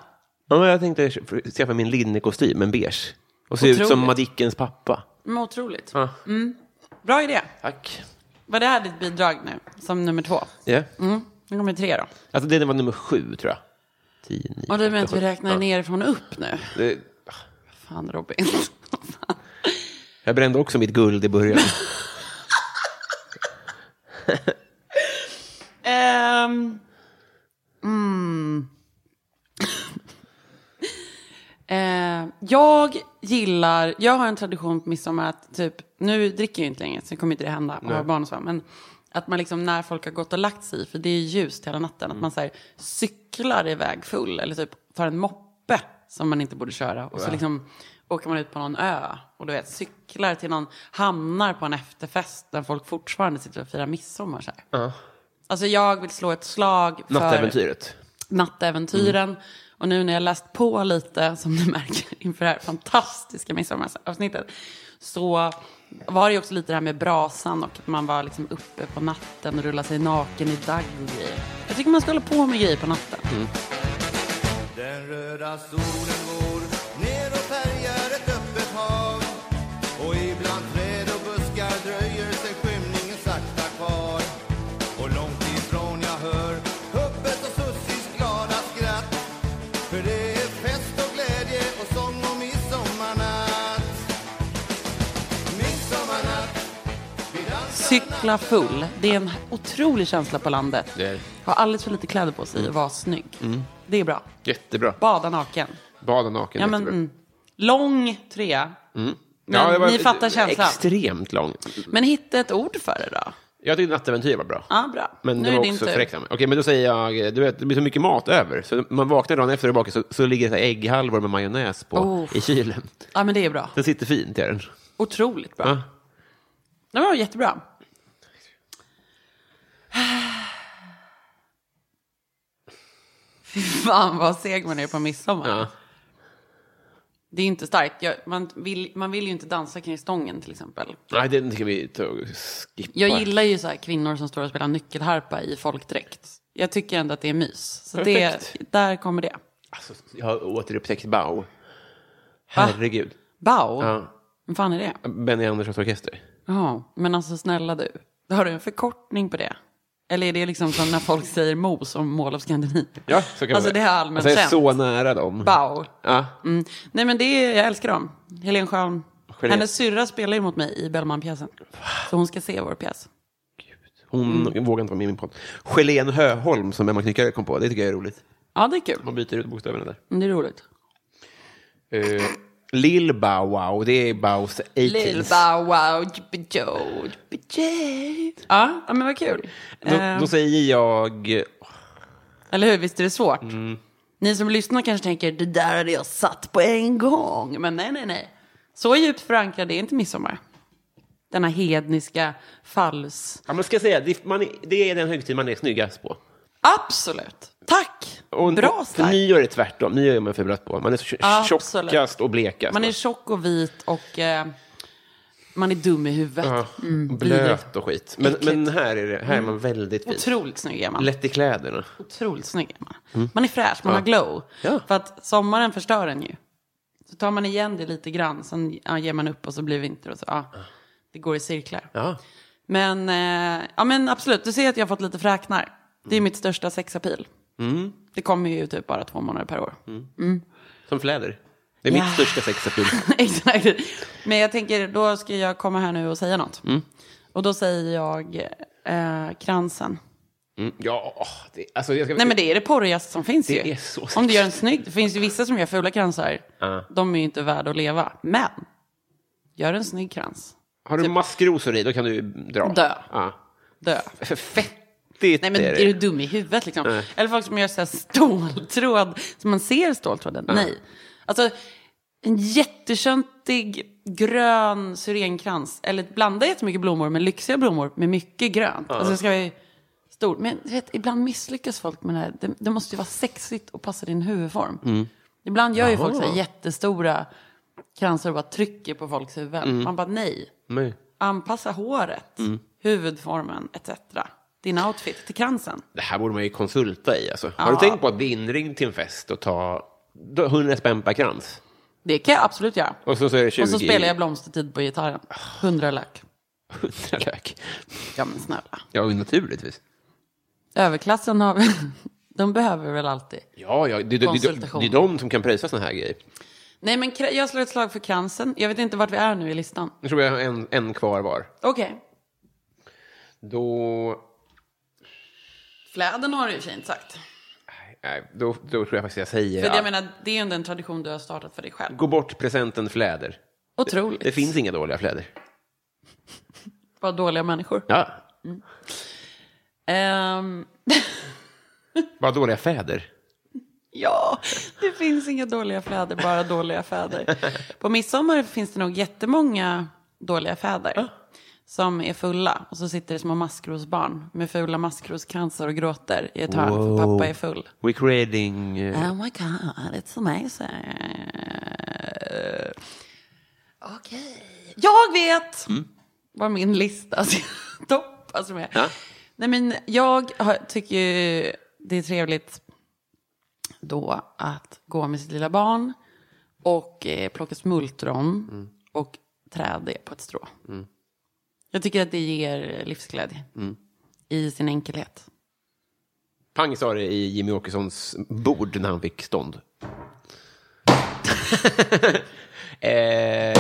A: Ja, men jag tänkte skaffa min linnekostym, en beige. Och se ut som
B: Otroligt.
A: Madickens pappa.
B: Men otroligt.
A: Ja.
B: Mm. Bra idé.
A: Tack.
B: Var det här ditt bidrag nu? Som nummer två?
A: Ja.
B: Mm. Nu kommer tre då.
A: Alltså, det var nummer sju, tror jag. Tio, nio,
B: Och du menar att
A: åtta,
B: vi
A: sju.
B: räknar nerifrån och upp nu?
A: Det,
B: Fan Robin. (laughs)
A: jag brände också mitt guld i (laughs) början.
B: Ehm, mm. Eh, jag gillar, jag har en tradition på midsommar att typ, nu dricker jag ju inte längre så kommer inte det hända, man
F: Nej.
B: har barn och så, men att man liksom när folk har gått och lagt sig, för det är ljust hela natten, att man så här, cyklar iväg full eller typ tar en moppe som man inte borde köra och så
F: Wow.
B: liksom åker man ut på någon ö och du vet cyklar till någon, hamnar på en efterfest där folk fortfarande sitter och firar midsommar så här.
A: Ja.
B: Alltså jag vill slå ett slag för
A: Nattäventyret.
B: nattäventyren. Och nu när jag läst på lite, som ni (laughs) märker, inför det här fantastiska midsommaravsnittet, så var det ju också lite det här med brasan och att man var liksom uppe på natten och rullade sig naken i dagg och grejer. Jag tycker man ska hålla på med grejer på natten.
A: Mm.
K: Den röda solen går ner och färgar ett öppet hav Och ibland träd och buskar dröjer sig skymningen sakta kvar Och långt ifrån jag hör Huppes och Sussis glada skratt För det är fest och glädje och sång och midsommarnatt Midsommarnatt
B: Cykla full. Det är en otrolig känsla på landet.
A: Det är det.
B: Ha alldeles för lite kläder på sig och vara snygg.
A: Mm.
B: Det är bra.
A: Jättebra.
B: Bada naken.
A: Bada naken.
B: Ja, men,
A: jättebra.
B: mm. Lång trea.
A: Mm.
B: Men
A: det var eh,
B: ni fattar känslan.
A: Extremt lång.
B: Men hitta ett ord för det då.
A: Jag tyckte nattäventyr var bra.
B: Ja, bra.
A: Men
B: nu
A: det
B: är
A: var
B: det din
A: också
B: tur.
A: fräckt av mig. Okej, men då säger jag, du vet, det blir så mycket mat över. Så man vaknar dagen efter och bakar så, så ligger det så här ägghalvor med majonnäs på
B: Oh.
A: i kylen.
B: Ja, men det är bra.
A: Den sitter fint, gör den.
B: Otroligt bra.
A: Ja.
B: Det var jättebra. (sighs) Fy fan vad seg man är på midsommar. Det är inte starkt. Jag, man, vill, man vill ju inte dansa kring stången till exempel.
A: Nej, den ska vi ta och skippa.
B: Jag gillar ju så här kvinnor som står och spelar nyckelharpa i folkdräkt. Jag tycker ändå att det är mys. Så det,
A: Perfekt.
B: där kommer det.
A: Alltså, jag har återupptäckt Bau. Herregud.
B: Bau?
A: Ja.
B: Vad fan är det?
A: Benny Anderssons orkester.
B: Ja, men alltså snälla du. Har du en förkortning på det? Eller är det liksom som när folk säger mos om Mall of Scandinavia?
A: Ja, så kan man
B: Alltså,
A: säga.
B: det är allmänt
A: jag är
B: känt.
A: så nära dem.
B: Bau.
A: Ja.
B: Mm. Nej men det är, jag älskar dem. Helen Schön.
A: Geni.
B: Hennes syrra spelar ju mot mig i Bellmanpjäsen. Så hon ska se vår pjäs.
A: Hon vågar inte vara med i min podd. Gelén Höholm som Emma Knyckare kom på. Det tycker jag är roligt.
B: Ja det är kul.
A: Man byter ut bokstäverna där.
B: Det är roligt.
A: Uh, Lil Bow Wow, det är Bows 80s.
B: Lil Bow Wow Jibbi Joe Jibbi Jay. Ja, ja, men vad kul.
A: Då,
B: Eh,
A: då säger jag...
B: Eller hur, visst är det svårt?
A: Mm.
B: Ni som lyssnar kanske tänker det där hade jag satt på en gång. Men nej, nej, nej. Så djupt förankrad är inte midsommar. Denna hedniska falls...
A: Ja, men ska jag säga, det, man är, det är den högtid man är snyggast på.
B: Absolut. Tack.
A: Och,
B: Bra
A: För
B: stark.
A: nyår är det tvärtom. Nyår är man för blöt på. Man är så tj-
B: Absolut.
A: tjockast och blekast.
B: Man är tjock och vit och eh, man är dum i huvudet.
A: Ja,
B: Mm, vidrigt.
A: blöt och skit. Men,
B: Äckligt. Mm.
A: men här är, det, här är man väldigt fin.
B: Otroligt snygg är man.
A: Lätt i kläderna.
B: Otroligt snygg är man.
A: Mm.
B: Man är fräsch, man
A: Ja.
B: har glow. För att sommaren förstör en ju. Så tar man igen det lite grann, sen ja, ger man upp och så blir vinter och så. Ja, det går i cirklar.
A: Ja.
B: Men, eh, ja, men absolut, du ser att jag har fått lite fräknar. Det är mitt största sexapil.
A: Mm.
B: Det kommer ju typ bara två månader per år. Mm.
A: Som fläder. Det är
B: Ja.
A: mitt största sexapil.
B: (laughs) Exakt. Men jag tänker, då ska jag komma här nu och säga något.
A: Mm.
B: Och då säger jag eh, kransen.
A: Mm. Ja, åh, det, alltså, jag ska...
B: Nej men det är det porrigaste som finns
A: Det
B: ju.
A: är så
B: Om du gör en snygg, det finns ju vissa som gör fula kransar.
A: Ja.
B: De är ju inte värda att leva. Men, gör en snygg krans.
A: Har du maskrosor i, då kan du dra.
B: typ- Dö.
A: Ja.
B: Dö.
A: För fettigt
B: Nej men
A: är
B: är,
A: det.
B: du dum i huvudet liksom?
A: Nej.
B: Eller folk som gör så här ståltråd, så man ser ståltråden.
A: Ja.
B: Nej. Alltså, en jätteköntig grön syrenkrans. Eller blanda jättemycket blommor med lyxiga blommor med mycket grönt.
A: Ja.
B: Alltså det ska vara stort. Men du vet, ibland misslyckas folk med det här. Det, det måste ju vara sexigt och passa din huvudform.
A: Mm.
B: Ibland gör ju
A: Jaha.
B: folk så här jättestora kransar och bara trycker på folks huvuden.
A: Mm.
B: Man bara nej,
A: Nej.
B: anpassa håret,
A: Mm.
B: huvudformen etc. Din outfit till kransen.
A: Det här borde man ju konsulta i. Alltså. Har du
B: Ja.
A: tänkt på att bli inringd till en fest och ta då- 100 spänn per krans?
B: Det kan jag absolut göra. Ah.
A: Och så, så är det 20
B: Och så spelar jag blomstertid på gitarren. Hundra lök.
A: (laughs) 100 lök.
B: Ja, men snälla.
A: Ja, naturligtvis.
B: Överklassen har (laughs) De behöver väl alltid.
A: Ja, ja det, det, det, det,
B: Konsultation.
A: det är de som kan pröjsa såna här grejer.
B: Nej, men kra- jag slår ett slag för kransen. Jag vet inte vart vi är nu i listan.
A: Nu tror jag har en, en kvar var.
B: Okej.
A: Då,
B: Fläden har du i och för sig inte sagt.
A: nej, då, då tror jag faktiskt jag
B: För
A: säger
B: jag
A: att
B: menar, det är ju ändå en tradition du har startat för dig själv.
A: gå bort presenten fläder.
B: Otroligt.
A: Det, det finns inga dåliga fläder.
B: Vad dåliga människor.
A: Ja,
B: Ehm,
A: bara dåliga fäder.
B: ja, det finns inga dåliga fäder, bara dåliga fäder. På midsommar finns det nog jättemånga dåliga fäder. Som är fulla och så sitter det små maskrosbarn med fula maskroskansar och gråter i ett hörn
A: Wow.
B: för pappa är full.
A: We're creating... eh,
B: Oh my god, it's amazing. Okej, jag vet
A: Mm.
B: vad (laughs) min lista ska toppas alltså, med.
A: Ja.
B: Nej men jag har, tycker ju det är trevligt då att gå med sitt lilla barn och eh, plocka smultron och trä det på ett strå.
A: Mm.
B: Jag tycker att det ger livsglädje
A: Mm.
B: i sin enkelhet.
A: Pang sa det i Jimmy Åkessons bord när han fick stånd. (laughs) eh...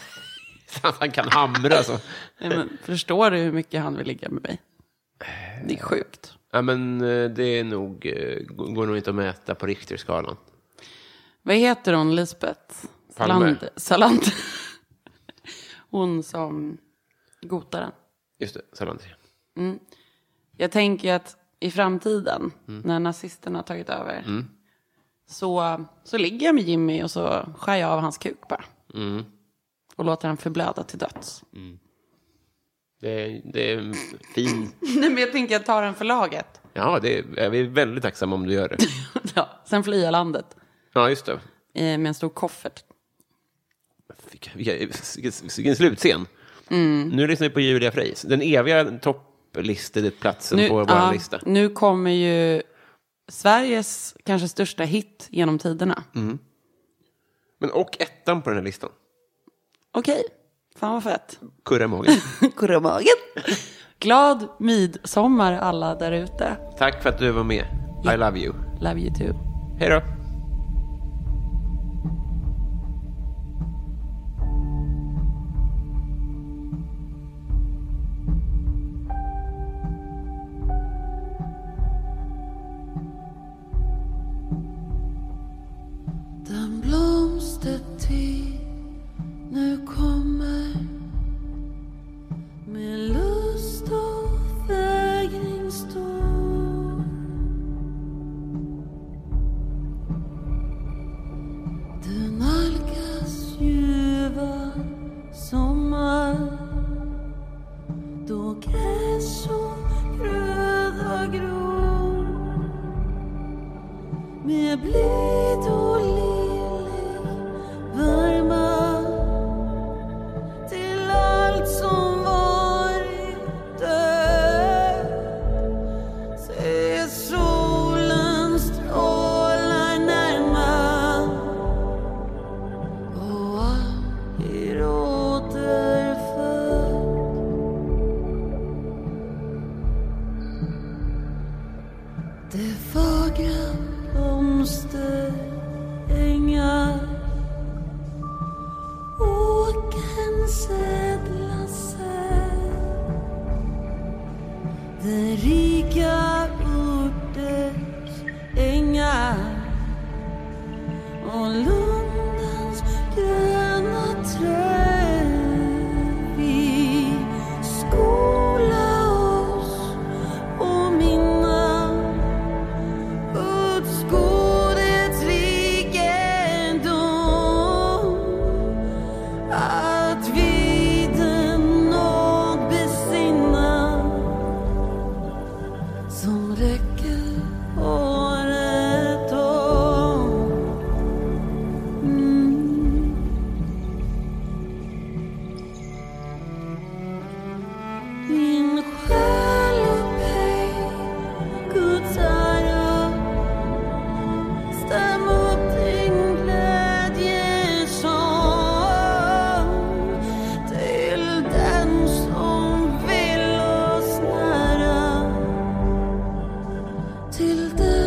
A: (laughs) Fan, han kan hamra alltså. så.
B: Nej, men, förstår du hur mycket han vill ligga med mig? Det är sjukt.
A: Ja, men eh, det är nog, eh, går går nog inte att mäta på Richterskalan.
B: Vad heter hon, Lisbeth?
A: Palme.
B: Salander. Salander. Hon som gotaren.
A: Just det, Salander.
B: Mm. Jag tänker ju att i framtiden,
A: Mm.
B: när nazisterna har tagit över,
A: Mm.
B: så, så ligger jag med Jimmy och så skär jag av hans kuk bara.
A: Mm.
B: Och låter han förblöda till döds.
A: Det, är- det är en fin...
B: (laughs) Nej, men jag tänker jag tar den för laget.
A: Ja, det är, vi är väldigt tacksamma om du gör det.
B: ja, sen flyr jag landet
A: Ja, just det.
B: eh, med en stor koffert.
A: Vilka- vilka- Vilken vilken slutscen.
B: Mm.
A: Nu lyssnar vi på Julia Frejs. Den eviga topplisteplatsen på vår
B: ja,
A: lista.
B: nu kommer ju Sveriges kanske största hit genom tiderna.
A: Mm. Men och ettan på den här listan.
B: Okej, fan vad fett. (laughs)
A: Kurre Mågen.
B: Kurra magen. Glad midsommar alla där ute.
A: Tack för att du var med. I love you.
B: Love you too.
A: Hej då.
J: Den blomstertid nu kommer med lust och vägring stor
B: Mm.